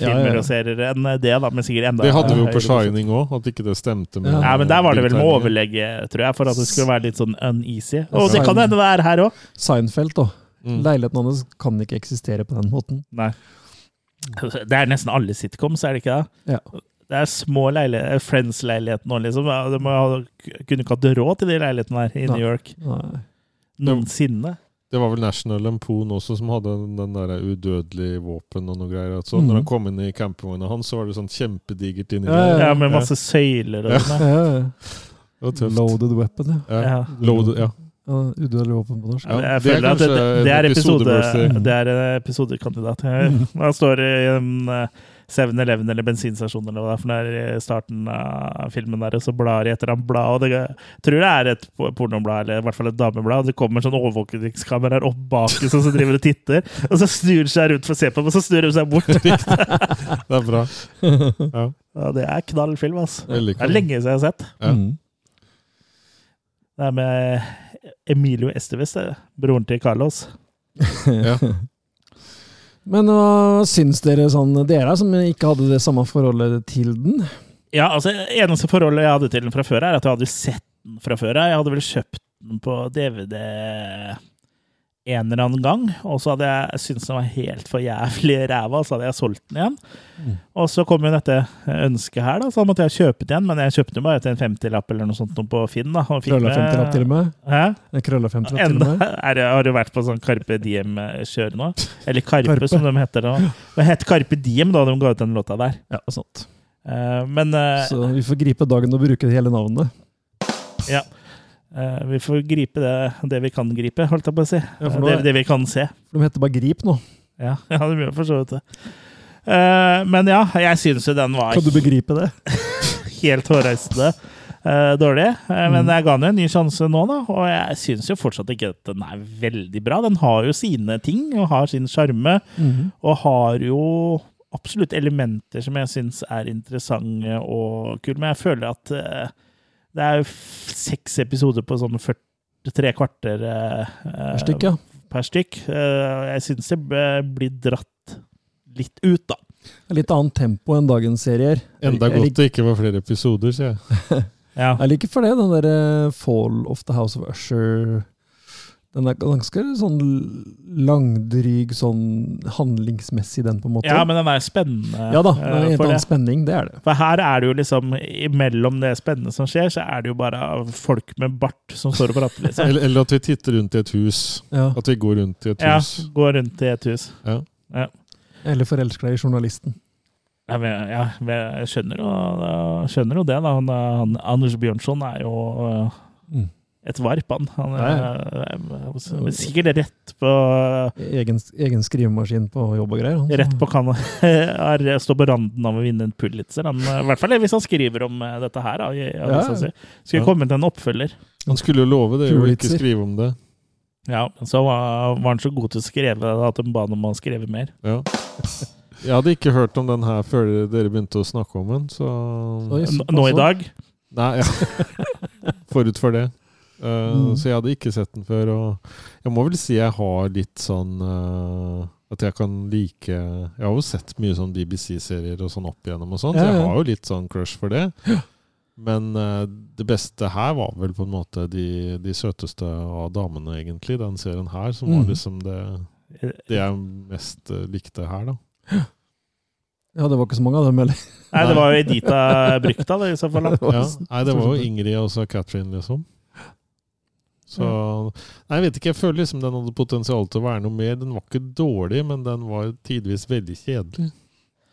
A: filmer
D: Ja, ja.
A: og serier enn det, da, men sikkert enda
C: Det hadde vi jo på
A: høyere prosent.
C: Shining òg, at ikke det stemte. med
D: Ja.
A: Ja, men der var det vel med
C: bildetegningen.
A: overlegge, tror jeg, for at det skulle være litt sånn uneasy. Og det kan hende det er her òg.
D: Seinfeld, da.
C: Mm.
D: Leiligheten hans kan ikke eksistere på den måten.
A: Nei. Det er nesten alle sitcoms, er det ikke det?
D: Ja.
A: Det er små leiligheter, Friends-leiligheter nå, liksom. Ja, De må ha- kunne ikke hatt råd til de leilighetene her i
D: Nei.
A: New York
D: Nei.
A: noensinne.
C: Det var vel National Lampoon også som hadde den der udødelige våpen og noe greier. Så
D: Mhm.
C: når han kom inn i campingvogna hans, så var det sånn kjempedigert inni
D: Ja,
C: der.
A: Ja, med masse søyler og sånn. ja.
D: Ja, ja, ja.
C: Det var tøft.
D: Loaded weapon, ja.
C: Ja.
A: Ja.
C: Loaded, ja. [laughs]
D: ja Udødelig våpen på norsk.
C: Ja,
A: Jeg
C: det er
A: føler at det,
C: kanskje
A: det, er
C: en
A: episode,
C: episodebursdag.
A: det er en episodekandidat. Han står i en eh, 7-Eleven eller bensinstasjon eller hva det er for noe i starten av filmen, der, og så blar de etter han blad. og det- Jeg tror det er et po- pornoblad, eller i hvert fall et dameblad. og Det kommer sånn overvåkningskameraer opp bak oss, og så driver de og titter. Og så snur de seg rundt for å se på dem, og så snur de seg bort.
C: Det er bra.
D: [laughs]
A: Ja, det er knall film, altså.
C: Veldig
A: Det er
C: cool.
A: lenge siden jeg har sett.
C: Ja.
D: Mm.
A: Det er med Emilio Estevez, det. broren til Carlos.
C: Ja.
D: [laughs] Men hva syns dere sånn Dere som ikke hadde det samme forholdet til den?
A: Ja, altså, eneste forholdet jeg hadde til den fra før, er at jeg hadde jo sett den fra før. Jeg hadde vel kjøpt den på DVD en eller annen gang, og så hadde jeg syntes den var helt for jævlig ræva, og så hadde jeg solgt den igjen.
D: Mm.
A: Og så kom jo dette ønsket her, da, så da måtte jeg kjøpe den igjen, men jeg kjøpte den bare til en 50-lapp eller noe sånt noe på Finn. da. og fikk
D: Krølla
A: med-
D: 50-lapp, til og med?
A: Hæ?
D: Eh, Krølla 50-lapp, til og
A: Enda,
D: med?
A: er, det- har du vært på sånn Carpe Diem-kjør nå? Eller Karpe, som de heter
D: [laughs]
A: nå. Det het Carpe Diem da de ga ut den låta der.
D: Ja, sant.
A: Eh, Men eh,
D: Så vi får gripe dagen og bruke hele navnet.
A: Ja. Eh, vi får gripe det, det vi kan gripe, holdt jeg på å si. Eh,
D: Ja, for nå
A: det,
D: er-
A: det vi kan se.
D: De heter bare Grip nå.
A: Ja, [laughs] ja det blir for så vidt det. Eh, men ja, jeg syns jo den var
D: Kan du begripe det?
A: helt hårreisende eh, dårlig. Eh,
D: Mm.
A: men jeg ga den jo en ny sjanse nå, da. Og jeg syns jo fortsatt ikke at den er veldig bra. Den har jo sine ting, og har sin sjarme. Og har jo absolutt elementer som jeg syns er interessante og kule, men jeg føler at eh, det er jo f- seks episoder på sånn 40 Tre kvarter eh, eh,
D: Per stykk, ja.
A: per stykk. Eh, jeg syns det b- blir dratt litt ut, da.
D: Litt annet tempo enn dagens serier.
C: Enda
D: Jeg lik-
C: godt det ikke var flere episoder, sier jeg.
A: Ja.
D: Jeg liker for det den der eh, Fall of the House of Usher Den er ganske sånn langdryg sånn handlingsmessig, den, på en måte.
A: ja, men den er spennende.
D: ja da, det
A: eh,
D: er en
A: for,
D: annen
A: det.
D: spenning, det er det.
A: for her er det jo liksom Imellom det spennende som skjer, så er det jo bare folk med bart som står og prater. liksom.
C: Eller, eller at vi titter rundt i et hus.
D: Ja.
C: At vi går rundt i et
A: Ja,
C: hus.
A: Går rundt i et hus.
D: Eller forelsker deg i journalisten.
A: Ja, men, ja, men jeg skjønner jo, jeg skjønner jo det. Da. Han, han, Anders Bjørnson er jo øh,
D: Mm.
A: et varp, han. Han er, er- er sikkert rett på
D: Egen, egen skrivemaskin på jobb og greier. han.
A: Rett på kan [laughs] er, står på randen av å vinne en Pulitzer. Han, I hvert fall hvis han skriver om eh, dette her. Da, i, avisa si. Skulle
C: Ja.
A: komme til en oppfølger.
C: Han skulle jo love det, og ikke
D: Pulitzer.
C: skrive om det.
A: Ja, men Så var, var han så god til å skrive at de ba han om å skrive mer.
C: Ja. Jeg hadde ikke hørt om den her før dere begynte å snakke om den, så
D: Oi,
A: N- Nå i dag.
C: Nei, ja. [laughs] Forut for det. Eh,
D: Mm.
C: Så jeg hadde ikke sett den før. Og jeg må vel si jeg har litt sånn eh, At jeg kan like Jeg har jo sett mye sånn BBC-serier og sånn opp igjennom, og sånn,
D: Ja,
C: så jeg
D: ja.
C: har jo litt sånn crush for det. Men eh, det beste her var vel på en måte de, de søteste av damene, egentlig. Den serien her, som
D: Mhm.
C: var liksom det, det jeg mest eh, likte her, da.
D: Ja, det var ikke så mange av dem heller.
A: Nei, det var jo Edita Brykta, det, i så fall. da.
C: Ja. Nei, det var jo Ingrid og så Catherine, liksom. Så Nei, jeg vet ikke. Jeg føler liksom den hadde potensial til å være noe mer. Den var ikke dårlig, men den var tidvis veldig kjedelig.
D: [laughs]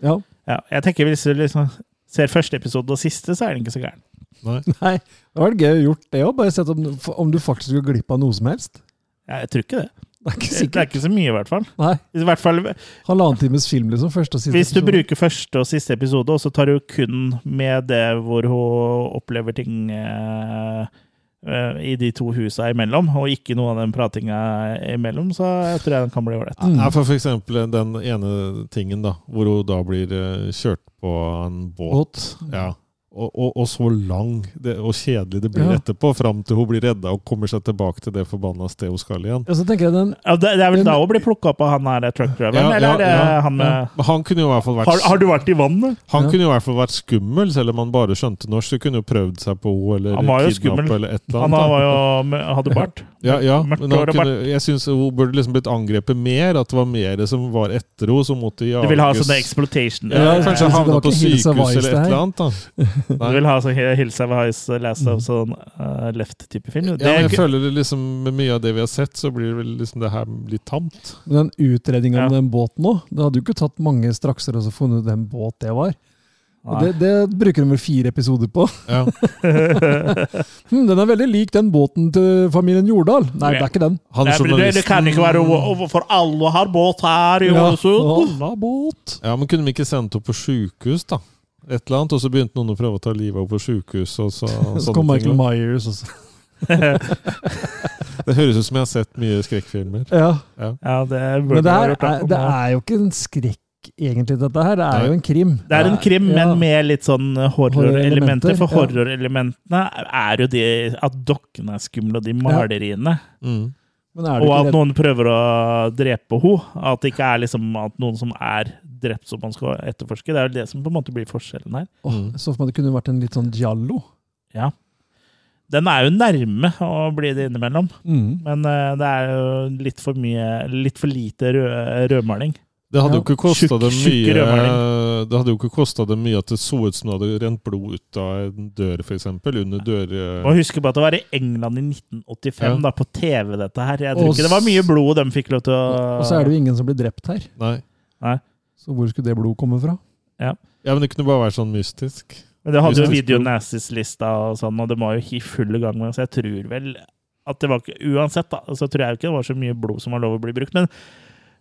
D: Ja,
A: Ja, jeg tenker Hvis du liksom ser første episode og siste, så er den ikke så gæren.
C: Nei.
D: Nei, det hadde vært gøy å gjort det òg. Bare sett om, om du faktisk går glipp av noe som helst.
A: Ja, Jeg tror ikke det.
D: Det er
A: Det
D: ikke
A: er
D: sikkert.
A: ikke så mye, i hvert fall.
D: Nei,
A: I hvert fall
D: Halvannen times film, liksom. Første og siste.
A: Hvis du
D: episode.
A: bruker første og siste episode, og så tar du kun med det hvor hun opplever ting eh, eh, i de to husa imellom, og ikke noe av den pratinga imellom, så jeg tror jeg den kan bli ålreit.
C: Nei, for, for eksempel den ene tingen, da, hvor hun da blir eh, kjørt på en båt. Ja. Og, og, og så lang det, og kjedelig det blir
D: Ja.
C: etterpå, fram til hun blir redda og kommer seg tilbake til det forbanna stedet hun skal igjen.
D: Ja, så tenker jeg den
A: Ja, det, det er vel da hun blir plukka opp av han her truckdriveren,
C: Ja,
A: eller
C: ja,
A: er det
C: ja.
A: han med
C: Men han kunne jo i hvert fall vært
A: har, har du vært i vannet?
C: Han
D: Ja.
C: kunne jo i hvert fall vært skummel, selv om han bare skjønte norsk. Så kunne jo prøvd seg på henne eller
A: Han var jo
C: kidnappe
A: skummel.
C: eller et eller
A: Han
C: annet.
A: var jo, hadde bart.
C: ja, ja,
A: mørkt
C: men han
A: hår og
C: kunne, jeg syns hun burde liksom blitt angrepet mer. At det var mer som var etter henne, som måtte jages.
A: Du vil ha sånne exploitation
C: ja,
D: Ja, jeg
C: Kanskje
D: synes det
C: havna
D: var
C: på
D: ikke helt
C: sykehus
D: så
C: eller
D: wise,
C: et
D: det her.
C: eller annet. da.
A: Du vil ha sånn Hills of Ice, Last of sånn eh, left-type film.
C: Ja, men jeg
A: Det-
C: føler det liksom Med mye av det vi har sett, så blir det vel liksom det her litt tamt.
D: Men den utredninga om
A: Ja.
D: den båten òg, det hadde jo ikke tatt mange strakser å funnet ut hvem båt det var. Og
A: Nei.
D: det, det bruker de vel fire episoder på. [laughs]
C: Ja.
D: Hm, den er veldig lik den båten til familien Jordal. Nei, det er ikke den.
C: Han
A: Nei, men det, det kan ikke være over, over for alle har båt her i Ålesund.
D: Alla båt.
C: Ja, men kunne vi ikke sendt henne på sjukehus, da? Et eller annet, Og så begynte noen å prøve å ta livet av henne på sjukehus. Og så,
D: [laughs] Så
C: sånne
D: kom
C: ting
D: Michael
C: da.
D: Myers også.
C: det høres ut som jeg har sett mye skrekkfilmer.
D: Ja.
A: [laughs] Ja, det burde
D: Men det,
A: vi ha
D: her,
A: gjort, da.
D: er, det er jo ikke en skrekk, egentlig, dette her. Det er jo en krim.
A: Det er en krim,
D: Ja.
A: men med litt sånn horrorelementer.
D: Horrorelementer,
A: For
D: ja.
A: horrorelementene er jo de at dokkene er skumle, og de maleriene.
C: Mm.
D: Men er du
A: Og
D: ikke
A: at
D: redd?
A: noen prøver å drepe henne. At det ikke er liksom at noen som er drept, som man skal etterforske. Det er jo det som på en måte blir forskjellen her.
D: Åh, jeg så for meg det kunne vært en litt sånn giallo.
A: Ja. Den er jo nærme å bli det innimellom,
D: Mm.
A: men eh, det er jo litt for mye Litt for lite rød, rødmaling.
C: Det hadde
D: Ja.
C: jo ikke kosta
A: Tjukk-
C: dem
A: tjukke
C: mye
A: rødmaling.
C: Det hadde jo ikke kostet dem mye at det så ut som det hadde rent blod ut av en dør, f.eks. Under dør... eh,
A: Og husk på at det var i England i 1985,
C: Ja.
A: da, på TV, dette her. Jeg tror
D: Og
A: ikke det var mye blod de fikk lov til å
D: Og så er det jo ingen som blir drept her,
C: Nei.
D: så hvor skulle det blodet komme fra?
C: Ja, men det kunne bare vært sånn mystisk.
A: Men det hadde jo
C: Mystisk
A: Video
C: blod.
A: Nazis-lista og sånn, og det var jo i full gang med, så jeg tror vel at det var ikke Uansett, da, så tror jeg jo ikke det var så mye blod som var lov å bli brukt, men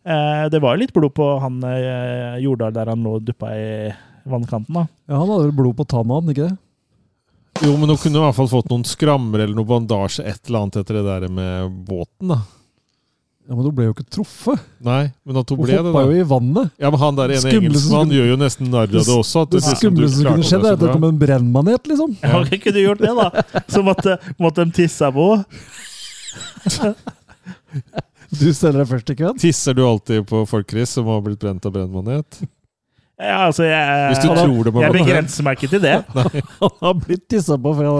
A: eh, det var jo litt blod på han eh, Jordal der han lå og duppa i vannkanten, da.
D: Ja, Han hadde vel blod på tanna, hadde han ikke det?
C: Jo, men hun kunne i hvert fall fått noen skrammer eller noe bandasje et eller annet etter det der med båten, da.
D: Ja, Men hun ble jo ikke truffet.
C: Nei, men at hun
D: Hun
C: ble det,
D: hoppa
C: da.
D: jo i vannet.
C: Ja, men han der ene
D: Skumle som
C: engelskmannen
D: skulle-
C: gjør jo nesten narr av det også. At
D: Det
C: det ser ut som du
D: skumleste som
C: klarte
D: kunne skjedd,
C: deg
D: er
C: så
D: at det
C: bra.
D: kom en brennmanet, [laughs] liksom.
A: [laughs] Ja, Jeg kunne gjort det, da! Så måtte, måtte de tisse på henne.
D: Du steller deg først i køen.
C: Tisser du alltid på folk, Chris, som har blitt brent av brennmanet?
A: Ja, altså, jeg,
C: Hvis du tror det må
A: jeg
C: være
A: begrenser meg ikke til det.
D: [laughs] Han har blitt tissa på fra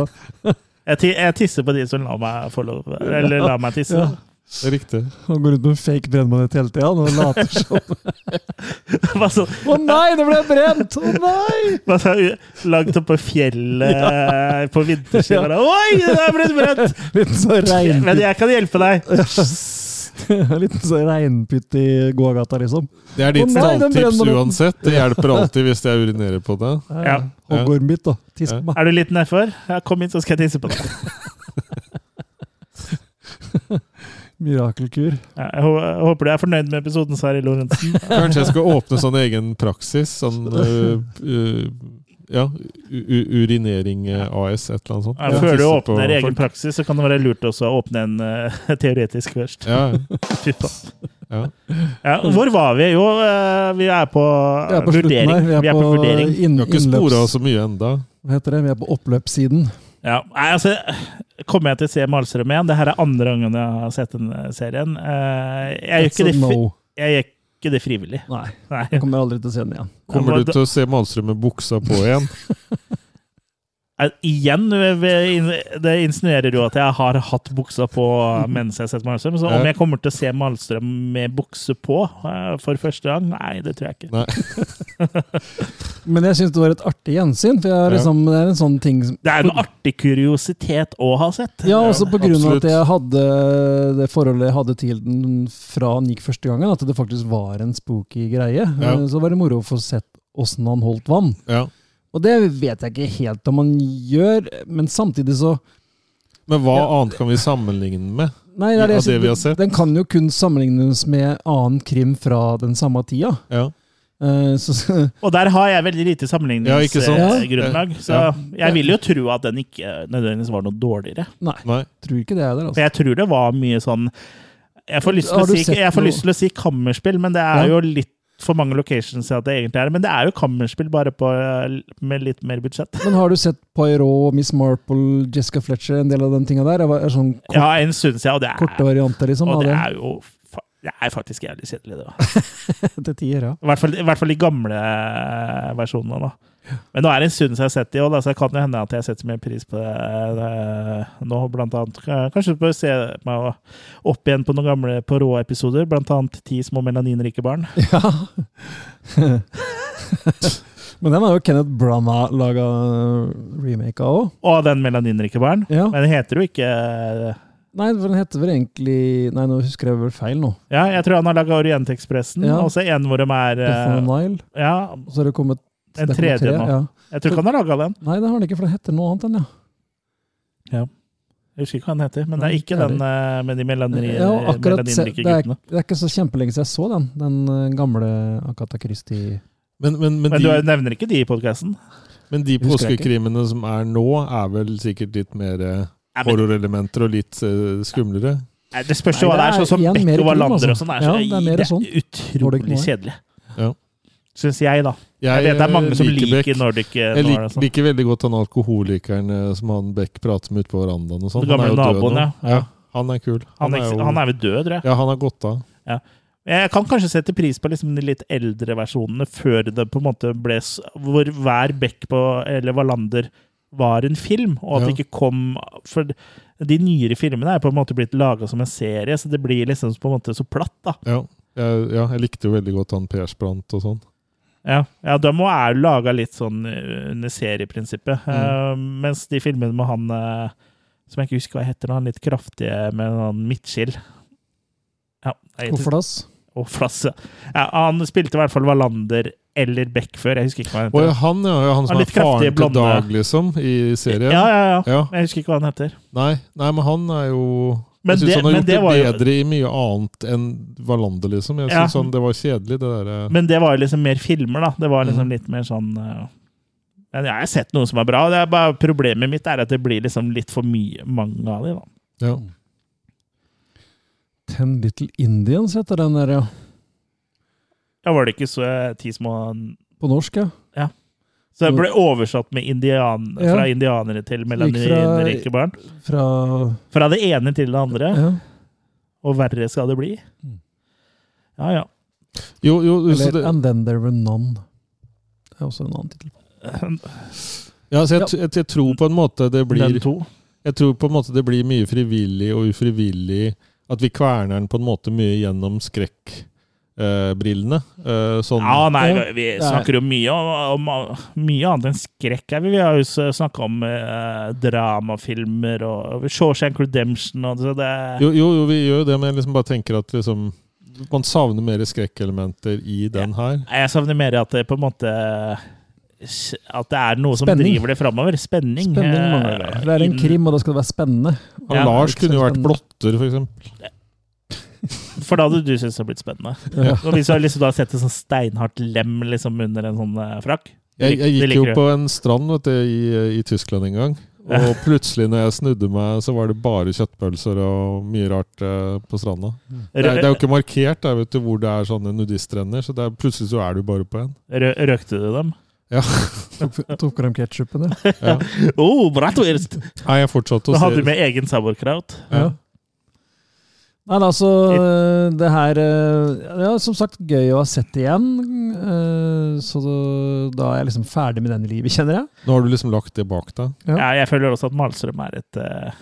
A: Jeg, ti- jeg tisser på de som lar meg få lov Eller lar meg tisse.
D: Ja.
A: [laughs]
C: Det er Riktig.
D: Han går rundt med fake brennmanet hele tida. Han later som
A: Bare sånn
D: Å nei, det ble brent! Å nei!
A: Hva sa du? Langt oppe på fjellet eh, på vinterski.
D: Ja.
A: bare, Oi, det er blitt brent!
D: [laughs] Liten sånn
A: Men
D: regnpytt
A: jeg kan hjelpe deg.
D: [laughs] Liten sånn regnpytt i gågata, liksom.
C: Det er ditt
D: Å nei, den
C: stalltips
D: brennmannen.
C: uansett. Det hjelper alltid hvis jeg urinerer på det.
A: Ja.
D: Hoggormbitt, da. Tiss på meg.
A: Er du litt nedfor? Ja, kom inn, så skal jeg tisse på deg.
D: Mirakelkur.
A: Ja, jeg hå- jeg håper du er fornøyd med episoden, Sari Lorentzen.
C: Kanskje jeg skal åpne sånn egen praksis.
D: [laughs]
C: Sånn øh, øh, ja, u- u- Urinering eh, AS, et eller annet sånt.
A: Ja, Før du
C: Tisse på
A: åpner egen
C: folk.
A: [laughs] praksis, så kan det være lurt også å åpne en eh, teoretisk først.
C: Ja, ja.
A: Fy faen.
C: Ja.
A: Ja, hvor var vi? Jo, eh, vi er på,
D: Vi er på slutten
A: vurdering.
D: her. Vi er på,
A: vurdering.
D: inn-
C: Vi har ikke
D: innløps-
C: spora så mye enda.
D: Hva heter det? Vi er på oppløpssiden.
A: Ja, nei, altså, kommer jeg til å se Malstrøm igjen? Det her er andre gangen jeg har sett den eh, serien. Eh, Jeg gjør
D: That's a
A: ikke det, fri-
D: no.
A: jeg gjør ikke det frivillig.
D: Nei,
A: Nei.
D: jeg kommer aldri til å se den igjen.
C: Kommer
A: Ja,
C: du til å se Malstrøm med buksa på igjen?
A: Eh, Igjen, det insinuerer jo at jeg har hatt buksa på
C: [laughs]
A: mens jeg har sett Malstrøm. Så om jeg kommer til å se Malstrøm med bukse på eh, for første gang? Nei, det tror jeg ikke.
C: Nei.
D: Men jeg syns det var et artig gjensyn, for jeg har
C: Ja.
D: liksom, det er en sånn ting som
A: Det er en artig kuriositet å ha sett.
D: ja, også på grunn av
C: absolutt.
D: at jeg hadde det forholdet jeg hadde til den fra den gikk første gangen, at det faktisk var en spooky greie.
C: Ja.
D: Så var det moro å få sett åssen han holdt vann.
C: Ja.
D: Og det vet jeg ikke helt om han gjør, men samtidig så
C: Men hva annet kan vi sammenligne den med?
D: Nei, det er det,
C: Av det vi har sett?
D: Den kan jo kun sammenlignes med annen krim fra den samme tida.
C: Ja.
D: Eh, så, så, [laughs]
A: Og der har jeg veldig lite
C: Ja, ikke sant?
A: sammenligningsgrunnlag. Så
C: Ja.
A: jeg vil jo tro at den ikke nødvendigvis var noe dårligere.
D: nei,
C: Nei.
D: tror ikke det er der, altså.
A: For jeg tror det var mye sånn Jeg får lyst til,
D: Har
A: å
D: du
A: si,
D: sett
A: jeg får
D: noe-
A: lyst til å si kammerspill, men det
D: Ja.
A: er jo litt for mange locations at det egentlig er det. Men det er jo kammerspill, bare på, eh, med litt mer budsjett.
D: Men har du sett Poirot, Miss Marple, Jessica Fletcher, en del av de tinga der? Det var- er sånn kort,
A: Ja, en syns jeg, og det
D: korte
A: er,
D: varianter, liksom?
A: og
D: av
A: det
D: det
A: er jo fa- det er faktisk jævlig kjedelig, det. da.
D: [laughs] til tider, ja.
A: I hvert fall, i hvert fall de gamle eh, versjonene. da. Men nå er det en stund siden jeg har sett de òg, så det kan jo hende at jeg setter mer pris på det eh, nå. Blant annet, eh, kanskje bør se meg opp igjen på noen gamle på rå episoder, blant annet Ti små melaninrike barn.
D: [laughs] Men den har jo Kenneth Branagh laga eh, remake av òg.
A: Og den melaninrike barn.
D: Ja.
A: Men den heter jo ikke eh,
D: Nei, for den heter vel egentlig Nei, nå husker jeg vel feil nå.
A: Ja, jeg tror han har laga Orientekspressen,
D: Ja.
A: og så en hvor de er
D: Death on
A: eh,
D: the Nile.
A: Ja,
D: Og så har det kommet
A: en
D: det er kommet
A: tredje
D: tre,
A: nå.
D: Ja.
A: jeg tror ikke han har laga den.
D: Nei, det har den ikke, for den heter noe annet enn, ja.
A: Jeg husker ikke hva den heter, men det
D: Nei,
A: er ikke
D: ikke
A: den eh, med de melanri,
D: ja og akkurat, se-
A: melaninrike
D: det, er,
A: guttene.
D: det er ikke så kjempelenge siden jeg så den, den eh, gamle Akata Christie.
C: Men, men, men,
A: Men du
C: de,
A: nevner ikke de i podkasten?
C: men de
D: Husker jeg ikke.
C: påskekrimene som er nå, er vel sikkert litt mer eh,
A: Ja, men-
C: horrorelementer og litt eh, skumlere?
A: Nei, Det spørs
D: Nei,
A: jo hva det
D: det
A: er,
D: er
A: sånn som
D: igjen mer
A: Beck og
D: krim,
A: Wallander og
D: altså.
A: sånn.
D: Ja,
A: Er,
D: det er mer
A: så,
D: sånn.
A: det er
D: Nordic
A: utrolig
D: noir.
A: kjedelig.
C: Ja.
A: Syns jeg, da. Jeg
C: Jeg,
A: vet det er mange som
C: eh,
A: liker
C: Beck.
A: Nordic eh,
C: Jeg
A: noir.
C: lik,
A: og sånn.
C: liker veldig godt han alkoholikeren eh, som han Beck prater med ute på verandaen. og sånn.
A: Den gamle
C: Han er jo død
A: naboen,
C: nå.
A: ja.
C: ja. Han er kul.
A: Han, er-
C: jo-
A: han er vel død, tror jeg.
C: ja, han har gått av.
A: Jeg kan kanskje sette pris på liksom de litt eldre versjonene før det på en måte ble s- Hvor hver Beck på, eller Wallander var en film, og at det
C: Ja.
A: ikke kom For de nyere filmene er på en måte blitt laga som en serie, så det blir liksom på en måte så platt, da.
C: Ja. Jeg, ja, jeg likte jo veldig godt han Persbrandt og sånn.
A: Ja, ja de må er laga litt sånn under serieprinsippet. Eh, mens de filmene med han eh, som jeg ikke husker hva heter, han litt kraftige med han midtskill ja, jeg-
D: Kofferdass.
A: Og flasse. Ja, han spilte i hvert fall Wallander eller Beck før. Jeg husker ikke hva han
C: Å ja,
A: heter.
C: han, ja, ja, han som
A: Han
C: er
A: litt kraftige,
C: faren til
A: blonde.
C: Dag, liksom, i serien?
A: ja, ja, ja.
C: Ja.
A: Jeg husker ikke hva han heter.
C: Nei, nei, men han er jo
A: Men
C: Jeg syns
A: det-
C: han har
A: men
C: gjort
A: det
C: det,
A: var jo-
C: bedre i mye annet enn Wallander, liksom. Jeg
A: Ja.
C: synes han, Det var kjedelig, det eh. derre
A: Men det var jo liksom mer filmer, da. Det var liksom
C: Mm.
A: litt mer sånn eh, men jeg har sett noen som er bra. Det er bare Problemet mitt er at det blir liksom litt for mye mange av de, da.
C: ja.
D: Ten Little Indians heter den der, ja.
A: Ja, var det ikke så eh, ti små
D: På norsk, ja.
A: Så det ble oversatt med indian,
D: Ja.
A: fra indianere til melaninrike barn.
D: Fra
A: Fra det ene til det andre,
D: ja.
A: og verre skal det bli.
D: Mm.
A: Ja, ja. [clears throat]
C: Jo, jo, så
D: Eller
C: det,
D: And Then There Were None. Det er også en annen tittel.
C: ja, så jeg, jeg, jeg tror på en måte det blir
A: Den to.
C: Jeg tror på en måte det blir mye frivillig og ufrivillig At vi kverner den på en måte mye gjennom skrekkbrillene. Eh, sånn
A: Ja, nei,
D: Ja.
A: vi- vi snakker jo mye om, om mye annet enn skrekk. her. Vi har jo snakka om eh, dramafilmer og Shawshank Redemption og så det
C: jo, jo, jo, vi gjør jo det, men jeg liksom bare tenker at liksom Man savner mer skrekkelementer i den her.
A: Nei, Jeg savner mer at det på en måte At det er noe som
D: Spenning.
A: driver det framover. Spenning.
D: Spenning
A: eh,
D: mangler det. For Det er en
A: inn-
D: krim, og da skal det
A: [laughs]
D: være spennende.
C: Han
A: Ja,
C: Lars
D: ikke så
C: kunne jo vært
D: spennende.
C: blotter, for eksempel.
A: For da hadde du syntes det hadde blitt spennende.
D: Ja.
A: Og hvis du har liksom da sett et sånn steinhardt lem liksom under en sånn eh, frakk
C: Jeg, jeg
A: Det
C: gikk
A: liker
C: jo
A: du.
C: på en strand vet du, i, i Tyskland en gang.
A: [laughs]
C: Og plutselig når jeg snudde meg, så var det bare kjøttpølser og mye rart eh, på stranda. Det er, det er jo ikke markert der, vet du, hvor det er sånne nudiststrender, så det er, plutselig så er du bare på én.
A: Rø røkte du dem?
C: Ja.
D: Tok frem ketsjupen, ja.
C: ja.
A: Oh, bratwurst!
C: Nei, jeg fortsatte
A: Da
C: å
A: hadde du
C: se.
A: med egen sauerkraut.
C: Ja.
D: Nei, da, altså, det her eh, Ja, som sagt, gøy å ha sett igjen. eh, Så da- da er jeg liksom ferdig med den i livet, kjenner jeg.
C: Nå har du liksom lagt det bak deg.
D: Ja.
A: Ja, jeg føler også at Malstrøm er et uh,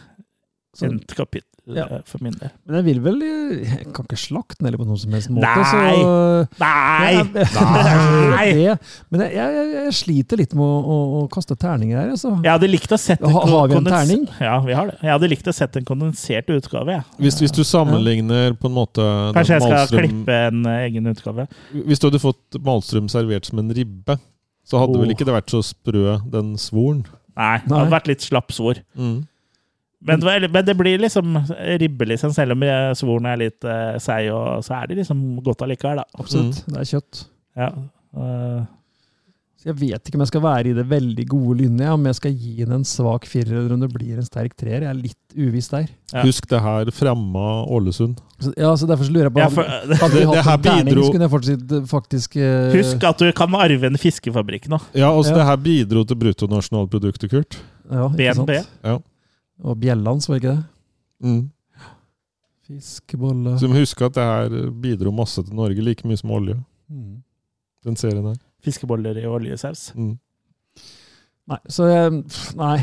D: Så-
A: kapittel
D: Ja.
A: eh, for min del.
D: Men jeg vil vel Jeg kan ikke slakte den heller på noen som helst måte.
A: Nei!
D: Så,
A: Nei!
D: [laughs] Det er- Det, men jeg, jeg, jeg- jeg sliter litt med å, å, å kaste terninger her, altså.
A: Jeg hadde likt å sett
D: Ha- har vi en
A: kondens-
D: terning?
A: Ja, vi har det. Jeg hadde likt å sett en kondensert utgave. jeg.
C: Hvis, hvis du sammenligner på en måte den
A: Kanskje jeg skal
C: Malmstrøm-
A: klippe en eh, egen utgave.
C: Hvis du hadde fått Malstrøm servert som en ribbe, så hadde
A: Oh.
C: vel ikke det vært så sprø, den svoren.
A: Nei, det hadde vært litt slapp svor.
C: Mm.
A: Men, det var- men det blir liksom ribbe, liksom. Selv om jeg- svoren er litt eh, seig, og så er det liksom godt allikevel, da. Mm.
D: Absolutt. Det er kjøtt.
A: Ja. eh,
D: Så jeg vet ikke om jeg skal være i det veldig gode lynnet, ja, om jeg skal gi den en svak firer eller om det blir en sterk treer. Jeg er litt uviss der.
A: Ja.
C: Husk det her fremma Ålesund.
D: Så, ja, så derfor så lurer jeg på
A: Ja,
D: hadde-
A: for-
D: Hadde vi
C: Det- det
D: hatt
C: her
D: en terning,
C: bidro-
D: så kunne jeg fortsatt faktisk eh,
A: [laughs] husk at du kan arve en fiskefabrikk nå.
C: Ja, altså
D: Ja.
C: det her bidro til bruttonasjonalproduktet, Kurt.
D: ja, ikke sant?
A: BNP.
D: Og Bjellands, var det ikke det? Fiskebolle
C: Mm. Så du må huske at det her bidro masse til Norge, like mye som olje.
D: mm.
C: Den serien her.
A: Fiskeboller i oljesaus.
C: Mm.
D: Nei, så jeg, pff, Nei.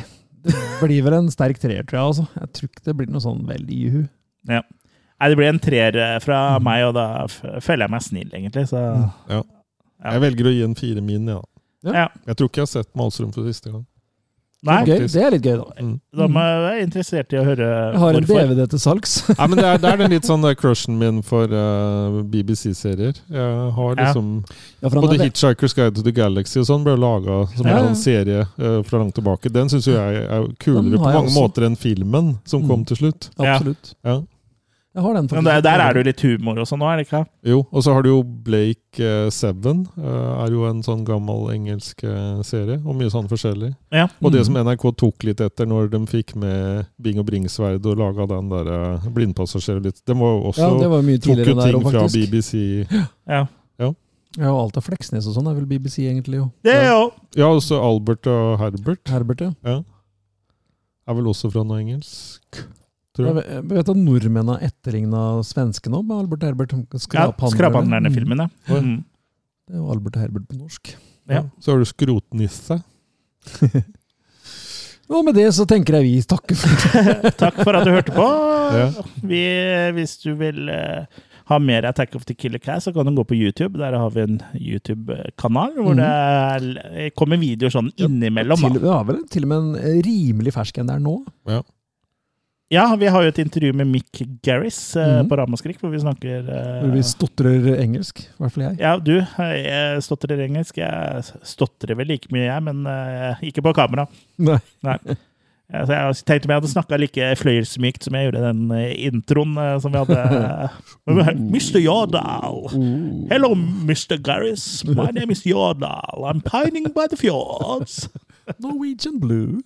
D: Det blir vel en sterk treer, tror jeg. altså. Jeg tror ikke det blir noe sånn veldig juhu.
A: Nei, det blir en treer eh,
D: Mm.
A: fra meg, og da f- føler jeg meg snill, egentlig. Så
C: Ja.
A: Ja.
C: Jeg velger å gi en fire min, ja.
D: Ja.
A: Ja.
C: Jeg tror ikke jeg har sett Malstrøm for siste gang.
A: Nei,
D: Gøy,
C: faktisk.
D: det er litt gøy, da.
C: Mm.
A: da må jeg være interessert i å høre
D: Jeg har en
A: hvorfor.
D: DVD til salgs. [laughs]
C: Nei, men det er, det er den litt sånn der crushen min for eh, BBC-serier. Jeg
A: Ja.
C: har liksom
D: Ja, for han
C: Både
D: er det.
C: Hitchhiker's Guide to the Galaxy og sånn ble laga som en
D: Ja.
C: sånn serie eh, fra langt tilbake. Den syns jo jeg er
D: Den
C: kulere på
D: har jeg
C: mange
D: også.
C: måter enn filmen som kom
D: Mm.
C: til slutt.
A: Ja.
D: Absolutt.
C: Ja.
D: Jeg har den,
A: Men der, der er det jo litt humor og sånn nå, er det ikke?
C: Jo, Og så har du jo Blake eh, Seven. eh, er jo en sånn gammel engelsk eh, serie, og mye sånn forskjellig.
A: Ja.
C: Og det
D: Mm.
C: som NRK tok litt etter når de fikk med Bing og Bringsverd og laga den der eh, blindpassasjer litt Den var jo også
D: Ja, det var jo mye
C: Tok jo
D: tidligere enn der
C: ting
D: òg,
C: fra
D: faktisk.
C: BBC.
A: ja.
D: Ja, og alt av Fleksnes og sånn er vel BBC, egentlig. jo.
A: Det er jo
C: Ja, også Albert og Herbert
D: Herbert, ja.
C: er vel også fra noe engelsk. Tror
D: Jeg
C: jeg.
D: vet- jeg vet at nordmenn har etterligna svenskene òg, med Albert Herbert.
A: ja,
D: skraphandlerne.
A: Skraphandlerne i filmen, ja.
C: Ja.
A: Mm. [laughs]
D: Det er jo Albert Herbert på norsk.
A: Ja.
C: Så har du Skrotnisse.
D: Og med det så tenker jeg vi takker for
A: [laughs] Takk for at du hørte på.
C: Ja.
A: Vi, hvis du vil eh, ha mer Attack of the Killer Cat, så kan du gå på YouTube. Der har vi en YouTube-kanal hvor det er- kommer videoer sånn innimellom.
D: til,
A: Da.
D: Mm. ja, vel, til og med en eh, rimelig fersk en der nå.
A: Ja, vi har jo et intervju med Mick Garris eh,
D: Mhm.
A: på Ramaskrik, hvor vi snakker eh,
D: Hvor vi stotrer engelsk, i hvert fall jeg.
A: ja, du, jeg stotrer engelsk. Jeg stotrer vel like mye, jeg, men eh, ikke på kamera.
D: Nei.
A: Ja, så jeg tenkte om jeg hadde snakka like fløyelsmykt som jeg gjorde den eh, introen eh, som vi hadde. Mr. Yardal. Hello, Mr. Garris. My name is Yardal. I'm pining by the fjords.
D: Norwegian Blue.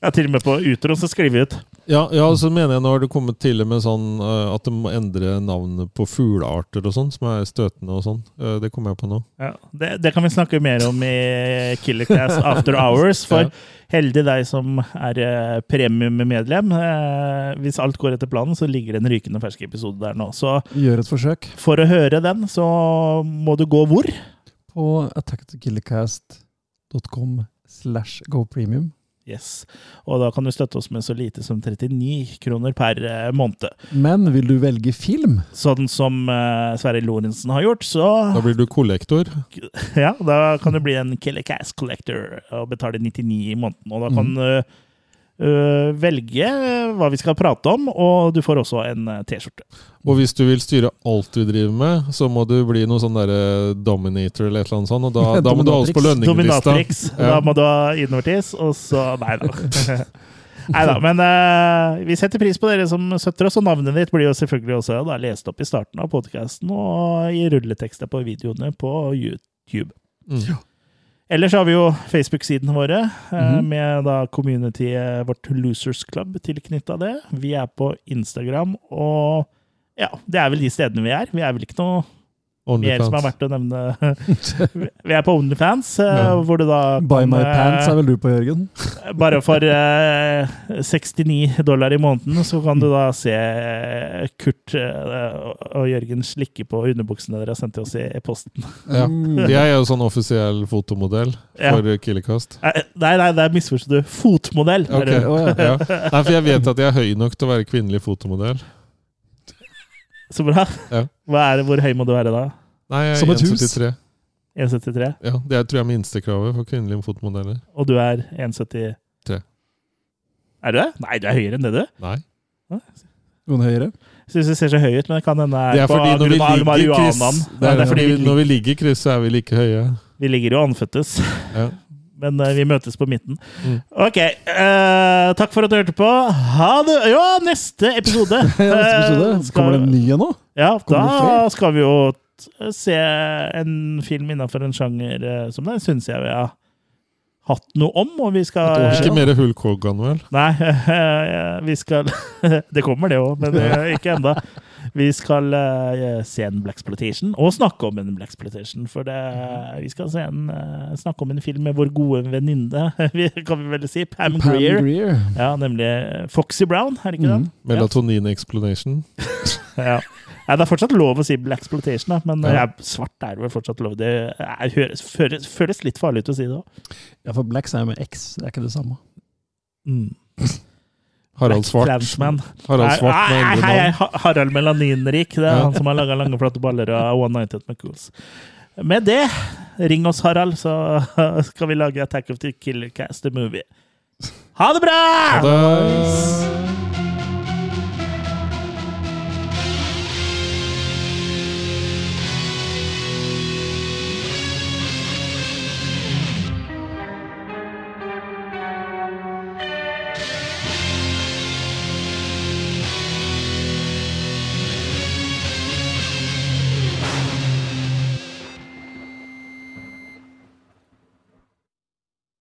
A: Ja, til og med på utroen så skriver vi ut.
C: Ja, ja, og så mener jeg nå har det kommet til og med sånn eh, at de må endre navnet på fuglearter og sånn, som er støtende og sånn. Eh, det kommer jeg på nå.
A: Ja, det, det kan vi snakke mer om i Killer Class After Hours, for
C: Ja.
A: heldig deg som er eh, premiummedlem. Eh, Hvis alt går etter planen, så ligger det en rykende fersk episode der nå. Så
D: Gjør et forsøk
A: for å høre den, så må du gå hvor?
D: på attackatokillercast.com slash gopremium.
A: Yes. Og da kan du støtte oss med så lite som 39 kroner per eh, måned.
D: Men vil du velge
A: [laughs]
D: film?
A: Sånn som eh, Sverre Lorentzen har gjort, så
C: Da blir du kollektor.
A: [laughs] ja, da kan du bli en Killer Cass Collector og betale 99 i måneden. Og da kan du eh, velge hva vi skal prate om, og du får også en eh, T-skjorte.
C: Og hvis du vil styre alt du driver med, så må du bli noe sånn derre dominator eller et eller annet
A: [laughs]
C: sånt, og da, da må du ha oss på lønninglista.
A: Dominatrix.
C: Ja.
A: Da må du ha innovertis, og så Nei da. [laughs] Nei da, men eh, vi setter pris på dere som støtter oss, og navnet ditt blir jo selvfølgelig også da, lest opp i starten av podkasten og i rulletekster på videoene på YouTube.
C: Mm.
A: Ellers har vi jo Facebook-sidene våre,
C: Mhm.
A: eh, med da communityet vårt Losers Club tilknytta det. Vi er på Instagram, og ja, det er vel de stedene vi er. Vi er vel ikke noe mer som er verdt å nevne. Vi er på Onlyfans, eh,
C: Ja.
A: hvor det da
D: Buy my
A: kan, eh,
D: pants er vel du på, Jørgen?
A: [laughs] Bare for eh, 69 dollar i måneden så kan du da se Kurt eh, og Jørgen slikke på underbuksene dere har sendt til oss i i posten.
C: Ja.
D: Mm.
C: Jeg er jo sånn offisiell fotomodell
A: Ja.
C: for Killercast.
A: Eh, Nei, nei, der misforsto du. Fotmodell! er
C: Ok,
A: det.
C: ja. ja. Nei, for jeg vet at jeg er høy nok til å være kvinnelig fotomodell.
A: [laughs] Så bra.
C: Ja.
A: Hva er det, hvor høy må du være da?
C: Nei, jeg
D: Som
C: er
D: et hus.
C: 1,73.
A: 1,73?
C: Ja, det er, tror jeg er minstekravet for kvinnelige fotomodeller.
A: Og du er 1,73?
C: Tre.
A: Er du det? Nei, du er høyere enn det, du.
C: Nei.
D: Noen høyere?
A: Syns du ser så høy ut, men det kan hende
C: Det er
A: på
C: fordi når vi
A: grunn av
C: ligger i kryss,
A: marihuanaen. Ja,
C: det er,
A: det er fordi vi,
C: når
A: lig-
C: vi ligger i kryss, så er vi like høye.
A: vi ligger jo anføttes,
C: Ja.
A: [laughs] men eh, vi møtes på midten.
C: Mm.
A: Ok, eh, takk for at du hørte på. Ha det! Ja, neste episode!
D: [laughs] Ja, neste
A: [laughs]
D: episode.
A: Eh, skal-
D: Kommer det en ny en nå?
A: Ja,
D: det
A: da skal vi jo t- se en film innenfor en sjanger eh, som den syns jeg vi har hatt noe om, og vi skal
C: Det er Ikke mer Hulk Hogan, vel?
A: Nei, [laughs] vi skal [laughs] Det kommer, det òg, men
C: [laughs]
A: eh, ikke ennå. Vi skal eh, se en Black Exploitation, og snakke om en Black Exploitation. For det,
C: Mhm.
A: vi skal se en, eh, snakke om en film med vår gode venninne, [laughs] vi- kan vi vel si. Pam,
D: Pam
A: Greer.
D: Greer.
A: Ja, nemlig eh, Foxy Brown, er det ikke
C: Mhm.
A: den?
C: Melatonin Explanation.
A: Ja. Nei, det er fortsatt lov å si Black Exploitation, da, men
C: Ja.
A: eh, svart er vel fortsatt lov. Det er, høres, føles, føles litt farlig ut å si det òg.
D: Ja, for Blacks er jo med X, det er ikke det samme.
A: Mm.
C: Harald Svart.
A: Klansman.
C: Harald Svart
A: Nei,
C: med endre
A: hei, hei,
C: navn.
A: Ha- Harald Melaninrik. Det er
C: Ja.
A: han som har laga lange, flate baller og One Nighted McCools. Med det, ring oss, Harald, så [laughs] skal vi lage Attack of the Killer Cast, the movie. Ha det bra!
C: Ha det!